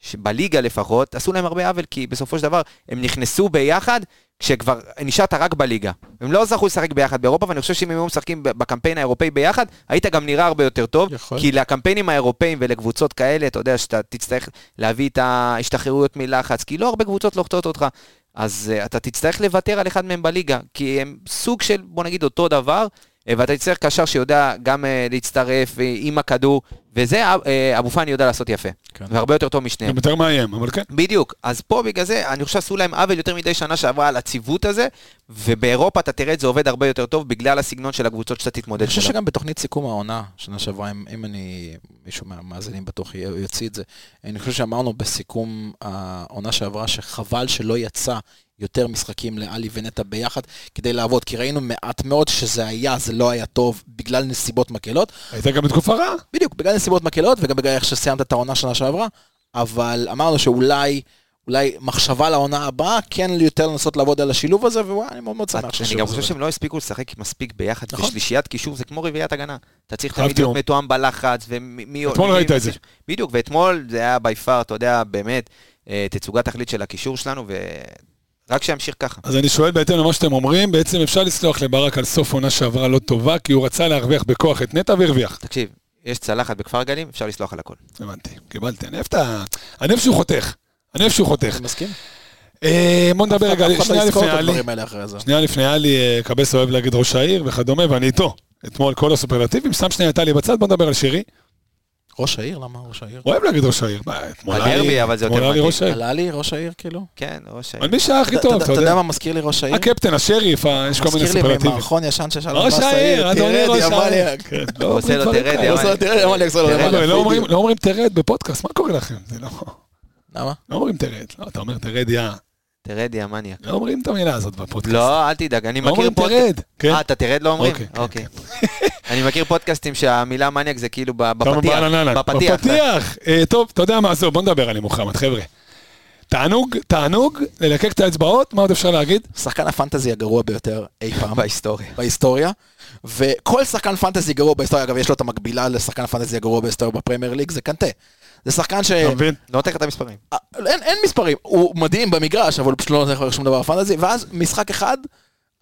S5: שבליגה לפחות, עשו להם הרבה עוול, כי בסופו של דבר הם נכנסו ביחד כשכבר נשארת רק בליגה. הם לא זכו לשחק ביחד באירופה, ואני חושב שאם הם היו משחקים ב- בקמפיין האירופאי ביחד, היית גם נראה הרבה יותר טוב,
S6: יכול.
S5: כי לקמפיינים האירופאים ולקבוצות כאלה, אתה יודע שאתה תצטרך להביא את ההשתחררויות מלחץ, כי לא הרבה קבוצות לוחצות אותך. אז uh, אתה תצטרך לוותר על אחד מהם בליגה, כי הם סוג של, בוא נגיד, אותו דבר, אה, ואתה תצטרך קשר שיודע גם uh, להצטרף uh, עם הכדור, וזה uh, אבו פאני יודע לעשות יפה,
S6: כן.
S5: כן. והרבה יותר טוב משניהם.
S1: גם יותר מאיים, אבל כן.
S5: בדיוק, אז פה בגלל זה, אני חושב שעשו להם עוול יותר מדי שנה שעברה על הציוות הזה, ובאירופה אתה תראה את זה עובד הרבה יותר טוב בגלל הסגנון של הקבוצות שאתה
S6: אני
S5: תתמודד
S6: חושב
S5: שלהם.
S6: שגם בתוכנית סיכום העונה, שנה שעברה, אם, אם אני, מישהו מהמאזינים בטוח י- יוציא את זה, אני חושב שאמרנו בסיכום העונה שעברה, שחבל שלא יצא יותר משחקים לאלי ונטע ביחד כדי לעבוד, כי ראינו מעט מאוד שזה היה, זה לא היה טוב, בגלל נסיבות מקלות.
S1: הייתה גם בתקופה רעה.
S6: בדיוק, בגלל נסיבות מקלות וגם בגלל איך שסיימת את העונה שנה שעברה, אבל אמרנו שאולי... אולי מחשבה לעונה הבאה, כן יותר לנסות לעבוד על השילוב הזה, ווואי, אני מאוד מאוד שמח
S5: אני גם חושב שהם לא הספיקו לשחק מספיק ביחד,
S6: נכון.
S5: ושלישיית קישור זה כמו רביעיית הגנה. אתה צריך
S1: חייב
S5: תמיד להיות
S1: תיאום.
S5: מתואם בלחץ, ומי... מי-
S1: אתמול
S5: מי-
S1: ראית את זה.
S5: בדיוק, ואתמול זה היה by far, אתה יודע, באמת, אה, תצוגת תכלית של הקישור שלנו, ורק שימשיך ככה.
S1: אז אני שואל בהתאם למה שאתם אומרים, בעצם אפשר לסלוח לברק על סוף עונה שעברה לא טובה, כי הוא רצה להרוויח בכוח את נטע והרוויח.
S5: תקשיב, יש צלחת בכפר גלים, אפשר לסלוח על הכל.
S1: הבנתי, קיבלתי. אני אוהב את ה... אני אוהב שהוא חותך. אני אוהב שהוא חותך.
S6: אני מסכים.
S1: אה, בוא נדבר
S6: אף אחד-
S1: רגע,
S6: אף אחד לא
S1: שנייה
S6: יזכור
S1: לפני
S6: את
S1: עלי.
S6: הדברים האלה אחרי זה.
S1: שנייה לפני עלי, אה, קבס אוהב להגיד ראש העיר וכדומה, ואני איתו. אתמול כל הסופרלטיבים, שם שנייה את עלי בצד, בוא נדבר על שירי.
S6: ראש העיר? למה ראש העיר?
S1: אוהב להגיד ראש העיר. מה, אתמול
S5: בדרבי,
S1: עלי-
S5: אבל זה
S1: אתמול
S5: יותר
S1: עלי
S5: מתאים.
S1: ראש העיר.
S6: עלה לי ראש העיר כאילו?
S5: כן, ראש העיר.
S1: אבל מי שהיה הכי
S6: אתה-
S1: טוב,
S6: אתה-
S1: אתה
S6: אתה יודע
S1: יודע.
S6: מה מזכיר לי ראש העיר?
S1: הקפטן, השריף, ה- יש כל מיני
S6: מזכיר לי
S1: סופרלטיבים.
S6: ממערכון ישן שיש עליו
S1: ראש העיר, אדוני ראש העיר. כן, לא
S5: עושה
S1: אומרים
S5: לו
S1: דברים
S5: תרד,
S1: כאלה.
S5: יא
S1: עושה-
S5: מה-
S6: תראה, למה אני אעשה לו
S5: תראה,
S1: לא,
S6: למעלה?
S1: לא אומרים- לא אומרים תרד בפודקאסט, מה קורה לכם? זה לא...
S6: למה?
S1: לא אומרים תרד. לא, אתה אומר תרד, יא.
S5: תרד, יא מניאק.
S1: לא אומרים את המילה הזאת בפודקאסט.
S5: לא, אל תדאג, אני
S1: לא
S5: מכיר
S1: אומרים
S5: פודקאסט.
S1: תרד. כן.
S5: אה, אתה תרד לא אומרים?
S1: אוקיי, כן,
S5: אוקיי. אני מכיר פודקאסטים שהמילה מניאק זה כאילו ב- בפתיח.
S1: בפתיח. בפתיח. אה, טוב, אתה יודע מה, עזוב, בוא נדבר עלי מוחמד, חבר'ה. תענוג, תענוג, ללקק את האצבעות, מה עוד אפשר להגיד?
S6: שחקן הפנטזי הגרוע ביותר אי פעם
S5: בהיסטוריה.
S6: בהיסטוריה. וכל שחקן פנטזי גרוע בהיסטוריה, אגב, יש לו את המקבילה לשחקן הפנטזי הגרוע בהיסטוריה בפרמייר ליג, זה קנטה. זה שחקן ש...
S1: אתה מבין?
S5: לא נותן לך את המספרים.
S6: אה, אין, אין מספרים, הוא מדהים במגרש, אבל הוא פשוט לא נותן לך שום דבר בפנטזי, ואז משחק אחד,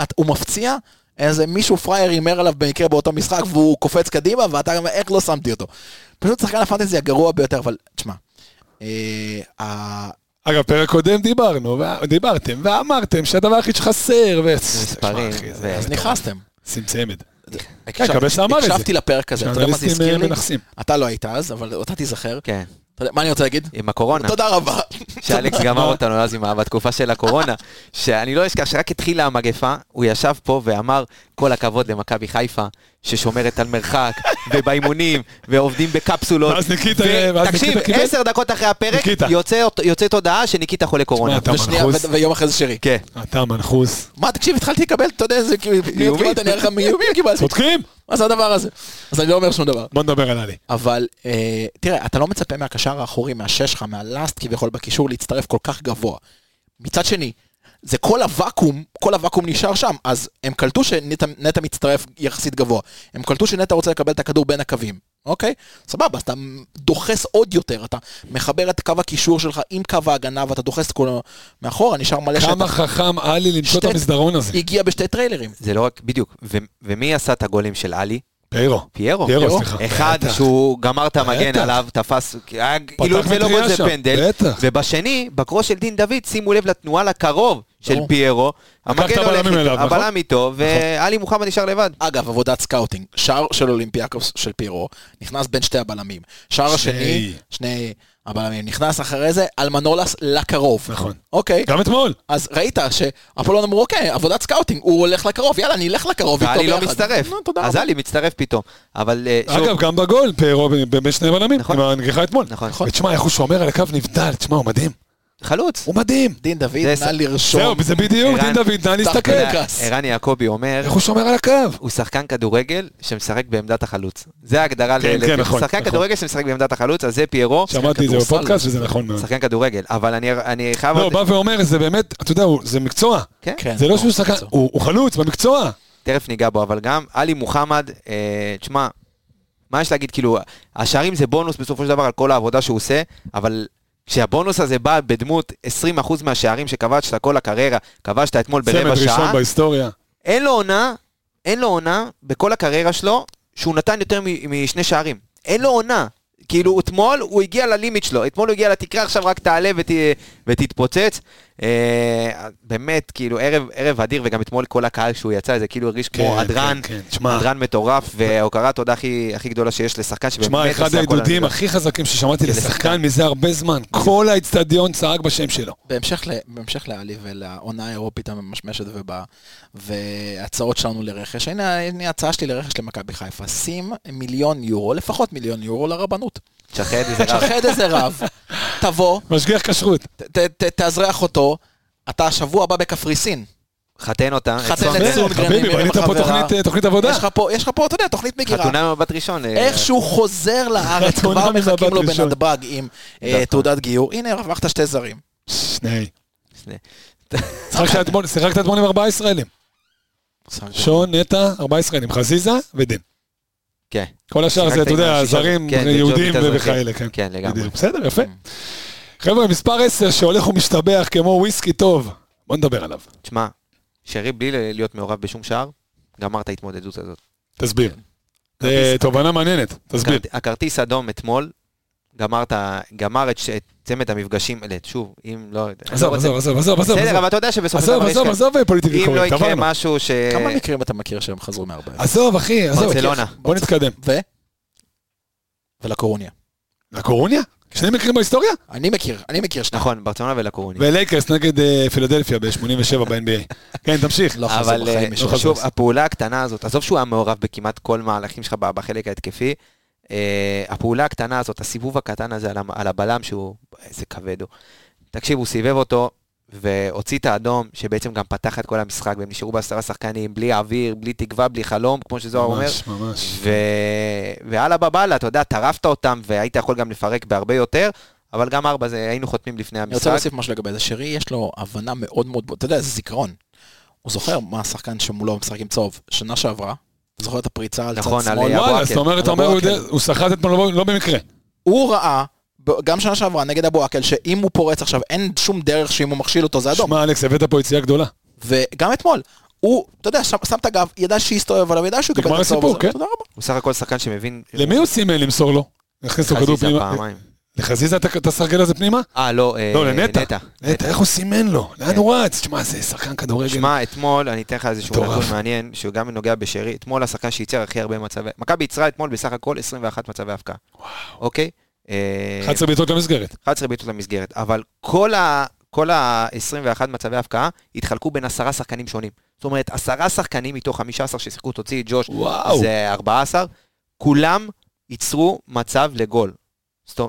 S6: את, הוא מפציע, איזה מישהו פראייר הימר עליו במקרה באותו משחק, והוא קופץ קדימה, ואתה אומר, איך לא שמתי אותו. פשוט שחקן הפנטזי הגרוע ביותר, אבל תשמע, אה, ה-
S1: אגב, פרק קודם דיברנו, וה- דיברתם, ואמרתם שהדבר היחיד שחסר, ו...
S5: מספרים,
S1: שמע, אחי, זה- נכון.
S5: ו-
S6: אז נכנסתם.
S1: שים צמד.
S6: הקשב-
S1: קבס אמר כן, את זה.
S6: אה, הקשבתי לפרק הזה, אתה יודע מה זה
S1: שהאנליסטים,
S6: הזכיר
S1: אה,
S6: לי?
S1: מנחסים.
S6: אתה לא היית אז, אבל אתה תיזכר. אה,
S5: כן,
S6: אתה יודע- מה אני רוצה להגיד?
S5: עם הקורונה.
S6: תודה רבה.
S5: שאלכס גמר אותנו אז עם ה- בתקופה של הקורונה, שאני לא אשכח, שרק התחילה המגפה, הוא ישב פה ואמר, כל הכבוד למכבי חיפה, ששומרת על מרחק, ובאימונים, ועובדים בקפסולות.
S1: ואז ניקיטה- ואז
S5: תקשיב,
S1: ניקיטה קיבל?
S5: עשר דקות אחרי הפרק,
S1: ניקיטה.
S5: יוצא- יוצאת הודעה שניקיטה חולה קורונה.
S1: אתה
S6: ושנייה,
S1: מנחוס,
S6: ו- ויום אחרי זה שרי.
S5: כן.
S1: אתה מנחוס.
S6: מה, תקשיב, התחלתי לקבל, אתה יודע, איזה כאילו, פניות
S5: איומים.
S6: קיבלתי, אני אראה לך איומים קיבלתי.
S1: צודקים?
S6: מה זה הדבר הזה? אז אני לא אומר שום דבר.
S1: בוא נדבר על עלי.
S6: אבל אה, תראה, אתה לא מצפה מהקשר האחורי, מהשש שלך, מהלאסט כביכול בקישור להצטרף כל כך גבוה. מצד שני, זה כל הוואקום, כל הוואקום נשאר שם, אז הם קלטו שנטע נטע מצטרף יחסית גבוה. הם קלטו שנטע רוצה לקבל את הכדור בין הקווים, אוקיי? סבבה, אז אתה דוחס עוד יותר, אתה מחבר את קו הקישור שלך עם קו ההגנה ואתה דוחס את כולו מאחורה, נשאר מלא
S1: כמה חכם עלי למצוא את
S6: שתי-
S1: המסדרון הזה.
S6: הגיע בשתי טריילרים.
S5: זה לא רק, בדיוק. ו- ומי עשה את הגולים של עלי?
S1: פיירו.
S5: פיירו.
S1: פיירו, סליחה.
S5: אחד
S1: בטח.
S5: שהוא גמר את המגן
S1: בטח.
S5: עליו, תפס, היה כאילו זה לא
S1: מטריה
S5: גול זה
S1: שם,
S5: פנדל.
S1: בטח.
S5: ובשני, בקרוס של דין דוד, שימו לב לתנועה לקרוב של
S6: ברור.
S5: פיירו.
S1: לקח את
S5: המגן הולך
S1: הבלמים אליו,
S5: איתו,
S1: נכון?
S5: הבלם איתו, ואלי מוחמד נשאר לבד.
S6: אגב, עבודת סקאוטינג, שער של אולימפיאקוס של פירו, נכנס בין שתי הבלמים. שער
S1: שני.
S6: השני, שני הבלמים, נכנס אחרי זה, אלמנולס לקרוב.
S1: נכון.
S6: אוקיי,
S1: גם אתמול.
S6: אז ראית שהפולון אמרו, אוקיי, עבודת סקאוטינג, הוא הולך לקרוב, יאללה, אני אלך לקרוב איתו
S5: ואלי
S6: ביחד.
S5: לא מצטרף.
S6: נו, תודה
S5: אז
S6: רבה.
S5: אלי מצטרף פתאום. אבל אה, שוב,
S1: אגב, גם בגול, פיירו בין שני בלמים,
S5: נכון.
S1: עם הנגיחה אתמול.
S5: נכון.
S1: ותשמע, איך הוא שומר על הקו נבדל, תשמע, הוא מדהים.
S5: חלוץ.
S1: הוא מדהים.
S6: דין דוד,
S5: זה-
S6: נא לרשום.
S1: זהו, זה בדיוק,
S5: ערן,
S1: דין דוד, נא להסתכל.
S6: תחתונה. קרקס.
S5: ערן יעקבי אומר,
S1: כן איך הוא שומר על הקו?
S5: הוא שחקן כדורגל שמשחק בעמדת החלוץ. זה ההגדרה ל...
S1: כן,
S5: ל-
S1: כן, נכון,
S5: שחקן
S1: נכון.
S5: כדורגל שמשחק בעמדת החלוץ, אז זה פיירו.
S1: שמעתי את זה
S6: כדורסל.
S1: בפודקאסט, וזה נכון מאוד.
S5: שחקן כדורגל, אבל אני, אני חייב...
S1: לא,
S5: עוד-
S1: הוא בא ואומר, זה באמת, אתה יודע, הוא- זה מקצוע.
S5: כן?
S6: כן,
S1: זה לא
S6: ברור,
S1: שהוא שחקן,
S6: מקצוע.
S1: הוא הוא חלוץ במקצוע.
S5: תכף ניגע בו, אבל גם עלי מוחמד, אה, תשמע, מה יש להגיד, כאילו, השערים זה בונוס בסופו של דבר על כל העבודה שהוא עושה, אבל כשהבונוס הזה בא בדמות 20% מהשערים שכבשת כל הקריירה, כבשת אתמול
S1: צמד
S5: ברבע
S1: ראשון
S5: שעה,
S1: בהיסטוריה.
S5: אין לו עונה, אין לו עונה בכל הקריירה שלו, שהוא נתן יותר מ- משני שערים. אין לו עונה. כאילו, אתמול הוא הגיע ללימיט שלו, אתמול הוא הגיע לתקרה, עכשיו רק תעלה ות, ותתפוצץ. אה, באמת, כאילו, ערב, ערב אדיר, וגם אתמול כל הקהל שהוא יצא, זה כאילו הרגיש כמו
S1: כן,
S5: הדרן,
S1: כן, כן. תשמע.
S5: הדרן מטורף, והוקרת תודה הכי, הכי גדולה שיש לשחקן שבאמת
S1: שמע, אחד
S5: עושה הכל
S1: העידודים
S5: על
S1: הכי חזקים ששמעתי
S5: כן,
S1: לשחקן
S5: לשחקן.
S1: מזה הרבה זמן. כל האצטדיון צעק בשם שלו.
S6: בהמשך, ל, בהמשך לעלי ולעונה האירופית הממשמשת ובא, והצעות שלנו לרכש, הנה, הנה ההצעה שלי לרכש למכבי חיפה, שים מיליון יורו, לפחות מיליון יורו לרבנות.
S5: תשחד איזה רב.
S6: תשחד איזה רב, תבוא,
S1: משגיח כשרות.
S6: ת- ת- תאזרח אותו, אתה השבוע הבא בקפריסין.
S5: חתן אותה.
S6: חתן
S5: אצלנו.
S6: את סון גרנין,
S1: חביבי,
S6: עם
S1: בנית פה
S6: חברה.
S1: תוכנית, אה, תוכנית עבודה.
S6: יש לך פה, יש לך פה, אתה יודע, תוכנית מגירה.
S5: חתונה מבת ראשון. אה,
S6: איך שהוא חוזר לארץ,
S1: חתונה
S6: כבר מחכים
S1: מבת
S6: לו
S1: ראשון.
S6: בנתב"ג עם אה,
S5: נכון.
S6: תעודת גיור. הנה, הרווחת שתי זרים.
S1: שני.
S5: שני.
S1: שיחקת אתמול- שיחקת אתמול עם ארבעה ישראלים. שון, נטע, ארבעה ישראלים. חזיזה ודין.
S5: כן.
S1: כל השאר זה, אתה
S5: שיחקת עם
S1: יודע,
S5: השישה-
S1: זרים,
S5: כן,
S1: יהודים
S5: וג'ובים
S1: וכאלה, כן.
S5: תזריחי. כן, לגמרי.
S1: בדיוק. בסדר, יפה. חבר'ה, מספר 10 שהולך ומשתבח כמו וויסקי טוב. בוא נדבר עליו.
S5: תשמע, שרי בלי להיות מעורב בשום שער, גמר את ההתמודדות הזאת.
S1: תסביר.
S5: כן. אוקיי,
S1: זה תובנה מעניינת, תסביר.
S5: הכרט- הכרטיס אדום אתמול, גמר את ה- גמר את ש- את צמד המפגשים, אלה, שוב, אם לא... אני לא
S1: עזוב,
S5: רוצה-
S1: עזוב, עזוב, עזוב, עזוב.
S5: בסדר, אבל אתה יודע שבסופו של
S1: עזוב,
S5: דבר יש
S1: עזוב,
S5: כאן-
S1: עזוב פוליטיקלי
S5: אם לא
S1: קורקט,
S5: יקרה
S1: עברנו.
S5: משהו ש...
S6: כמה מקרים אתה מכיר שהם חזרו מארבע?
S5: אה,
S1: עזוב, אחי, עזוב.
S5: ברצלונה.
S1: בוא נתקדם.
S6: ו? ולקורוניה.
S1: לקורוניה? שני מקרים בהיסטוריה?
S6: אני מכיר, אני מכיר שניים.
S5: נכון, ברצלונה ולקורונים.
S1: ולייקרס נגד אה, פילדלפיה ב-87 ב-NBA. כן, תמשיך.
S6: לא חזרו
S5: אבל
S6: בחיים
S5: אה,
S6: מישהו.
S5: שוב, הפעולה הקטנה הזאת, עזוב שהוא היה מעורב בכמעט כל מהלכים שלך ב- בחלק ההתקפי, אה, הפעולה הקטנה הזאת, הסיבוב הקטן הזה על המ- על הבלם שהוא, איזה כבד הוא. תקשיב, הוא סיבב אותו והוציא את האדום, שבעצם גם פתח את כל המשחק, והם נשארו בעשרה שחקנים, בלי אוויר, בלי תקווה, בלי חלום, כמו שזוהר אומר.
S1: ממש, ממש.
S5: ו... ואללה בבאללה, אתה יודע, טרפת אותם, והיית יכול גם לפרק בהרבה יותר, אבל גם ארבע, זה, היינו חותמים לפני
S6: אני
S5: המשחק.
S6: רוצה להוסיף משהו לגבי זה. שרי, יש לו הבנה מאוד מאוד, אתה יודע, זה זיכרון. הוא זוכר מה השחקן שמולו משחק עם צהוב. שנה שעברה, אתה זוכר את הפריצה על צד
S5: נכון,
S6: שמאל?
S5: עליה.
S1: וואלה,
S5: אבואקה.
S1: זאת אומרת, אתה אומר, הוא יודע- הוא סחט אתמול לא- לא במקרה.
S6: הוא ראה, ב- גם שנה שעברה נגד אבו עקל, שאם הוא פורץ עכשיו, אין שום דרך שאם הוא מכשיל אותו זה אדום.
S1: שמע, אלכס, הבאת פה יציאה גדולה.
S6: וגם אתמול, הוא, אתה יודע, שם, שם את הגב, ידע שהסתובב עליו, ידע שהוא יקבל
S1: נגמר
S6: את הצהוב
S1: הסיפור,
S6: הזה.
S1: כן.
S6: תודה רבה.
S5: הוא סך הכל שחקן שמבין...
S1: למי הוא סימן למסור לו? נכניס לו כדור
S5: כן. חזיזה
S1: פנימה.
S5: פעמיים.
S1: לחזיזה את את הסרגל הזה פנימה?
S5: אה, לא, אה,
S1: לא, לנטע.
S5: נטע.
S1: נטע, איך הוא סימן לו? לאן הוא רץ? תשמע, זה שחקן כדורגל.
S5: כן. שמע, אתמול, אני אתן לך איזשהו
S1: מטורף.
S5: נתון מעניין, שהוא גם נוגע בשרי, אתמול השחקן שייצר הכי הרבה מצבי... מכבי ייצרה אתמול בסך הכל 21 מצבי הבקעה. אוקיי? אה,
S1: 11 בעיטות למסגרת.
S5: 11 בעיטות למסגרת, אבל כל ה... כל ה-21 מצבי ההפקעה התחלקו בין עשרה שחקנים שונים. זאת אומרת, עשרה שחקנים מתוך 15 ששיחקו, תוציא את ג'וש,
S1: וואו.
S5: זה 14, כולם ייצרו מצב לגול.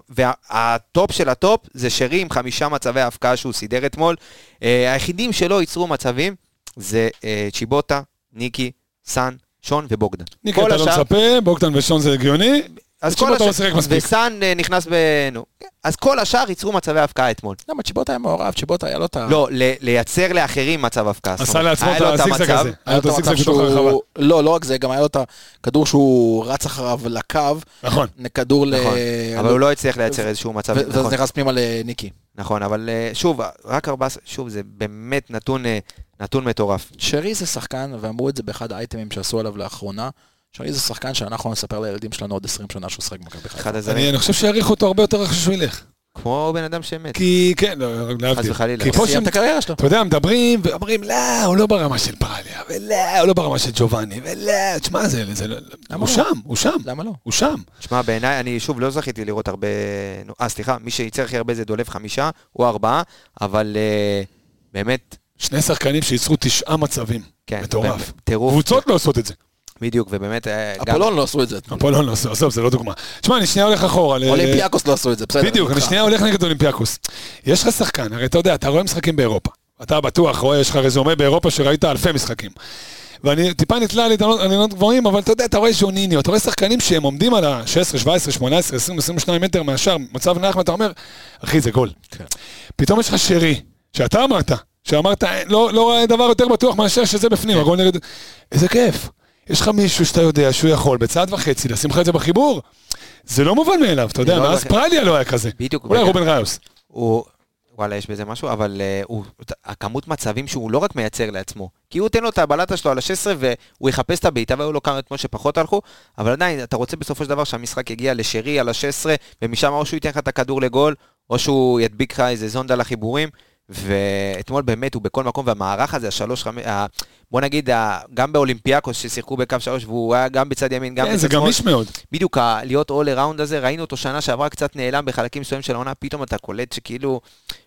S5: והטופ של הטופ זה שרי עם חמישה מצבי ההפקעה שהוא סידר אתמול. אה, היחידים שלא ייצרו מצבים זה אה, צ'יבוטה, ניקי, סאן, שון ובוגדן.
S1: ניקי,
S5: כל
S1: אתה לא
S5: השאר-
S1: מצפה, בוגדן ושון זה הגיוני.
S5: אז
S1: תקשיב,
S5: כל
S1: אתה
S5: השאר-
S1: לא שיחק מספיק.
S5: וסאן אה, נכנס ב... נו. אז כל השאר ייצרו מצבי ההפקעה אתמול.
S6: למה לא, צ'יבוטה היה מעורב, צ'יבוטה היה לו את ה...
S5: לא, ל- לייצר לאחרים מצב אבקה. זאת
S1: עשה
S5: אומרת,
S1: לעצמו
S5: היה
S1: את
S5: לו
S1: הסיקסק
S5: המצב,
S1: הזה. היה לו את
S6: המצב
S1: הסיקסק בתוך
S6: שהוא-
S1: הרחבה.
S6: לא, לא רק זה, גם היה לו את הכדור שהוא רץ אחריו לקו,
S1: נכון.
S6: כדור ל...
S5: נכון. אבל הוא לא הצליח לייצר איזשהו מצב,
S6: ו- ואז
S5: נכון,
S6: נכנס פנימה לניקי.
S5: נכון, אבל אה, שוב, רק 14, שוב, זה באמת נתון אה, נתון מטורף.
S6: שרי זה שחקן, ואמרו את זה באחד האייטמים שעשו עליו לאחרונה, שרי זה שחקן שאנחנו נספר לילדים שלנו עוד 20 שנה שהוא שחק במכבי חיפה.
S5: אחד
S1: אני
S5: הזרים,
S1: אני חושב שיעריכו אותו הרבה יותר אחרי שהוא ילך.
S5: כמו בן אדם שמת.
S1: כי, כן, לא, להבדיל.
S5: וחלילה.
S1: כי פה
S6: סיים
S1: שם...
S6: את הקריירה שלו.
S1: אתה יודע, מדברים ואומרים, לא, הוא לא ברמה של פרליה, ולא, הוא לא ברמה של ג'ובאני, ולא, תשמע, זה... זה לא- הוא שם, הוא שם,
S6: למה לא?
S1: הוא שם.
S5: תשמע, בעיניי, אני שוב לא זכיתי לראות הרבה... נו, אה, סליחה, מי שייצר הכי הרבה זה דולב חמישה או ארבעה, אבל אה, באמת,
S1: שני שחקנים שייצרו תשעה מצבים.
S5: כן.
S1: מטורף.
S5: באמת, טירוף.
S1: קבוצות לא עושות את זה.
S5: בדיוק, ובאמת, אה, גם...
S6: אפולון לא עשו את זה.
S1: הפועלון לא עושה, עזוב, זה לא דוגמה. תשמע, אני שנייה הולך אחורה. ל-
S6: אולימפיאקוס לא עשו את זה, בסדר.
S1: אה, בדיוק, אני
S6: איתך.
S1: שנייה הולך נגד אולימפיאקוס. יש לך שחקן, הרי אתה יודע, אתה רואה משחקים באירופה. אתה בטוח, רואה, יש לך רזומה באירופה שראית אלפי משחקים. ואני טיפה נתלה על עליונות עליונות לא גבוהים, אבל אתה יודע, אתה רואה ז'וניניו, אתה רואה שחקנים שהם עומדים על ה-16, 17, 18, 20, 22 מטר מהשאר, מצב נח, ואתה אומר, אחי, זה גול.
S6: כן.
S1: פתאום יש לך שרי, שאתה אמרת, שאמרת, לא, לא ראה דבר יותר בטוח מאשר שזה בפנים,
S6: כן.
S1: הגול נגד... איזה כיף. יש לך מישהו שאתה יודע שהוא יכול בצעד וחצי לשים לך את זה בחיבור. זה לא מובן מאליו, אתה יודע,
S5: לא
S1: מאז
S5: לכ-
S1: פרליה לא היה כזה.
S5: בדיוק,
S1: אולי
S5: וגם-
S1: רובן ראיוס.
S5: הוא, וואלה, יש בזה משהו, אבל uh, הוא, הכמות מצבים שהוא לא רק מייצר לעצמו, כי הוא תן לו את הבלטה שלו על ה-16 והוא יחפש את הבעיטה והיו לו כמה אתמול שפחות הלכו, אבל עדיין, אתה רוצה בסופו של דבר שהמשחק יגיע לשרי על ה-16, ומשם או שהוא ייתן לך את הכדור לגול, או שהוא ידביק לך איזה זונדה לחיבורים. ואתמול באמת הוא בכל מקום, והמערך הזה, השלוש חמש, ה- בוא נגיד, ה- גם באולימפיאקוס ששיחקו בקו שלוש, והוא היה גם בצד ימין, גם
S1: כן, זה
S5: בצד שמאל,
S1: גמיש מאוד.
S5: בדיוק, ה- להיות all around הזה, ראינו אותו שנה שעברה קצת נעלם בחלקים מסוימים של העונה, פתאום אתה קולט שכאילו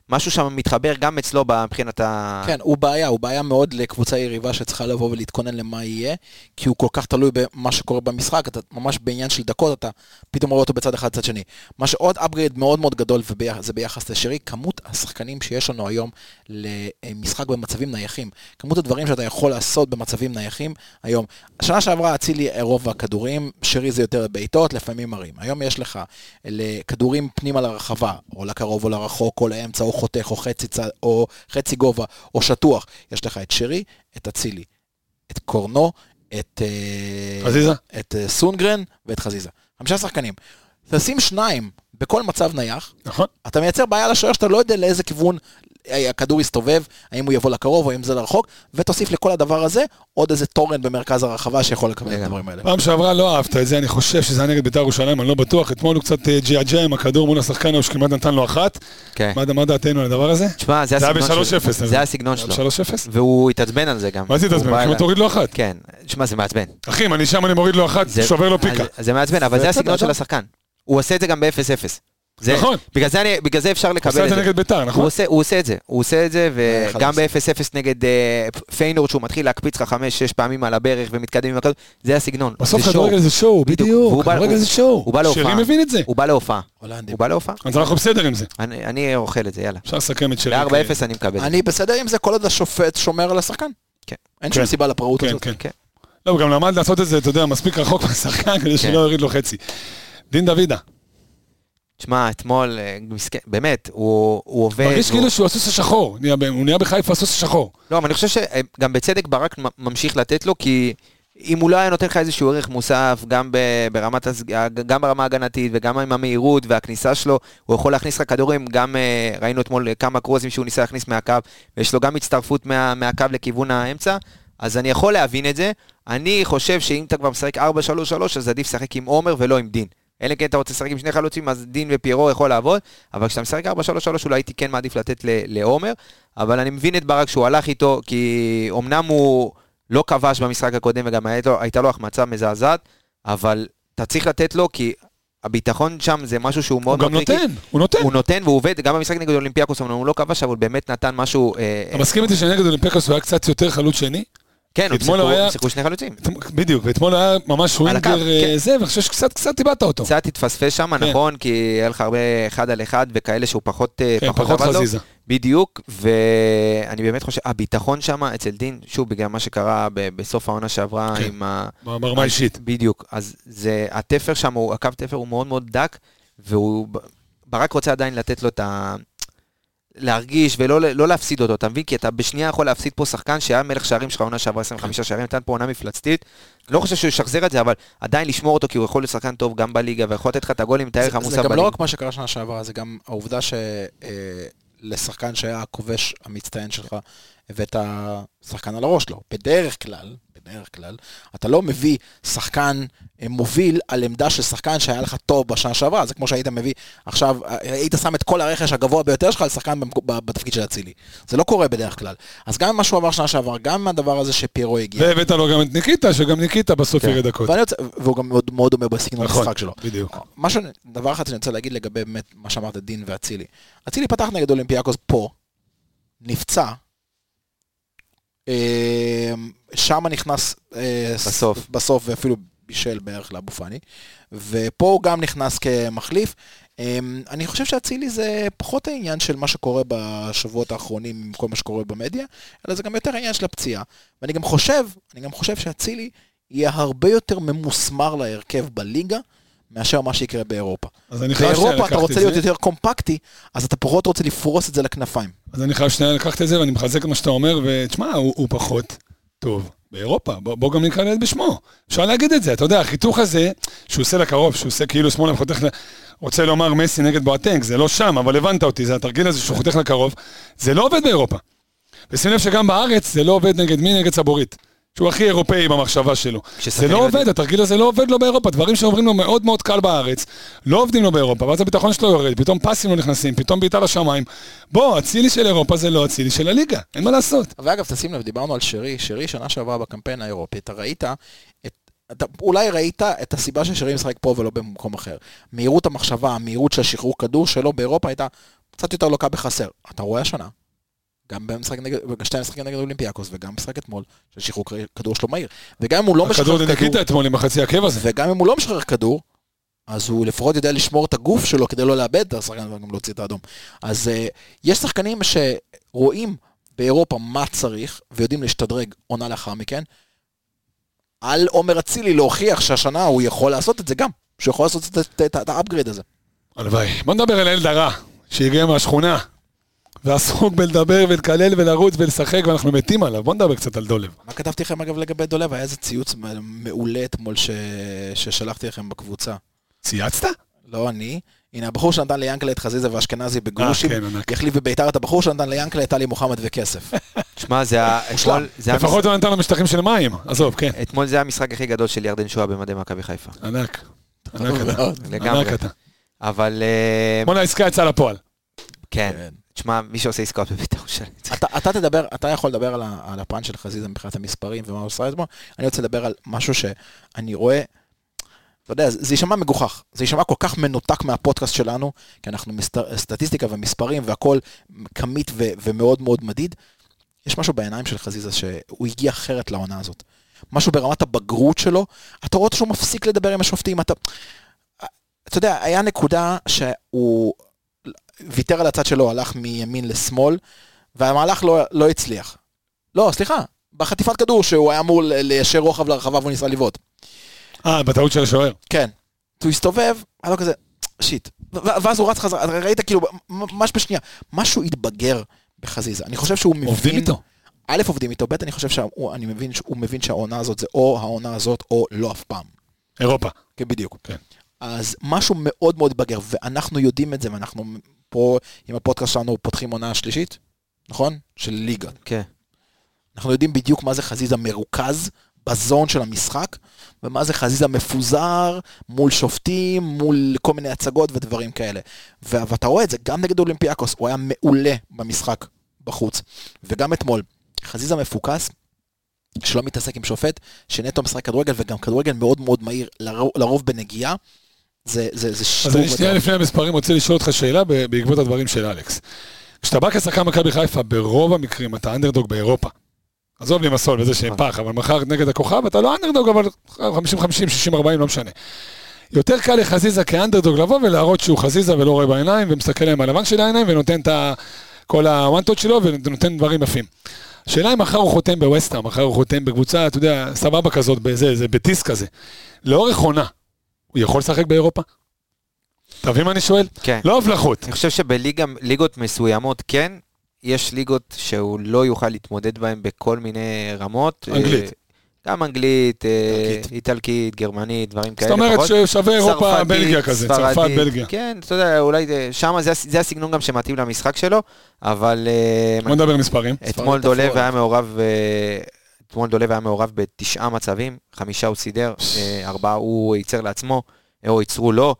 S5: משהו שם מתחבר גם אצלו מבחינת ה...
S6: כן, הוא בעיה, הוא בעיה מאוד לקבוצה יריבה שצריכה לבוא ולהתכונן למה יהיה, כי הוא כל כך תלוי במה שקורה במשחק, אתה ממש בעניין של דקות, אתה פתאום רואה אותו בצד אחד, צד שני. מה שעוד upgrade מאוד מאוד גדול, וזה ביחס לשרי, כמות השחקנים שיש לנו היום למשחק במצבים נייחים, כמות הדברים שאתה יכול לעשות במצבים נייחים היום. השנה שעברה אצילי רוב הכדורים, שרי זה יותר בעיטות, לפעמים מרים. היום יש לך אה, לכדורים פנימה לרחבה, או לקרוב או לרחוק, או לאמצע, או חותך, או חצי, צד, או חצי גובה, או שטוח. יש לך את שרי, את אצילי, את קורנו, את... אה,
S1: חזיזה?
S6: את אה, סונגרן ואת חזיזה. חמישה שחקנים. תשים שניים בכל מצב נייח,
S1: נכון.
S6: אתה מייצר בעיה לשוער שאתה לא יודע לאיזה כיוון אה, הכדור יסתובב, האם הוא יבוא לקרוב או אם זה לרחוק, ותוסיף לכל הדבר הזה עוד איזה תורן במרכז הרחבה שיכול לקבל את הדברים האלה.
S1: פעם שעברה לא אהבת את זה, אני חושב שזה היה נגד בית"ר ירושלים, אני לא בטוח. אתמול הוא קצת אה, ג'עג'ע עם הכדור מול השחקן ההוא שכמעט נתן לו אחת.
S5: כן.
S1: מה- מה דעתנו על הדבר הזה?
S5: תשמע, זה
S1: זה היה
S5: הסגנון
S1: ב- 3-0,
S5: שלו.
S1: אבל.
S5: זה הסגנון
S1: זה
S5: שלו.
S1: היה ב- 3-0?
S5: והוא התעצבן על זה גם.
S1: מה זה
S5: הוא בא
S1: התעצבן? כמעט
S5: אליי-
S1: תוריד לו אחת.
S5: כן. תשמע, זה מעצבן.
S1: אחי, אם אני שם אני מוריד לו אחת,
S5: זה-
S1: שובר לו פיקה.
S5: אז- זה מעצבן, אבל זה
S6: בסדר,
S5: הסגנון של
S6: בסדר.
S5: השחקן. הוא עושה את זה גם ב-0-0. זה-
S1: נכון.
S5: בגלל זה אני- בגלל זה אפשר לקבל את
S1: עושה
S5: זה.
S1: את זה נגד אה, בית"ר,
S5: הוא
S1: נכון?
S5: עושה, הוא עושה את זה, הוא עושה את זה,
S6: אחד
S5: וגם
S6: עשר.
S5: ב-0-0 נגד אה, פיינורד, שהוא מתחיל להקפיץ לך 5-6 פעמים על הברך ומתקדם עם הכדור, זה הסגנון.
S1: בסוף
S5: זה
S1: כדורגל זה שואו,
S5: בדיוק.
S1: בדיוק.
S5: והוא בא-
S1: כדורגל
S5: הוא-
S1: זה שואו.
S5: הוא בא להופעה.
S1: שרי מבין את זה.
S5: הוא בא להופעה.
S6: הולנדים.
S5: הוא בא להופעה?
S1: אז אנחנו בסדר עם זה.
S5: אני, אני אוכל את זה, יאללה.
S1: אפשר לסכם את שרי.
S5: ב-4-0 אני מקבל.
S6: אני בסדר עם זה כל עוד השופט שומר על השחקן.
S5: כן.
S6: אין
S1: כן.
S6: שום סיבה לפראות
S1: כן,
S6: הזאת.
S1: כן.
S5: כן.
S1: לא, הוא גם למד לעשות את זה, אתה יודע, מספיק רחוק מהשחקן כדי
S5: כן.
S1: שלא יוריד לו חצי. דין דוידה,
S5: תשמע, אתמול, אה, מסכן, באמת, הוא, הוא עובד.
S1: מרגיש
S5: הוא-
S1: כאילו שהוא הסוס השחור. נהיה ב- הוא נהיה בחיפה הסוס השחור.
S5: לא, אבל אני חושב שגם בצדק ברק מ- ממשיך לתת לו, כי אם הוא לא היה נותן לך איזשהו ערך מוסף, גם, ב- ברמת, הז- גם ברמה ההגנתית וגם עם המהירות והכניסה שלו, הוא יכול להכניס לך כדורים, גם אה, ראינו אתמול כמה קרוזים שהוא ניסה להכניס מהקו, ויש לו גם הצטרפות מה, מהקו לכיוון האמצע, אז אני יכול להבין את זה. אני חושב שאם אתה כבר משחק 4-3-3, אז עדיף לשחק עם עומר ולא עם דין. אלא אם כן אתה רוצה לשחק עם שני חלוצים, אז דין ופיירו יכול לעבוד, אבל כשאתה משחק 4-3-3 אולי הייתי כן מעדיף לתת ל- לעומר, אבל אני מבין את ברק שהוא הלך איתו, כי אמנם הוא לא כבש במשחק הקודם וגם הייתה לו- הייתה לו החמצה מזעזעת, אבל אתה צריך לתת לו, כי הביטחון שם זה משהו שהוא
S1: הוא
S5: מאוד
S1: גם
S5: מאוד קריטי.
S1: נותן, כן. הוא נותן.
S5: הוא נותן והוא עובד, גם במשחק נגד אולימפיאקוס, אמנם הוא לא כבש, אבל הוא באמת נתן משהו... אה,
S1: אתה מסכים איתי שנגד אולימפיקוס הוא היה קצת יותר חלוץ שני?
S5: כן, הם
S1: אתמול הוא
S5: שיחקו-
S1: היה-
S5: הם שיחקו שני חלוצים.
S1: אתם- בדיוק, ואתמול היה ממש
S5: הקו,
S1: ווינגר אה,
S5: כן.
S1: זה, ואני חושב שקצת קצת איבדת אותו.
S5: קצת התפספס שם,
S1: כן.
S5: נכון? כי היה לך הרבה אחד על אחד וכאלה שהוא פחות... אה,
S1: כן, פחות
S5: עבד לו.
S1: חזיזה.
S5: בדיוק, ואני באמת חושב, הביטחון שם אצל דין, שוב, בגלל מה שקרה ב- בסוף העונה שעברה
S1: כן.
S5: עם ה...
S1: ברמה האישית.
S5: בדיוק. אז זה, התפר שם, הוא- הקו תפר הוא מאוד מאוד דק, והוא... ברק רוצה עדיין לתת לו את ה... להרגיש ולא לא להפסיד אותו, אתה מבין? כי אתה בשנייה יכול להפסיד פה שחקן שהיה מלך שערים שלך עונה שעברה 25
S6: כן.
S5: שערים, נתן פה עונה מפלצתית. לא חושב שהוא ישחזר את זה, אבל עדיין לשמור אותו, כי הוא יכול להיות שחקן טוב גם בליגה, ויכול לתת לך את הגולים, את הערך
S6: זה-
S5: המוסף
S6: זה גם
S5: בליגה.
S6: לא רק מה שקרה שנה שעברה, זה גם העובדה שלשחקן שהיה הכובש המצטיין שלך, הבאת שחקן על הראש לו. בדרך כלל, בדרך כלל, אתה לא מביא שחקן אה, מוביל על עמדה של שחקן שהיה לך טוב בשנה שעברה, זה כמו שהיית מביא עכשיו, אה, היית שם את כל הרכש הגבוה ביותר שלך על שחקן במקו- ב- בתפקיד של אצילי. זה לא קורה בדרך כלל. אז גם מה שהוא עבר שנה שעברה, גם הדבר הזה שפיירו הגיע.
S1: והבאת לו גם את ניקיטה, שגם ניקיטה בסוף
S5: כן.
S1: ירד דקות.
S6: ואני רוצה, והוא גם מאוד, מאוד דומה בסגנון
S1: נכון,
S6: המשחק שלו.
S1: בדיוק.
S6: משהו, דבר אחד שאני רוצה להגיד לגבי באמת מה שאמרת, דין ואצילי. אצילי פתח נגד אולימפיאקוס פה, נפצע, אה, שמה נכנס... אה,
S5: בסוף.
S6: ס- בסוף, ואפילו בישל בערך לאבו פאני, ופה הוא גם נכנס כמחליף. אה, אני חושב שאצילי זה פחות העניין של מה שקורה בשבועות האחרונים עם כל מה שקורה במדיה, אלא זה גם יותר העניין של הפציעה. ואני גם חושב, אני גם חושב שאצילי יהיה הרבה יותר ממוסמר להרכב בליגה מאשר מה שיקרה באירופה.
S1: אז אני חייב שנייה
S6: באירופה אתה
S1: לקחת
S6: רוצה
S1: את זה.
S6: להיות יותר קומפקטי, אז אתה פחות רוצה לפרוס את זה לכנפיים.
S1: אז אני חייב שנייה לקחת את זה, ואני מחזק את מה שאתה אומר, ותשמע, הוא, הוא פחות טוב באירופה. בוא, בוא גם נקרא לילד בשמו. אפשר להגיד את זה, אתה יודע, החיתוך הזה, שהוא עושה לקרוב, שהוא עושה כאילו שמאלה וחותך ל... רוצה לומר מסי נגד בואטנק, זה לא שם, אבל הבנת אותי, זה התרגיל הזה שהוא חותך לקרוב, זה לא עובד באירופה. ושים לב שגם בארץ זה לא עובד נגד מי? נגד סבורית. שהוא הכי אירופאי במחשבה שלו. זה
S5: כששחקנים
S1: לא
S5: יודעים-
S1: עובד, התרגיל הזה לא עובד לו באירופה. דברים שעוברים לו מאוד מאוד קל בארץ, לא עובדים לו באירופה, ואז הביטחון שלו יורד, פתאום פסים לא נכנסים, פתאום בעיטה לשמיים. בוא, אצילי של אירופה זה לא אצילי של הליגה, אין מה לעשות.
S6: ואגב, תשים לב, דיברנו על שרי, שרי שנה שעברה בקמפיין האירופי, אתה ראית, את, אתה אולי ראית את הסיבה ששרי משחק פה ולא במקום אחר. מהירות המחשבה, המהירות של השחרור כדור שלו באירופה הייתה קצת יותר לוקה בחסר. אתה רואה השנה, גם במשחק נגד, בשתי המשחקים נגד אולימפיאקוס וגם במשחק אתמול, ששחרור כדור שלו מהיר. וגם אם הוא לא משחרר
S1: הכדור
S6: כדור,
S1: לניקיטה אתמול עם החצי עקב הזה.
S6: וגם אם הוא לא משחרר כדור, אז הוא לפחות יודע לשמור את הגוף שלו כדי לא לאבד את השחקן וגם להוציא את האדום. אז uh, יש שחקנים שרואים באירופה מה צריך, ויודעים להשתדרג עונה לאחר מכן. על עומר אצילי להוכיח שהשנה הוא יכול לעשות את זה גם, שהוא יכול לעשות את- את- את את האפגריד הזה.
S1: הלוואי. בוא נדבר על הילד הרע, שהגיע מהשכונה, ועסוק בלדבר ולקלל ולרוץ ולשחק, ואנחנו מתים עליו. בוא נדבר קצת על דולב.
S6: מה כתבתי לכם אגב לגבי דולב? היה איזה ציוץ מעולה אתמול ש... ששלחתי לכם בקבוצה.
S1: צייצת?
S6: לא אני. הנה, הבחור שנתן ליאנקלה את חזיזה ואשכנזי בגרושים,
S1: כן, ענק.
S6: יחליף בביתר את הבחור שנתן ליאנקלה את טלי מוחמד וכסף.
S5: שמע, זה ה- אתמול- זה המשחק-
S1: לפחות הוא נתן לנו משטחים של מים. עזוב, כן.
S5: אתמול זה המשחק הכי גדול של ירדן שואה במדי מכבי חיפה.
S1: ענק. ענק
S6: טוב
S1: אתה.
S6: מאוד.
S5: לגמרי.
S1: ענק אתה.
S5: אבל... אה,
S1: בואנה, העסקה יצאה לפועל.
S5: כן. תשמע, מי שעושה עסקאות בבית"ר ירושלים.
S6: אתה, אתה תדבר, אתה יכול לדבר על, ה- על הפן של חזיזה מבחינת המספרים ומה הוא עשה אתמול, אני רוצה לדבר על משהו שאני רואה, אתה יודע, זה זה יישמע מגוחך, זה יישמע כל כך מנותק מהפודקאסט שלנו, כי אנחנו מסת, סטטיסטיקה ומספרים והכל כמית ו, ומאוד מאוד מדיד, יש משהו בעיניים של חזיזה שהוא הגיע אחרת לעונה הזאת. משהו ברמת הבגרות שלו, אתה רואה אותו שהוא מפסיק לדבר עם השופטים, אתה... אתה יודע, היה נקודה שהוא ויתר על הצד שלו, הלך מימין לשמאל, והמהלך לא, לא הצליח. לא, סליחה, בחטיפת כדור שהוא היה אמור ל- ליישר רוחב לרחבה והוא ניסה לבעוט.
S1: אה, בטעות של השוער.
S6: כן. הוא הסתובב, היה לו כזה, שיט. ו- ו- ואז הוא רץ חזרה, אתה ראית כאילו, ממש בשנייה, משהו התבגר בחזיזה. אני חושב שהוא מבין...
S1: עובדים איתו.
S6: א', עובדים איתו, ב', אני חושב שהוא אני מבין, שהוא מבין שהעונה הזאת זה או העונה הזאת או לא אף פעם.
S1: אירופה.
S6: כן, בדיוק.
S1: כן.
S6: אז משהו מאוד מאוד בגר, ואנחנו יודעים את זה, ואנחנו פה, עם הפודקאסט שלנו, פותחים עונה שלישית, נכון? של ליגה.
S5: כן.
S6: אנחנו יודעים בדיוק מה זה חזיזה מרוכז, בזון של המשחק, ומה זה חזיזה מפוזר מול שופטים, מול כל מיני הצגות ודברים כאלה. ו- ואתה רואה את זה גם נגד אולימפיאקוס, הוא היה מעולה במשחק בחוץ, וגם אתמול. חזיזה מפוקס, שלא מתעסק עם שופט, שנטו משחק כדורגל, וגם כדורגל מאוד מאוד מהיר, לרוב, לרוב בנגיעה. זה, זה, זה
S1: אז
S6: שיטור
S1: אני שנייה
S6: מדהים.
S1: לפני המספרים רוצה לשאול אותך שאלה ב- בעקבות הדברים של אלכס. כשאתה בא כשחקן מכבי חיפה, ברוב המקרים אתה אנדרדוג באירופה. עזוב לי מסול וזה שהם פח, אבל מחר נגד הכוכב אתה לא אנדרדוג, אבל 50-50, 60-40, לא משנה. יותר קל לחזיזה כאנדרדוג לבוא ולהראות שהוא חזיזה ולא רואה בעיניים, ומסתכל להם הלבן של העיניים ונותן את ה- כל הוואנטות שלו ונותן דברים יפים. השאלה אם מחר הוא חותם בווסטהאם, מחר הוא חותם בקבוצה, אתה יודע, סבבה כזאת, בזה, זה בטיס כזה. לאורך עונה, הוא יכול לשחק באירופה? אתה מבין מה אני שואל?
S5: כן.
S1: לא הבלחות.
S5: אני חושב שבליגות מסוימות כן, יש ליגות שהוא לא יוכל להתמודד בהן בכל מיני רמות.
S1: אנגלית.
S5: אה, גם אנגלית, אה,
S6: איטלקית.
S5: איטלקית, גרמנית, דברים כאלה.
S1: זאת אומרת
S5: פחות.
S1: ששווה אירופה,
S5: צרפתית,
S1: בלגיה כזה,
S5: ספרדית.
S1: צרפת, בלגיה.
S5: כן, אתה יודע, אולי שם זה, הס- זה הסגנון גם שמתאים למשחק שלו, אבל אה,
S1: בוא נדבר מספרים.
S5: אתמול
S6: ספרדית
S5: דולב
S6: אפור.
S5: היה מעורב, אה, אתמול דולב היה מעורב בתשעה מצבים, חמישה הוא סידר, אה, ארבעה הוא ייצר לעצמו, אה, או ייצרו לו.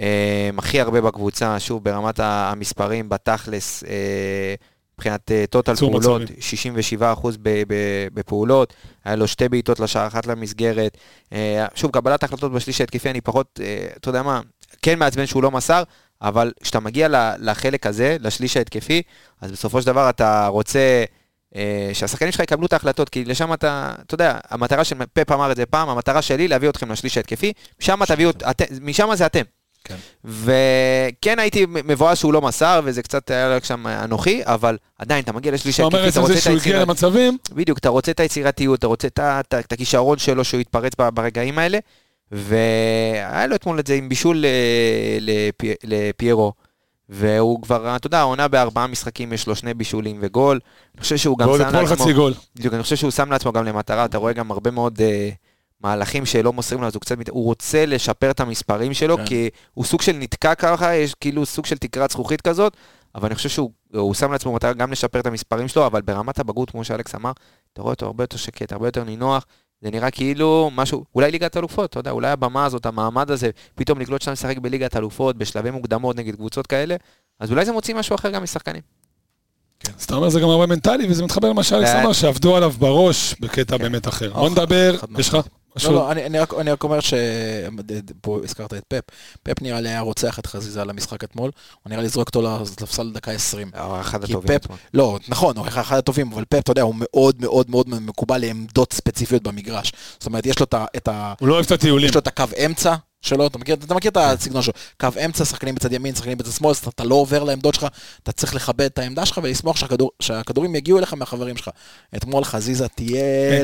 S5: אה, הכי הרבה בקבוצה, שוב, ברמת ה- המספרים, בתכלס, אה, מבחינת אה, טוטל
S1: ייצור
S5: פעולות,
S1: מצבים.
S5: 67% ב- ב- בפעולות, היה לו שתי בעיטות לשער, אחת למסגרת. אה, שוב, קבלת החלטות בשליש ההתקפי, אני פחות, אה, אתה יודע מה, כן מעצבן שהוא לא מסר, אבל כשאתה מגיע ל- לחלק הזה, לשליש ההתקפי, אז בסופו של דבר אתה רוצה אה, שהשחקנים שלך יקבלו את ההחלטות, כי לשם אתה, אתה יודע, המטרה של פאפ אמר את זה פעם, המטרה שלי להביא אתכם לשליש ההתקפי, משם תביאו, את- משם זה אתם.
S6: כן.
S5: וכן הייתי מבואס שהוא לא מסר, וזה קצת היה רק שם אנוכי, אבל עדיין, אתה מגיע לשליש
S1: אתה אומר
S5: ההתקפי,
S1: עצם
S5: אתה רוצה
S1: זה
S5: את
S1: שהוא הגיע
S5: היצירת...
S1: למצבים,
S5: בדיוק, אתה רוצה את היצירתיות, אתה רוצה את, ה- את, ה- את הכישרון שלו שהוא יתפרץ ב- ברגעים האלה, והיה לו אתמול את זה עם בישול אה, לפי- לפיירו, והוא כבר, אתה יודע, העונה בארבעה משחקים, יש לו שני בישולים וגול. אני חושב שהוא גם
S1: ועוד
S5: שם
S1: אתמול
S5: לעצמו...
S1: חצי גול.
S5: בדיוק, אני חושב שהוא שם לעצמו גם למטרה, אתה רואה גם הרבה מאוד אה, מהלכים שלא מוסרים לו, אז הוא קצת, מת- הוא רוצה לשפר את המספרים שלו,
S6: כן.
S5: כי הוא סוג של נתקע ככה, יש כאילו סוג של תקרת זכוכית כזאת, אבל אני חושב שהוא הוא שם לעצמו מטרה גם לשפר את המספרים שלו, אבל ברמת הבגרות, כמו שאלכס אמר, אתה רואה אותו הרבה יותר שקט, הרבה יותר נינוח, זה נראה כאילו משהו, אולי ליגת אלופות, אתה יודע, אולי הבמה הזאת, המעמד הזה, פתאום לגלות שאתה משחק בליגת אלופות, בשלבי מוקדמות נגד קבוצות כאלה, אז אולי זה מוציא משהו אחר גם משחקנים.
S1: אז אתה אומר זה גם הרבה מנטלי, וזה מתחבר למה שאלכס
S5: כן.
S1: אמר, שעבדו עליו בראש בקטע באמת
S5: אה,
S1: אחר. בוא נדבר,
S6: חד
S1: יש לך
S6: לא,
S1: משהו?
S6: לא, אני, אני, רק, אני רק אומר ש... פה הזכרת את פפ. פפ נראה לי היה רוצח את חזיזה על המשחק אתמול, הוא נראה לי זרוק אותו לספסל דקה 20.
S5: אה, אחד
S6: כי
S5: הטובים.
S6: פפ- לא, נכון, הוא אחד הטובים, אבל פפ, אתה יודע, הוא מאוד מאוד מאוד מקובל לעמדות ספציפיות במגרש. זאת אומרת, יש לו את ה- את ה...
S1: הוא לא אוהב את הטיולים.
S6: יש לו את הקו אמצע שלו, אתה מכיר, אתה מכיר את הסגנון שלו, קו אמצע, שחקנים בצד ימין, שחקנים בצד שמאל, אז אתה לא עובר לעמדות שלך, אתה צריך לכבד את העמדה שלך ולשמוח שהכדור, שהכדורים יגיעו אליך מהחברים שלך. אתמול חזיזה
S1: כן,
S6: טייל,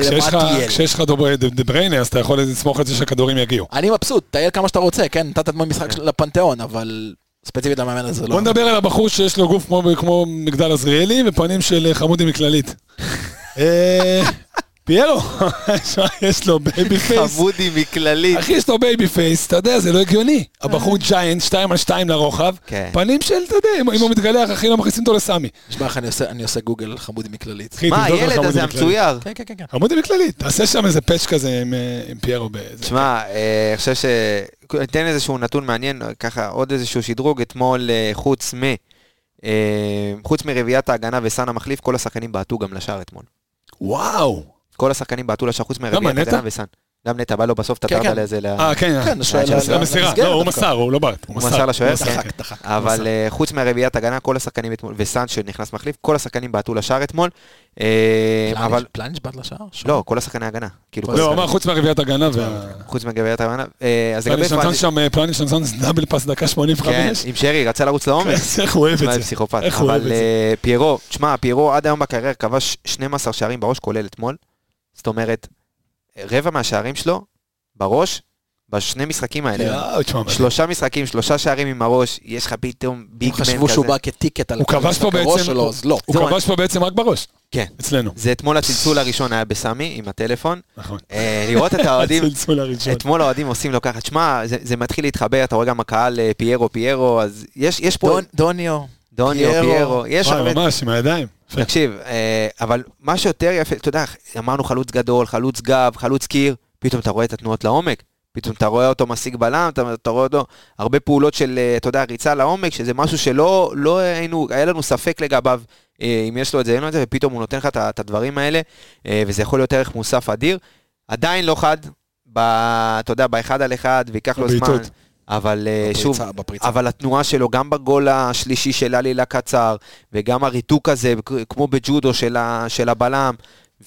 S1: כשיש
S6: מה
S1: לך-
S6: טייל?
S1: כשיש לך דוב- דבריינה, אז אתה יכול לסמוך על זה שהכדורים יגיעו.
S6: אני מבסוט, טייל כמה שאתה רוצה, כן, נתת אתמול משחק של- לפנתיאון, אבל ספציפית למאמן הזה לא.
S5: נכון.
S1: בוא נדבר על הבחור שיש לו גוף כמו- כמו מגדל עזריאלי ופנים של חמודי מכללית. אה, פיירו, יש לו בייבי פייס.
S5: חמודי מכללית.
S1: אחי, יש לו בייבי פייס, אתה יודע, זה לא הגיוני. הבחור ג'יינט, שתיים על שתיים לרוחב.
S5: אה. כן.
S1: פנים של, אתה יודע, אם- אם הוא מתגלח, אחי, לא מכניסים אותו לסמי.
S6: תשמע לך, אני עושה- אני עושה גוגל על חמודי מכללית.
S1: אחי,
S5: מה,
S1: תבדוק על
S5: הילד
S1: חמודי
S5: הזה
S1: מכללית.
S5: המצויר?
S6: כן, כן, כן, כן.
S1: חמודי מכללית, תעשה שם איזה פאץ' כזה עם, אה, עם פיירו באיזה...
S5: תשמע, אה, אני חושב ש... אתן איזשהו נתון מעניין, ככה עוד איזשהו שדרוג. אתמול, אה, חוץ מ... אה, חוץ מרביעיית ההגנה וסאן המחליף, כל השחקנים בעטו גם לשער אתמול.
S1: וואו!
S5: כל השחקנים בעטו לשער, חוץ מרביעיית
S1: נטע?
S5: ההגנה וסאן. גם נטע בא לו בסוף, אתה
S6: כן.
S5: תרדת לזה. ל-
S1: אה, כן,
S6: כן, השוער
S5: של
S6: ל-
S1: למסירה.
S6: למסגרת
S1: לא, הוא
S6: דווקא.
S1: מסר, הוא לא בעט.
S5: הוא מסר לשוער, כן.
S6: דחק, דחק.
S5: אבל אה, חוץ מהרביעיית הגנה, כל השחקנים אתמול, וסאן שנכנס מחליף, כל השחקנים בעטו לשער אתמול. אה,
S6: פלניץ'-
S5: אבל...
S6: פלניץ' בעט לשער?
S5: לא, כל השחקני הגנה. כאילו, כל
S1: לא, הוא אמר
S5: השחקנים-
S1: חוץ מהרביעיית הגנה וה...
S5: חוץ מרביעיית ההגנה. אה, אז לגבי...
S1: פלניץ' נתן שם, אה, פלניץ' נתן דאבל פס דקה
S5: כן,
S1: 85.
S5: עם שרי, רצה לרוץ לעומק.
S1: כן, איך הוא אוהב
S5: תשמע,
S1: את זה.
S5: פסיכופת.
S1: איך הוא אוהב את
S5: אבל
S1: זה.
S5: אה, פיירו, תשמע, פיירו עד היום בקריירה כבש 12 שערים בראש, כולל אתמול. זאת אומרת, רבע מהשערים שלו בראש, בשני משחקים האלה.
S1: יואו, תשמע,
S5: שלושה משחקים, שלושה שערים עם הראש, יש לך פתאום
S6: אם
S5: ביגמן כזה.
S6: חשבו שהוא בא כטיקט על
S1: הוא כבש פה
S6: המשחק הראש
S1: בעצם...
S6: שלו, אז לא.
S1: הוא
S5: זהו,
S1: כבש פה בעצם רק בראש.
S5: כן.
S1: אצלנו.
S5: זה אתמול הצלצול הראשון היה בסמי, עם הטלפון.
S1: נכון.
S5: אה, לראות את האוהדים,
S1: הצלצול הראשון.
S5: אתמול האוהדים עושים לו ככה, תשמע, זה זה מתחיל להתחבר, אתה רואה גם הקהל אה, פיירו, פיירו, אז יש יש פה...
S6: דוניו.
S5: דוניו,
S6: פיירו.
S5: פיירו, יש
S1: וואי,
S5: הרבה...
S1: ממש, עם הידיים.
S5: תקשיב, אה, אבל מה שיותר יפה, אתה יודע, אמרנו חלוץ גדול, חלוץ גב, חלוץ קיר, פתאום אתה רואה את התנועות לעומק. פתאום אתה רואה אותו משיג בלם, אתה, אתה רואה אותו הרבה פעולות של, אה, אתה יודע, ריצה לעומק, שזה משהו שלא לא היינו, היה לנו ספק לגביו אה, אם יש לו את זה, אין לו את זה, ופתאום הוא נותן לך את ה- את הדברים האלה, אה, וזה יכול להיות ערך מוסף אדיר. עדיין לא חד, ב, אתה יודע, באחד על אחד, וייקח לו זמן,
S1: בבעיטות.
S5: אבל אה, שוב,
S6: בפריצה, בפריצה.
S5: אבל התנועה שלו, גם בגול השלישי של עלי לקצר, וגם הריתוק הזה, כמו בג'ודו של, ה, של הבלם,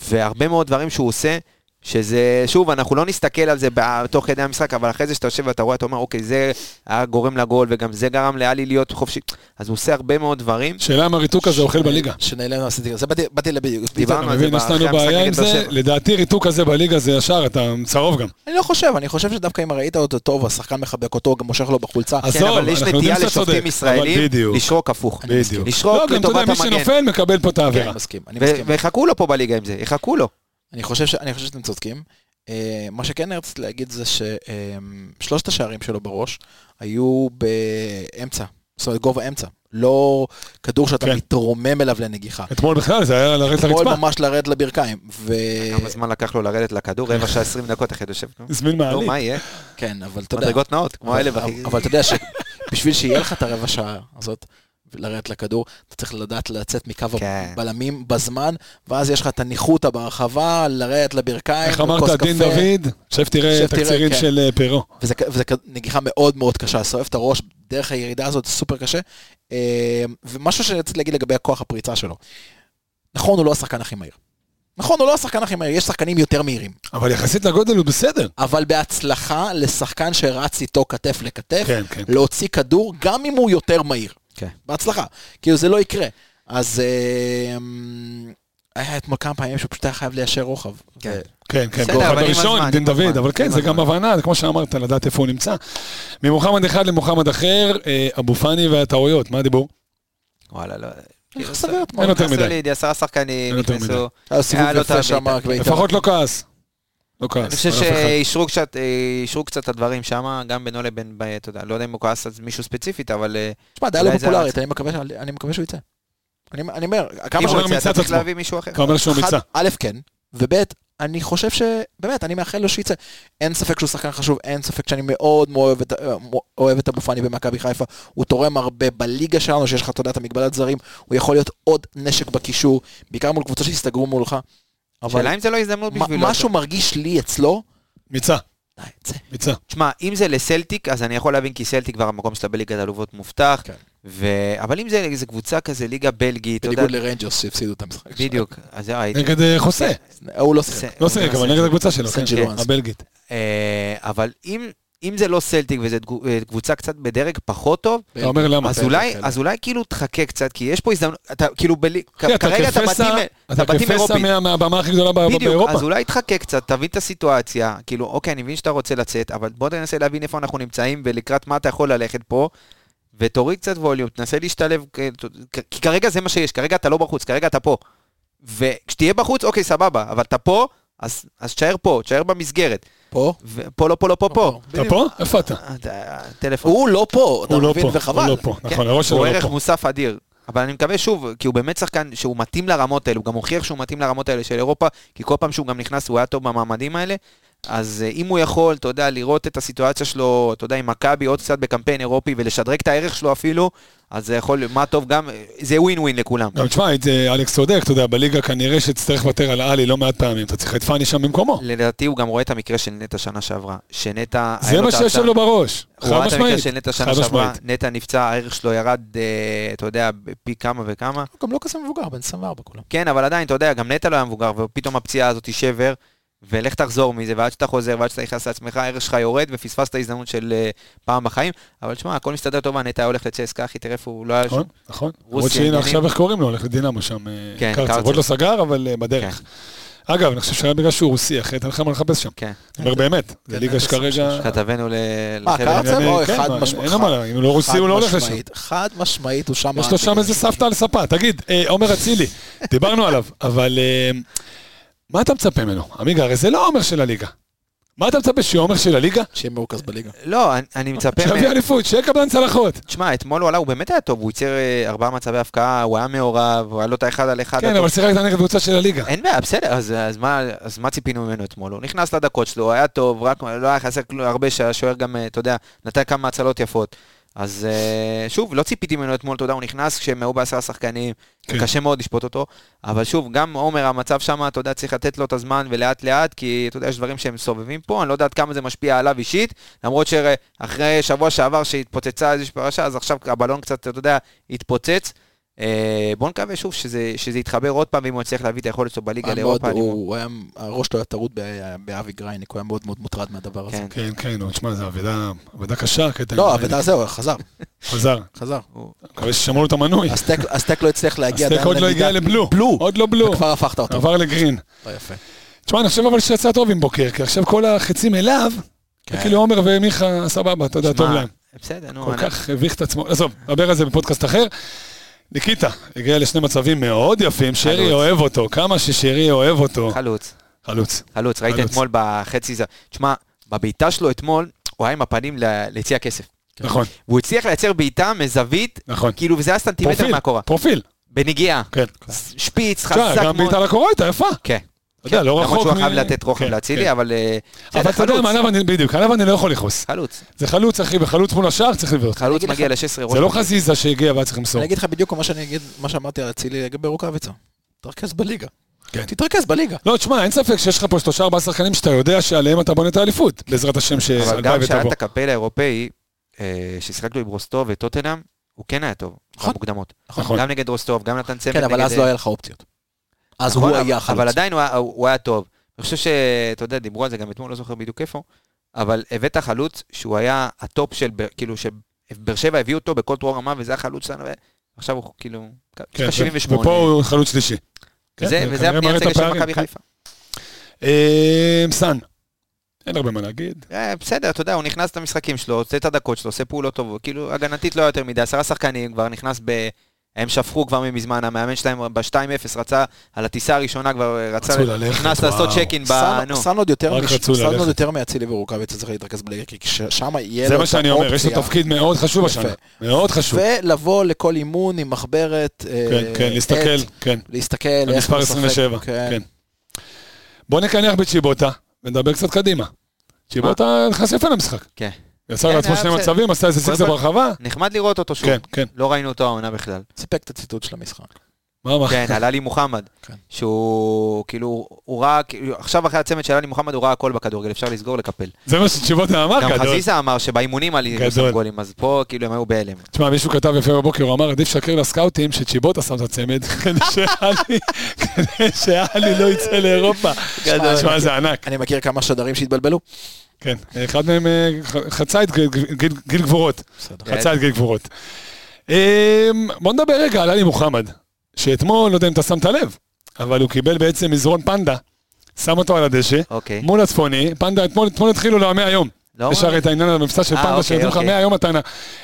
S5: והרבה מאוד דברים שהוא עושה, שזה, שוב, אנחנו לא נסתכל על זה ב- תוך כדי המשחק, אבל אחרי זה שאתה יושב ואתה רואה, אתה אומר, אוקיי, זה היה גורם לגול, וגם זה גרם לאלי להיות חופשי, אז הוא עושה הרבה מאוד דברים.
S1: שאלה אם הריתוק הזה אוכל בליגה.
S6: שנעלם לא עשיתי כזה, באתי- באתי לבדיוק.
S1: אתה
S5: דיברנו על זה
S1: מבין, יש
S5: אחרי
S1: לנו
S5: המשחק
S1: בעיה עם
S5: נגד באר
S1: זה,
S5: שבע.
S1: לדעתי ריתוק הזה בליגה זה ישר, אתה צהוב גם.
S5: כן,
S6: אני לא חושב, אני חושב שדווקא אם ראית אותו טוב, השחקן מחבק אותו, גם מושך לו בחולצה.
S1: אז
S5: כן,
S1: עזוב,
S5: אבל יש
S1: אנחנו יודעים
S5: נטייה
S1: שאתה
S5: לשופטים
S1: צודק, אבל
S5: ישראלים
S1: בדיוק.
S5: לשרוק הפוך.
S1: בדיוק. לא,
S5: לשרוק
S1: גם אתה יודע,
S5: לטובת
S1: מי
S5: המגן.
S1: שנופל מקבל פה את
S6: כן,
S1: העבירה.
S6: אני מסכים, אני
S5: ו-
S6: מסכים.
S5: ויחכו לו פה בליגה עם זה, יחכו לו.
S6: אני חושב ש- אני חושב שאתם צודקים. אה, מה שכן רציתי להגיד זה ששלושת השערים שלו בראש היו באמצע, זאת אומרת גובה אמצע. לא כדור שאתה
S1: כן.
S6: מתרומם אליו לנגיחה.
S1: אתמול בכלל זה היה לרדת
S6: אתמול
S1: לרצפה.
S6: ממש לרדת לברכיים. ו...
S1: אה,
S5: כמה זמן לקח לו לרדת לכדור? רבע שעה, עשרים דקות, אחד יושב. נו,
S1: הזמין
S5: נו,
S1: מעלית.
S5: לא, מה יהיה?
S6: כן, אבל אתה יודע.
S5: מדרגות נאות, כמו
S6: אבל-
S5: האלה, אחי.
S6: אבל אתה יודע שבשביל שיהיה לך את הרבע שעה הזאת, לרדת לכדור, אתה צריך לדעת לצאת מקו
S5: כן.
S6: הבלמים בזמן, ואז יש לך את הניחותא ברחבה, לרדת לברכיים,
S1: איך
S6: כוס
S1: אמרת, דין
S6: קפה.
S1: דוד? עכשיו תראה
S6: שב תראה,
S1: תקצירים
S6: כן.
S1: של אה, פירו.
S6: וזה, וזה כ- נגיחה מאוד מאוד קשה, שורף את הראש דרך הירידה הזאת, זה סופר קשה. אה, ומשהו שרציתי להגיד לגבי הכוח הפריצה שלו. נכון, הוא לא השחקן הכי מהיר. נכון, הוא לא השחקן הכי מהיר, יש שחקנים יותר מהירים.
S1: אבל יחסית לגודל הוא בסדר.
S6: אבל בהצלחה לשחקן שרץ איתו כתף לכתף,
S1: כן, כן.
S6: להוציא כדור, גם אם הוא יותר מהיר.
S5: כן.
S6: בהצלחה. כאילו, זה לא יקרה. אז אה, היה אתמול כמה פעמים שהוא פשוט היה חייב ליישר רוחב.
S5: כן.
S6: ו-
S1: כן, כן,
S5: בסדר,
S1: גול אחד
S5: אבל עם
S1: הראשון,
S5: הזמן,
S1: דין
S5: עם
S1: דוד,
S5: הזמן,
S1: אבל כן,
S5: עם
S1: זה גם
S5: הזמן.
S1: הבנה, זה כמו שאמרת, לדעת איפה הוא נמצא. ממוחמד אחד למוחמד אחר, אה, אבו פאני והטעויות, מה הדיבור?
S5: וואלה, לא...
S6: איך סביר אתמול?
S1: אין יותר
S5: נכנסו
S1: מדי.
S5: לידי עשרה שחקנים,
S1: אין יותר
S5: נכנסו...
S6: היה סיבוב
S5: אה, לא
S6: יפה
S5: תאמין,
S6: שם,
S5: תאמין.
S6: רק בעיטה.
S1: לפחות לא כעס. לא כעס.
S5: אני חושב
S1: על אף אחד.
S5: שאישרו קצת, אה, אישרו קצת את הדברים שם, גם בינו לבין, ב- אתה יודע, לא יודע אם הוא כעס על מישהו ספציפית, אבל אה,
S6: תשמע, דעה לא
S5: אולי זה
S6: פופולרית, אני מקווה ש- אני מקווה שהוא יצא. אני אני אומר,
S5: אם
S6: כמה
S5: הוא
S1: אומר
S5: רוצה,
S1: מצד
S5: אתה צריך
S1: עצמו.
S5: להביא מישהו אחר.
S1: אתה אומר שהוא
S6: אחד,
S1: מיצה.
S6: א', כן, וב', אני חושב שבאמת, אני מאחל לו שיצא. אין ספק שהוא שחקן חשוב, אין ספק שאני מאוד מאוד אוהב את- אה, אוהב את אבו פאני במכבי חיפה. הוא תורם הרבה בליגה שלנו, שיש לך, אתה יודע, את המגבלת זרים, הוא יכול להיות עוד נשק בקישור, בעיקר מול קבוצות שהסתגרו מולך. אבל
S5: שאלה אם זה לא הזדמנות
S6: מה-
S5: בשבילו.
S6: משהו מרגיש לי אצלו, אה,
S1: מיצה,
S6: די, צא.
S1: מיצה.
S5: תשמע, אם זה לסלטיק, אז אני יכול להבין, כי סלטיק כבר המקום שלה בליגת אלובות מובטח,
S6: כן.
S5: ו- אבל אם זה איזה קבוצה כזה, ליגה בלגית, אתה
S6: בניגוד
S5: יודע,
S6: לריינג'רס שהפסידו את המשחק.
S5: בדיוק, אז זה הייתי...
S1: נגד אה, חוסה.
S5: כן.
S6: הוא לא שיחק.
S1: לא שיחק, אבל נגד הקבוצה שלו,
S6: סן
S1: כן,
S6: ג'ירואנס.
S1: הבלגית.
S5: אה, אבל אם... אם זה לא סלטיק וזו תגו- אה, קבוצה קצת בדרג פחות טוב,
S1: אתה אומר למה. כן.
S5: אז אולי,
S6: כאלה.
S5: אז אולי כאילו תחכה קצת, כי יש פה הזדמנות, אתה כאילו בלי,
S1: אחי, אתה
S5: כרגע אתה
S1: כפסע-
S5: בתים,
S1: אתה כפסע
S5: אירופית.
S1: מה- מהבמה הכי גדולה ב-
S5: בדיוק,
S1: באירופה.
S5: אז אולי תחכה קצת, תבין את הסיטואציה, כאילו, אוקיי, אני מבין שאתה רוצה לצאת, אבל בוא תנסה להבין איפה אנחנו נמצאים ולקראת מה אתה יכול ללכת פה, ותוריד קצת ווליום, תנסה להשתלב, אה, כ- כי כרגע זה מה שיש, כרגע אתה לא בחוץ, כרגע אתה פה. וכשתהיה בחוץ, אוקיי, סבבה, אבל אתה פה, אז, אז תשאר פה, תשאר במסגרת.
S6: פה?
S5: ופה, לא פה, לא פה, פה.
S1: אתה פה? איפה אתה?
S5: טלפון.
S6: הוא לא פה, אתה
S1: הוא לא
S6: מבין,
S1: פה, הוא
S6: וחבל.
S1: לא פה. נכון, הראש שלו
S5: כן. הוא
S1: לא
S5: ערך
S1: פה.
S5: מוסף אדיר. אבל אני מקווה שוב, כי הוא באמת שחקן שהוא מתאים לרמות האלה, הוא גם הוכיח שהוא מתאים לרמות האלה של אירופה, כי כל פעם שהוא גם נכנס הוא היה טוב במעמדים האלה. אז אה, אם הוא יכול, אתה יודע, לראות את הסיטואציה שלו, אתה יודע, עם מכבי עוד קצת בקמפיין אירופי ולשדרג את הערך שלו אפילו, אז זה יכול, מה טוב גם, אה, זה ווין ווין לכולם.
S1: גם תשמע, את זה- אלכס צודק, אתה יודע, בליגה כנראה שתצטרך לוותר על עלי לא מעט פעמים, אתה צריך את פאני שם במקומו.
S5: לדעתי הוא גם רואה את המקרה של נטע שנה שעברה, שנטע... היה
S1: זה מה
S5: את
S1: שיש
S5: ההצעה-
S1: לו בראש,
S5: הוא
S1: חד
S5: ראה את המקרה
S1: משמעית.
S5: של נטע
S1: חד
S5: שנה שעברה,
S1: משמעית.
S5: נטע נפצע, הערך שלו ירד, אה, אתה יודע, פי כמה וכמה.
S6: הוא גם לא כזה מבוגר, בן 24 כולם.
S5: כן, אבל עדיין, אתה יודע, גם נטע לא היה מבוגר, ופתאום הפציעה הזאת היא שבר, ולך תחזור מזה, ועד שאתה חוזר, ועד שאתה נכנס לעצמך, הערך שלך יורד, ופספסת הזדמנות של אה, פעם בחיים. אבל שמע, הכל מסתדר טוב, נטע היה הולך לצסקה, אחי, תראה איפה הוא לא היה
S1: נכון,
S5: שום...
S1: נכון. למרות
S5: רוסיה,
S1: שהנה
S5: עניינים.
S1: עכשיו איך קוראים לו, הולך לדינמו שם, אה,
S5: כן,
S1: קרצב.
S5: קרצב.
S1: עוד לא סגר, אבל אה, בדרך. אגב, אני חושב שהיה בגלל שהוא רוסי, אחרת אין לך מה לחפש שם.
S5: כן.
S1: אני אומר באמת, זה
S6: כן,
S1: ליגה
S6: כן,
S1: שכרגע...
S5: כתבנו ל... לחבר'ה.
S6: קרצב?
S1: ענייני-
S6: אוי,
S1: כן,
S6: חד
S1: מה,
S6: משמעית.
S1: אין לו מה, אם הוא לא רוסי הוא לא הולך לשם.
S6: משמעית, לא, חד משמעית, הוא שם...
S1: יש לו שם איזה סבתא על ספה. תגיד, אה, עומר אצילי, דיברנו עליו, אבל אה, מה אתה מצפה ממנו? עמיגה, הרי זה לא עומר של הליגה. מה אתה מצפה שהוא אומר של הליגה?
S6: שיהיה מרוכז בליגה.
S5: לא, אני- אני מצפה... מהם-
S1: שיביא אליפות, שיהיה קבלן צלחות.
S5: תשמע, אתמול הוא עלה, הוא באמת היה טוב, הוא ייצר אה, ארבעה מצבי הפקעה, הוא היה מעורב, הוא היה לו את האחד על אחד.
S1: כן,
S5: הטוב.
S1: אבל שיחקת נגד קבוצה של הליגה.
S5: אין בעיה, בסדר, אז, אז, מה, אז מה ציפינו ממנו אתמול? הוא נכנס לדקות שלו, היה טוב, רק לא היה חסר כל- הרבה שהשוער גם, אה, אתה יודע, נתן כמה הצלות יפות. אז אה, שוב, לא ציפיתי ממנו אתמול, אתה יודע, הוא נכנס כשהם היו בעשרה שחקנים,
S1: כן.
S5: קשה מאוד לשפוט אותו, אבל שוב, גם עומר, המצב שם, אתה יודע, צריך לתת לו את הזמן ולאט לאט, כי אתה יודע, יש דברים שהם סובבים פה, אני לא יודע עד כמה זה משפיע עליו אישית, למרות שאחרי שבוע שעבר שהתפוצצה איזושהי פרשה, אז עכשיו הבלון קצת, אתה יודע, התפוצץ. אה, בוא נקווה שוב שזה, שזה יתחבר עוד פעם, ואם הוא יצליח להביא את היכולת שלו בליגה
S6: היה מאוד-
S5: לאירופה. אני...
S6: הוא היה, הראש שלו היה טרוד ב- באבי גרייניק, הוא היה מאוד מאוד מוטרד מהדבר הזה.
S5: כן,
S1: כן, כן, נו, תשמע, זו אבדה, אבדה קשה, הקטע. עם-
S6: לא, אבל זהו, חזר,
S1: חזר.
S6: חזר.
S1: מקווה ששמרו לו את המנוי.
S6: הסטייק- הסטייק לא הצליח להגיע
S1: הסטייק
S6: עדיין
S1: עוד לא הגיע לבלו.
S6: בלו.
S1: עוד לא בלו.
S6: וכבר הפכת אותו.
S1: עבר לגרין.
S6: לא יפה.
S1: תשמע, אני חושב אבל שיצא טוב עם בוקר, כי עכשיו כל החצים אליו,
S6: כן.
S1: וכאילו עומר ומיכה, סבבה, אתה יודע,
S5: שמע,
S1: טוב להם.
S5: בסדר, נו,
S1: כל
S5: אני...
S1: כך הביך את עצמו. עזוב, נדבר על זה בפודקאסט אחר. ניקיטה הגיע לשני מצבים מאוד יפים, שרי
S5: חלוץ.
S1: אוהב אותו, כמה ששרי אוהב אותו.
S5: חלוץ,
S1: חלוץ.
S5: חלוץ, ראית
S1: חלוץ.
S5: אתמול בחצי זה. תשמע, בבעיטה שלו אתמול, הוא היה עם הפנים ל- ליציע הכסף.
S1: נכון,
S5: והוא הצליח לייצר בעיטה מזווית,
S1: נכון.
S5: כאילו, וזה היה סנטימטר
S1: פרופיל,
S5: מהקורה.
S1: פרופיל.
S5: בנגיעה.
S1: כן.
S5: שפיץ,
S1: תשמע,
S5: חזק
S1: גם
S5: מאוד.
S1: בעיטה לקורה הייתה יפה.
S5: כן.
S1: אתה יודע, לא
S5: למרות
S1: רחוק
S5: שהוא
S1: מ-
S5: חייב לתת רוחב
S1: כן,
S5: להצילי,
S1: כן.
S5: אבל... אה, בסדר,
S1: אבל אתה יודע,
S5: חלוץ,
S1: מה, עליו אני- בדיוק, עליו אני לא יכול לכעוס.
S5: חלוץ.
S1: זה חלוץ, אחי, וחלוץ מול השער צריך לבעוט.
S5: חלוץ
S6: אגיד
S5: מגיע
S6: לך-
S5: ל-16 ראש.
S1: זה לא חזיזה שהגיע והיה צריך למסור.
S6: אני אגיד לך בדיוק מה שאני אגיד, מה שאמרתי על אצילי לגבי רוקאביצה. תתרכז בליגה.
S1: כן.
S6: תתרכז בליגה.
S1: לא, תשמע, אין ספק שיש לך פה שלושה ארבעה שחקנים שאתה יודע שעליהם אתה בונה את האליפות, בעזרת השם
S5: אבל גם
S1: שהלוואי
S5: כשהיה
S1: ותבוא.
S5: את הקפל האירופאי, אה, ששיחקנו עם רוסטוב וטוטנאם, הוא כן היה טוב.
S6: נכון.
S5: במוקדמות.
S1: נכון.
S5: גם נגד רוסטוב, גם נתן צמד.
S6: כן, אבל
S5: נגד-
S6: אז לא היה לך אופציות. אז
S5: אה, נכון,
S6: הוא
S5: אבל-
S6: היה
S5: אבל
S6: החלוץ.
S5: עדיין הוא היה- הוא היה טוב. אני חושב שאתה יודע, דיברו על זה גם אתמול, לא זוכר בדיוק איפה, אבל הבאת חלוץ שהוא היה הטופ של, ב- כאילו, שבאר שבע הביאו אותו בכל תואר רמה, וזה החלוץ שלנו, ועכשיו הוא כאילו,
S1: כן, ו-
S5: 78.
S1: ופה הוא חלוץ שלישי. כן,
S5: וזה
S1: כנראה
S5: וזה הפניית
S1: מראה את
S5: סגל של
S1: הפערים,
S5: מכבי
S1: כן.
S5: חיפה.
S1: אה, סאן. אין הרבה מה להגיד.
S5: אה, בסדר, אתה יודע, הוא נכנס למשחקים שלו, עושה את הדקות שלו, עושה פעולות טובות, כאילו, הגנתית לא היה יותר מדי, עשרה שחקנים, כבר נכנס ב... הם שפכו כבר מזמן, המאמן שלהם ב-2-0 רצה, על הטיסה הראשונה כבר אה, רצה,
S1: רצו ללכת,
S5: נכנס לעשות
S1: וואו.
S5: צ'קין ב...
S6: סאן-
S5: נו.
S6: סאן עוד יותר
S1: רק
S6: מש-
S1: רצו
S6: סאן
S1: ללכת.
S6: עוד יותר מאצילי ורוקאביצה צריך להתרכז בליגה, כי שם יהיה לו
S1: זה
S6: את
S1: מה שאני אומר, יש לו
S6: האופציה.
S1: תפקיד מאוד חשוב
S6: יפה.
S1: השנה. מאוד חשוב.
S6: ולבוא לכל אימון עם מחברת. אה,
S1: כן, כן,
S6: עט,
S1: להסתכל, כן.
S6: להסתכל איך הוא
S1: המספר
S6: משחק.
S1: 27, כן. בוא נקנח בצ'יבוטה, ונדבר קצת קדימה. צ'יבוטה נכנס יפה למשחק.
S5: כן.
S1: יצר
S5: כן,
S1: לעצמו
S5: היה
S1: שני
S5: בסדר.
S1: מצבים, עשה איזה
S5: קודם
S1: סיקסר
S5: כל-
S1: ברחבה.
S5: נחמד לראות אותו שוב.
S1: כן, כן.
S5: לא ראינו אותו העונה בכלל.
S6: סיפק את הציטוט של המשחק.
S1: מה, מה?
S5: כן, עלה לי מוחמד.
S6: כן.
S5: שהוא, כאילו, הוא ראה, כאילו, עכשיו אחרי הצמד של עלי מוחמד, הוא ראה הכל בכדורגל, אפשר לסגור, לקפל.
S1: זה מה שצ'יבוטה אמר,
S5: גם
S1: אה, גדול.
S5: חזיזה אמר שבאימונים עלי
S1: גדול.
S5: שם גולים, אז פה, כאילו, הם היו בהלם.
S1: תשמע, מישהו כתב יפה בבוקר, הוא אמר, עדיף שקר לסקאוטים שצ'יבוטה שם את הצמד, כדי שאלי- כדי שאלי לא יצא לאירופה.
S6: גדול.
S1: תשמע, זה ענק.
S6: אני מכיר כמה שדרים שהתבלבלו.
S1: כן, אחד מהם אה, ח- חצה את גיל- גיל- גיל גבורות.
S6: בסדר.
S5: כן.
S1: חצה את גיל גבורות. אמ, בוא נדבר רגע על עלי מוחמד, שאתמול, לא יודע אם אתה שמת לב, אבל הוא קיבל בעצם מזרון פנדה, שם אותו על הדשא,
S5: אוקיי.
S1: מול הצפוני, פנדה, אתמול אתמול התחילו לו המאה יום.
S5: לא?
S1: יש הרי את העניין המבצע של
S5: אה,
S1: פנדה
S5: אוקיי,
S1: שנותנים לך
S5: אוקיי.
S1: 100 יום מתנה.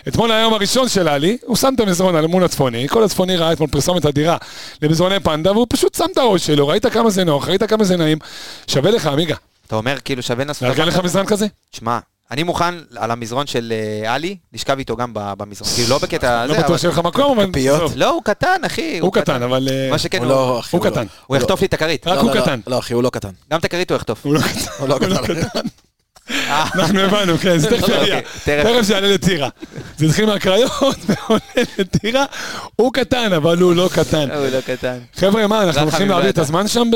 S1: אתמול היום הראשון של עלי, הוא שם את המזרון על מול הצפוני, כל הצפוני ראה אתמול פרסומת אדירה למזרוני פנדה, והוא פשוט שם את הראש שלו, ראית כמה זה נוח, ראית כמה זה נעים, שווה לך עמיגה,
S5: אתה אומר, כאילו, שווה לנסות...
S1: לארגן לך מזרן כזה?
S5: שמע, אני מוכן על המזרון של אה, עלי, לשכב איתו גם ב- במזרון. כאילו, לא בקטע...
S1: לא
S5: זה,
S1: בטוח
S5: אבל-
S1: שיהיה לך מקום, אבל...
S6: כפיות.
S1: עזוב,
S5: לא, הוא קטן, אחי.
S1: הוא קטן, אבל... אה,
S5: מה שכן,
S6: הוא
S5: הוא-
S6: לא, אחי,
S1: הוא קטן.
S6: לא.
S5: הוא יחטוף לי את הכרית.
S1: רק
S6: לא,
S1: הוא
S6: לא, לא,
S1: קטן.
S6: לא, אחי, הוא לא קטן.
S5: גם את הכרית הוא יחטוף.
S1: הוא לא קטן.
S6: הוא לא קטן.
S1: אנחנו הבנו, כן, זה תכף
S5: אוקיי,
S1: יגיע.
S5: תכף.
S1: תכף שיעלה לטירה. זה התחיל מהקריות ועולה לטירה. הוא קטן, אבל הוא לא קטן.
S5: הוא לא קטן.
S1: חבר'ה, מה, אנחנו
S5: רחמים
S1: הולכים להעביר את
S5: ועדה.
S1: הזמן שם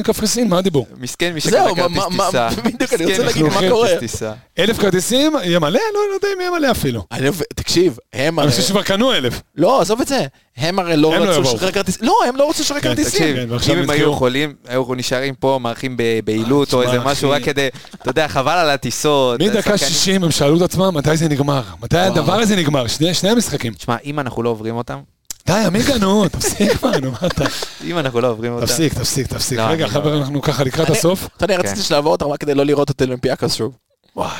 S1: בקפריסין? מה הדיבור?
S5: מסכן מי שקנה
S6: זהו, מה-
S5: כרטיס
S6: מה-
S5: טיסה.
S6: מה- בדיוק, אני רוצה
S5: מסכן מי שקנה
S6: להגיד,
S1: מה
S5: כרטיס
S6: קורה?
S5: טיסה.
S1: אלף כרטיסים? יהיה מלא? לא לא יודע אם יהיה מלא אפילו.
S6: אני- תקשיב, הם
S1: אני
S6: הרי...
S1: חושב שכבר קנו אלף.
S6: לא, עזוב את זה. הם הרי לא
S1: הם לא
S6: רצו
S1: יבואו.
S6: שחרר כרטיסים. לא, הם לא רצו שחרר
S1: כן,
S6: כרטיסים.
S1: כן,
S5: תקשיב,
S1: ועכשיו
S5: אם הם
S1: נזכרו.
S5: היו יכולים, היו מארחים פה, מארחים ב- בהילות או
S1: תשמע,
S5: איזה משהו,
S1: אחי.
S5: רק כדי, אתה יודע, חבל על הטיסות.
S1: מדקה
S5: השחקנים.
S1: 60 הם שאלו את עצמם מתי זה נגמר. מתי הדבר הזה נגמר? שני שני המשחקים.
S5: תשמע, אם אנחנו לא עוברים אותם,
S1: די, עמיגה, נו, תפסיק כבר, נו, מה אתה?
S5: אם אנחנו לא עוברים אותם,
S1: תפסיק, תפסיק, תפסיק.
S5: לא, אני
S1: רגע,
S5: לא.
S1: חברים, אנחנו ככה לקראת
S6: אני-
S1: הסוף.
S6: אתה יודע,
S5: כן.
S6: רציתי שנעבור אותם רק כדי לא לראות את אולימפיאקוס שוב.
S1: וואי, וואי.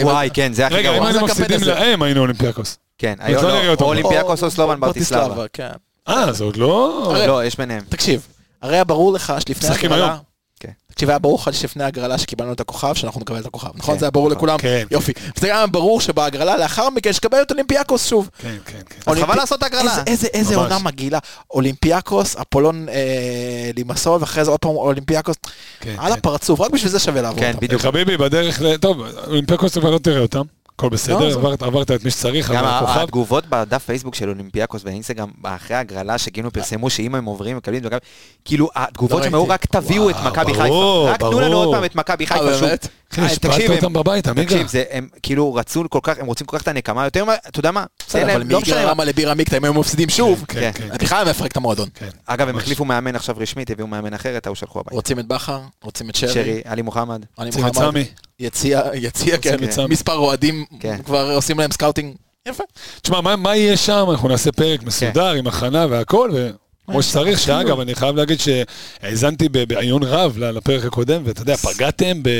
S6: די,
S5: וואי, כן, זה הכי
S1: רגע, אם
S5: גרוע.
S6: מה- זה
S1: היינו
S6: הקמפיין
S1: מפסידים
S6: הזה.
S1: להם, היינו אולימפיאקוס.
S5: כן,
S1: אז לא נראה
S5: היום
S1: אותם.
S5: לא, אולימפיאקוס
S6: או-
S5: או סלובן ברטיסלבה.
S6: כן.
S1: אה, זה עוד לא...
S5: לא, יש ביניהם.
S6: תקשיב, הרי היה ברור לך שלפני
S1: משחקים
S6: ההגרלה...
S1: היום.
S5: כן.
S6: תקשיב, היה ברור לך שלפני ההגרלה שקיבלנו את הכוכב, שאנחנו נקבל את הכוכב, נכון?
S5: כן,
S6: זה היה ברור לכולם?
S1: כן.
S6: יופי. וזה גם היה ברור שבהגרלה לאחר מכן שקבל את אולימפיאקוס שוב.
S1: כן, כן, כן.
S5: אז חבל
S6: אולימפי-
S5: לעשות הגרלה.
S6: איזה- איזה איזה
S1: ממש.
S6: עונה מגעילה. אולימפיאקוס, אפולון אה, לימסול, ואחרי זה עוד פעם אולימפיאקוס.
S1: כן,
S6: על
S1: כן.
S6: הפרצוף, רק בשביל זה שווה לעבור
S5: כן,
S6: אותם.
S5: בדיוק.
S1: חביבי, בדרך ל... טוב, אולימפיאקוס כבר לא תראה אותם. הכל
S6: לא,
S1: בסדר,
S6: זה-
S1: עברת- עברת את מי שצריך,
S5: גם
S1: עברת כוכב.
S5: התגובות בדף פייסבוק של אולימפיאקוס והאינסטגרם, אחרי הגרלה שכאילו פרסמו שאם הם עוברים מקבלים את מכבי, כאילו התגובות
S6: לא
S5: שהם היו
S6: ראיתי.
S5: רק תביאו את מכבי חיפה,
S1: ברור,
S5: רק תנו לנו
S1: ברור.
S5: עוד פעם את מכבי חיפה
S6: אה,
S5: שוב.
S6: באמת?
S1: אחי,
S5: אה,
S1: השפלת
S5: תקשיב, הם-
S1: אותם בבית, עמיגה.
S5: תקשיב, זה- הם כאילו רצו כל כך, הם רוצים כל כך את הנקמה יותר, מה- אתה יודע מה?
S6: בסדר,
S5: תן להם,
S6: אבל
S5: לא משנה
S6: מי
S5: מה.
S6: גרמה לבירה מיקטה אם היו מפסידים שוב?
S1: כן, כן,
S6: זה בכלל היה מפרק את המועדון.
S1: כן.
S5: אגב, הם
S1: ממש.
S5: החליפו מאמן עכשיו רשמית, הביאו מאמן אחר, את ההוא שלחו הביתה.
S6: רוצים את בכר, רוצים את
S1: אוקיי.
S6: שרי.
S5: שרי, עלי מוחמד.
S6: אני
S1: רוצים את
S6: מוחמד.
S1: סמי.
S6: יציע, יציע, כן.
S1: את סמי.
S6: מספר אוהדים
S5: כן.
S6: כבר עושים להם סקאוטינג. יפה.
S1: תשמע, מה- מה יהיה שם? אנחנו נעשה
S6: כן.
S1: פרק מסודר עם הכנה והכל, וכמו שצריך, שאגב, אני חייב להגיד שהאזנתי ב- בעיון רב ל- לפרק הקודם, ואתה יודע, פגעתם ב...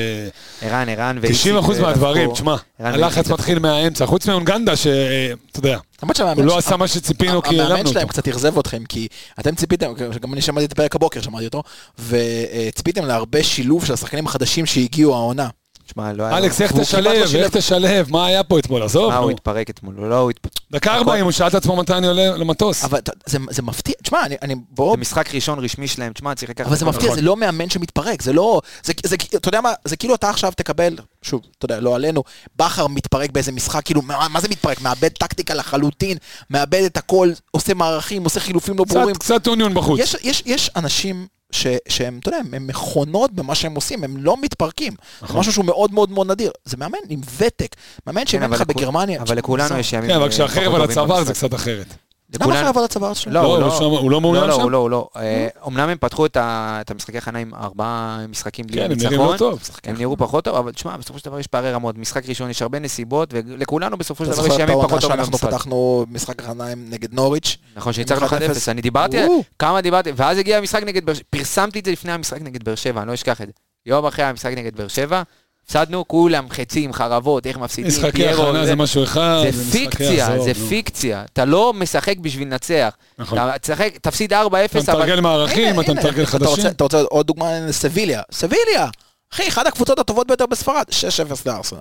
S5: ערן, ערן
S1: 90%
S5: אה,
S1: מהדברים,
S5: הפכו-
S1: תשמע,
S5: ערן
S1: הלחץ
S5: ואיציק.
S1: מתחיל מהאמצע, חוץ מאונגנדה, שאתה יודע,
S6: למרות שהמאמן
S1: הוא לא
S6: ש-
S1: עשה מה שציפינו, כי
S6: המאמן
S1: העלמנו
S6: שלהם
S1: אותו.
S6: קצת אכזב אתכם, כי אתם ציפיתם, גם אני שמעתי את הפרק הבוקר, שמעתי אותו, וציפיתם להרבה שילוב של השחקנים החדשים שהגיעו העונה.
S5: תשמע, לא היה... לו-
S1: אלכס, איך
S6: והוא כמעט לא
S1: תשלב?
S6: שילב.
S1: איך תשלב? מה היה פה אתמול? עזוב,
S5: מה, הוא
S1: נו.
S5: התפרק אתמול? לא, הוא התפרק.
S1: דקה 40, הוא שאל את עצמו מתי אני עולה למטוס.
S6: אבל אתה- זה- זה מפתיע, תשמע, אני- אני בוא...
S5: זה משחק ראשון רשמי שלהם, תשמע, צריך לקחת...
S6: אבל זה
S5: הכל.
S1: נכון.
S6: מפתיע, זה לא מאמן שמתפרק, זה לא... זה- זה- אתה יודע מה, זה כאילו אתה עכשיו תקבל, שוב, אתה יודע, לא עלינו, בכר מתפרק באיזה משחק, כאילו, מה מה זה מתפרק? מאבד טקטיקה לחלוטין, מאבד את הכל, עושה מערכים, עושה חילופים לא
S1: קצת-
S6: ברורים.
S1: קצת אוניון בחוץ.
S6: יש, יש, יש אנשים ש, שהם, אתה יודע, הם- הם מכונות במה שהם עושים, הם לא מתפרקים. זה משהו שהוא מאוד מאוד מאוד נדיר. זה מאמן עם ותק, מאמן
S5: נכון. כן,
S6: שאימן לך
S5: אבל לכו-
S6: בגרמניה.
S5: אבל לכולנו יש ימים...
S1: כן,
S5: אה,
S1: אבל
S5: פחות
S1: כשהחרב על
S5: טובים
S1: הצוואר זה
S5: במשחק.
S1: קצת אחרת.
S6: למה
S5: לכולנו-
S6: חרב על הצוואר שלו?
S5: לא,
S1: לא,
S5: הוא
S1: הוא
S5: לא-
S1: שם- הוא לא מעוניין
S5: לא,
S1: שם?
S5: לא, הוא לא, הוא לא. אה, אומנם הם פתחו את ה- את המשחקי הכנה עם ארבעה משחקים בלי
S1: כן, הם
S5: הניצחון.
S1: נראים לא טוב.
S5: הם נראו פחות טוב, אבל תשמע, בסופו של דבר יש פערי רמות. משחק ראשון, יש הרבה נסיבות, ולכולנו בסופו של
S6: אתה
S5: דבר יש
S6: זוכר את
S5: ימים
S6: העונה
S5: פחות טובים
S6: שאנחנו
S5: במשחק.
S6: פתחנו משחק החניים נגד נוריץ'?
S5: נכון, שניצחנו 1-0,
S6: 1-0.
S5: אני דיברתי, על-
S6: או.
S5: כמה דיברתי, ואז הגיע המשחק נגד באר שבע, פרסמתי את זה לפני המשחק נגד באר שבע, אני לא אשכח את זה. יום אחרי המשחק נגד באר שבע, הפסדנו, כולם חצים, חרבות, איך מפסידים,
S1: משחקי
S5: פיירו,
S1: הכנה זה
S5: זה-
S1: משהו אחד.
S5: זה
S1: משחקי
S5: פיקציה,
S1: עזוב,
S5: זה
S1: נו.
S5: פיקציה. אתה לא משחק בשביל לנצח.
S1: נכון.
S5: אתה תשחק- תפסיד 4-0,
S1: אתה מתרגל מערכים,
S6: הנה,
S1: אתה
S6: הנה,
S1: מתרגל
S6: אתה רוצה-
S1: חדשים.
S6: אתה רוצה עוד דוגמה? סביליה. סביליה! אחי, אחת הקבוצות הטובות ביותר בספרד, 6-0 לארסנל.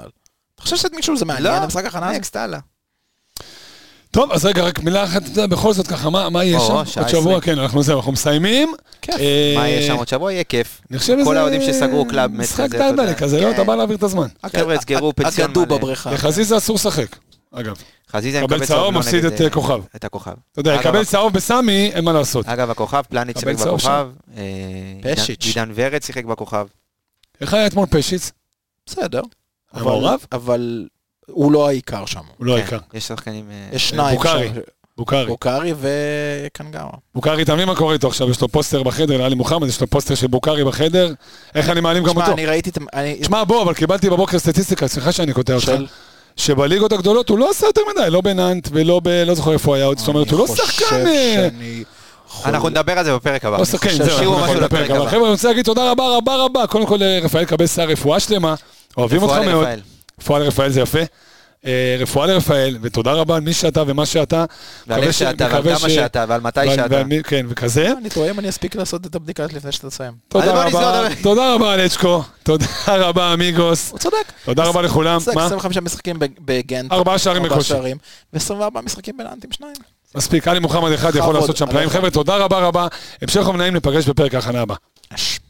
S6: אתה חושב שמישהו זה
S5: לא.
S6: מעניין, המשחק הכנה הזה?
S5: נקסט, הלאה.
S1: טוב, אז רגע, רק מילה אחת, אתה יודע, בכל זאת ככה, מה מה יהיה
S5: או,
S1: שם?
S5: שעה
S1: עוד שבוע,
S5: עשרים.
S1: כן, אנחנו זהו, אנחנו מסיימים.
S6: כיף.
S1: אה,
S5: מה יהיה שם עוד שבוע? יהיה כיף.
S1: אני חושב שזה...
S5: כל האוהדים שסגרו קלאב מת
S1: משחק
S5: כזה, אתה יודע.
S1: דרדלה כזה, לא?
S5: כן.
S1: אתה בא להעביר את הזמן.
S5: חבר'ה, סגרו פנסיון
S6: אגדו
S5: מלא.
S6: בבריכה.
S1: לחזיזה אסור לשחק, אגב.
S5: חזיזה
S1: קבל
S5: מקבל
S1: צהוב,
S5: צהוב, לא
S1: מפסיד
S5: נגד,
S1: את,
S5: אה,
S1: כוכב.
S5: את הכוכב.
S1: אתה יודע,
S5: אגב,
S1: יקבל צהוב בסמי, אין מה לעשות.
S5: אגב, הכוכב, פלניץ'
S1: קבל
S5: שיחק
S1: צהוב
S5: בכוכב. אה, עידן-
S6: פשיץ'.
S5: עידן ורד שיחק בכוכב.
S1: איך היה אתמול פשיץ?
S6: בסדר.
S1: היה
S6: אבל-
S1: מעורב?
S6: אבל הוא לא העיקר שם.
S1: הוא לא
S5: כן,
S1: העיקר.
S5: יש שחקנים... אה,
S6: יש שניים.
S1: בוקארי.
S6: שם.
S1: בוקארי.
S6: בוקארי וקנגאווה.
S1: בוקארי, אתה מבין מה קורה איתו עכשיו? יש לו פוסטר בחדר, לאלי מוחמד, יש לו פוסטר של בוקארי בחדר. איך אני מעלים גם
S6: תשמע,
S1: אותו?
S6: אני ראיתי את... אני-
S1: תשמע, בוא, אבל קיבלתי בבוקר סטטיסטיקה, סליחה שאני קוטע אותך,
S6: של-
S1: שבליגות הגדולות הוא לא עשה יותר מדי, לא בנאנט ולא ב... לא זוכר איפה הוא היה עוד, זאת אומרת, הוא לא
S6: אני חושב
S1: שחקן... אה,
S6: שאני חול-
S5: אנחנו נדבר על זה בפרק הבא.
S1: לא שחקן,
S5: אני חושב
S1: זהו,
S5: שיעור
S1: אנחנו
S5: משהו
S1: נדבר בפרק
S5: לפרק
S1: הבא.
S5: הבא.
S1: חבר'ה, אני רוצה להגיד תודה רבה רבה רבה. קודם כל, אה, רפאל קבסה, רפואה שלמה, אוהבים אותך
S5: רפואה
S1: מאוד.
S5: לרפאל.
S1: רפואה לרפאל זה יפה. אה, רפואה לרפאל, ותודה רבה על מי שאתה ומה שאתה.
S5: ועל
S1: מקווה
S5: איך
S1: ש-
S5: שאתה, ועל
S1: מקווה
S5: כמה
S1: ש-
S5: שאתה, ועל מתי
S1: ועל-
S5: שאתה.
S1: ועל מי- כן, וכזה.
S6: אני טועה אם אני אספיק לעשות את הבדיקה לפני שאתה תסיים.
S5: אז
S1: תודה
S5: בוא לא נסגור
S1: רבה,
S5: את ה-
S1: תודה רבה אלצ'קו, תודה רבה עמיגוס,
S6: הוא צודק.
S1: תודה רבה לכולם.
S6: צודק,
S1: מה?
S6: 25 משחקים בג- בגנט.
S1: ארבעה שערים
S6: ארבעה
S1: בקושי.
S6: שערים. ו-24 משחקים בלאנטים שניים.
S1: מספיק, עלי מוחמד אחד יכול
S6: בכבוד,
S1: לעשות שם פלאים.
S6: עליך.
S1: חבר'ה, תודה רבה רבה. המשך ומנעים, ניפגש בפרק ההכנה הבא.
S6: אש.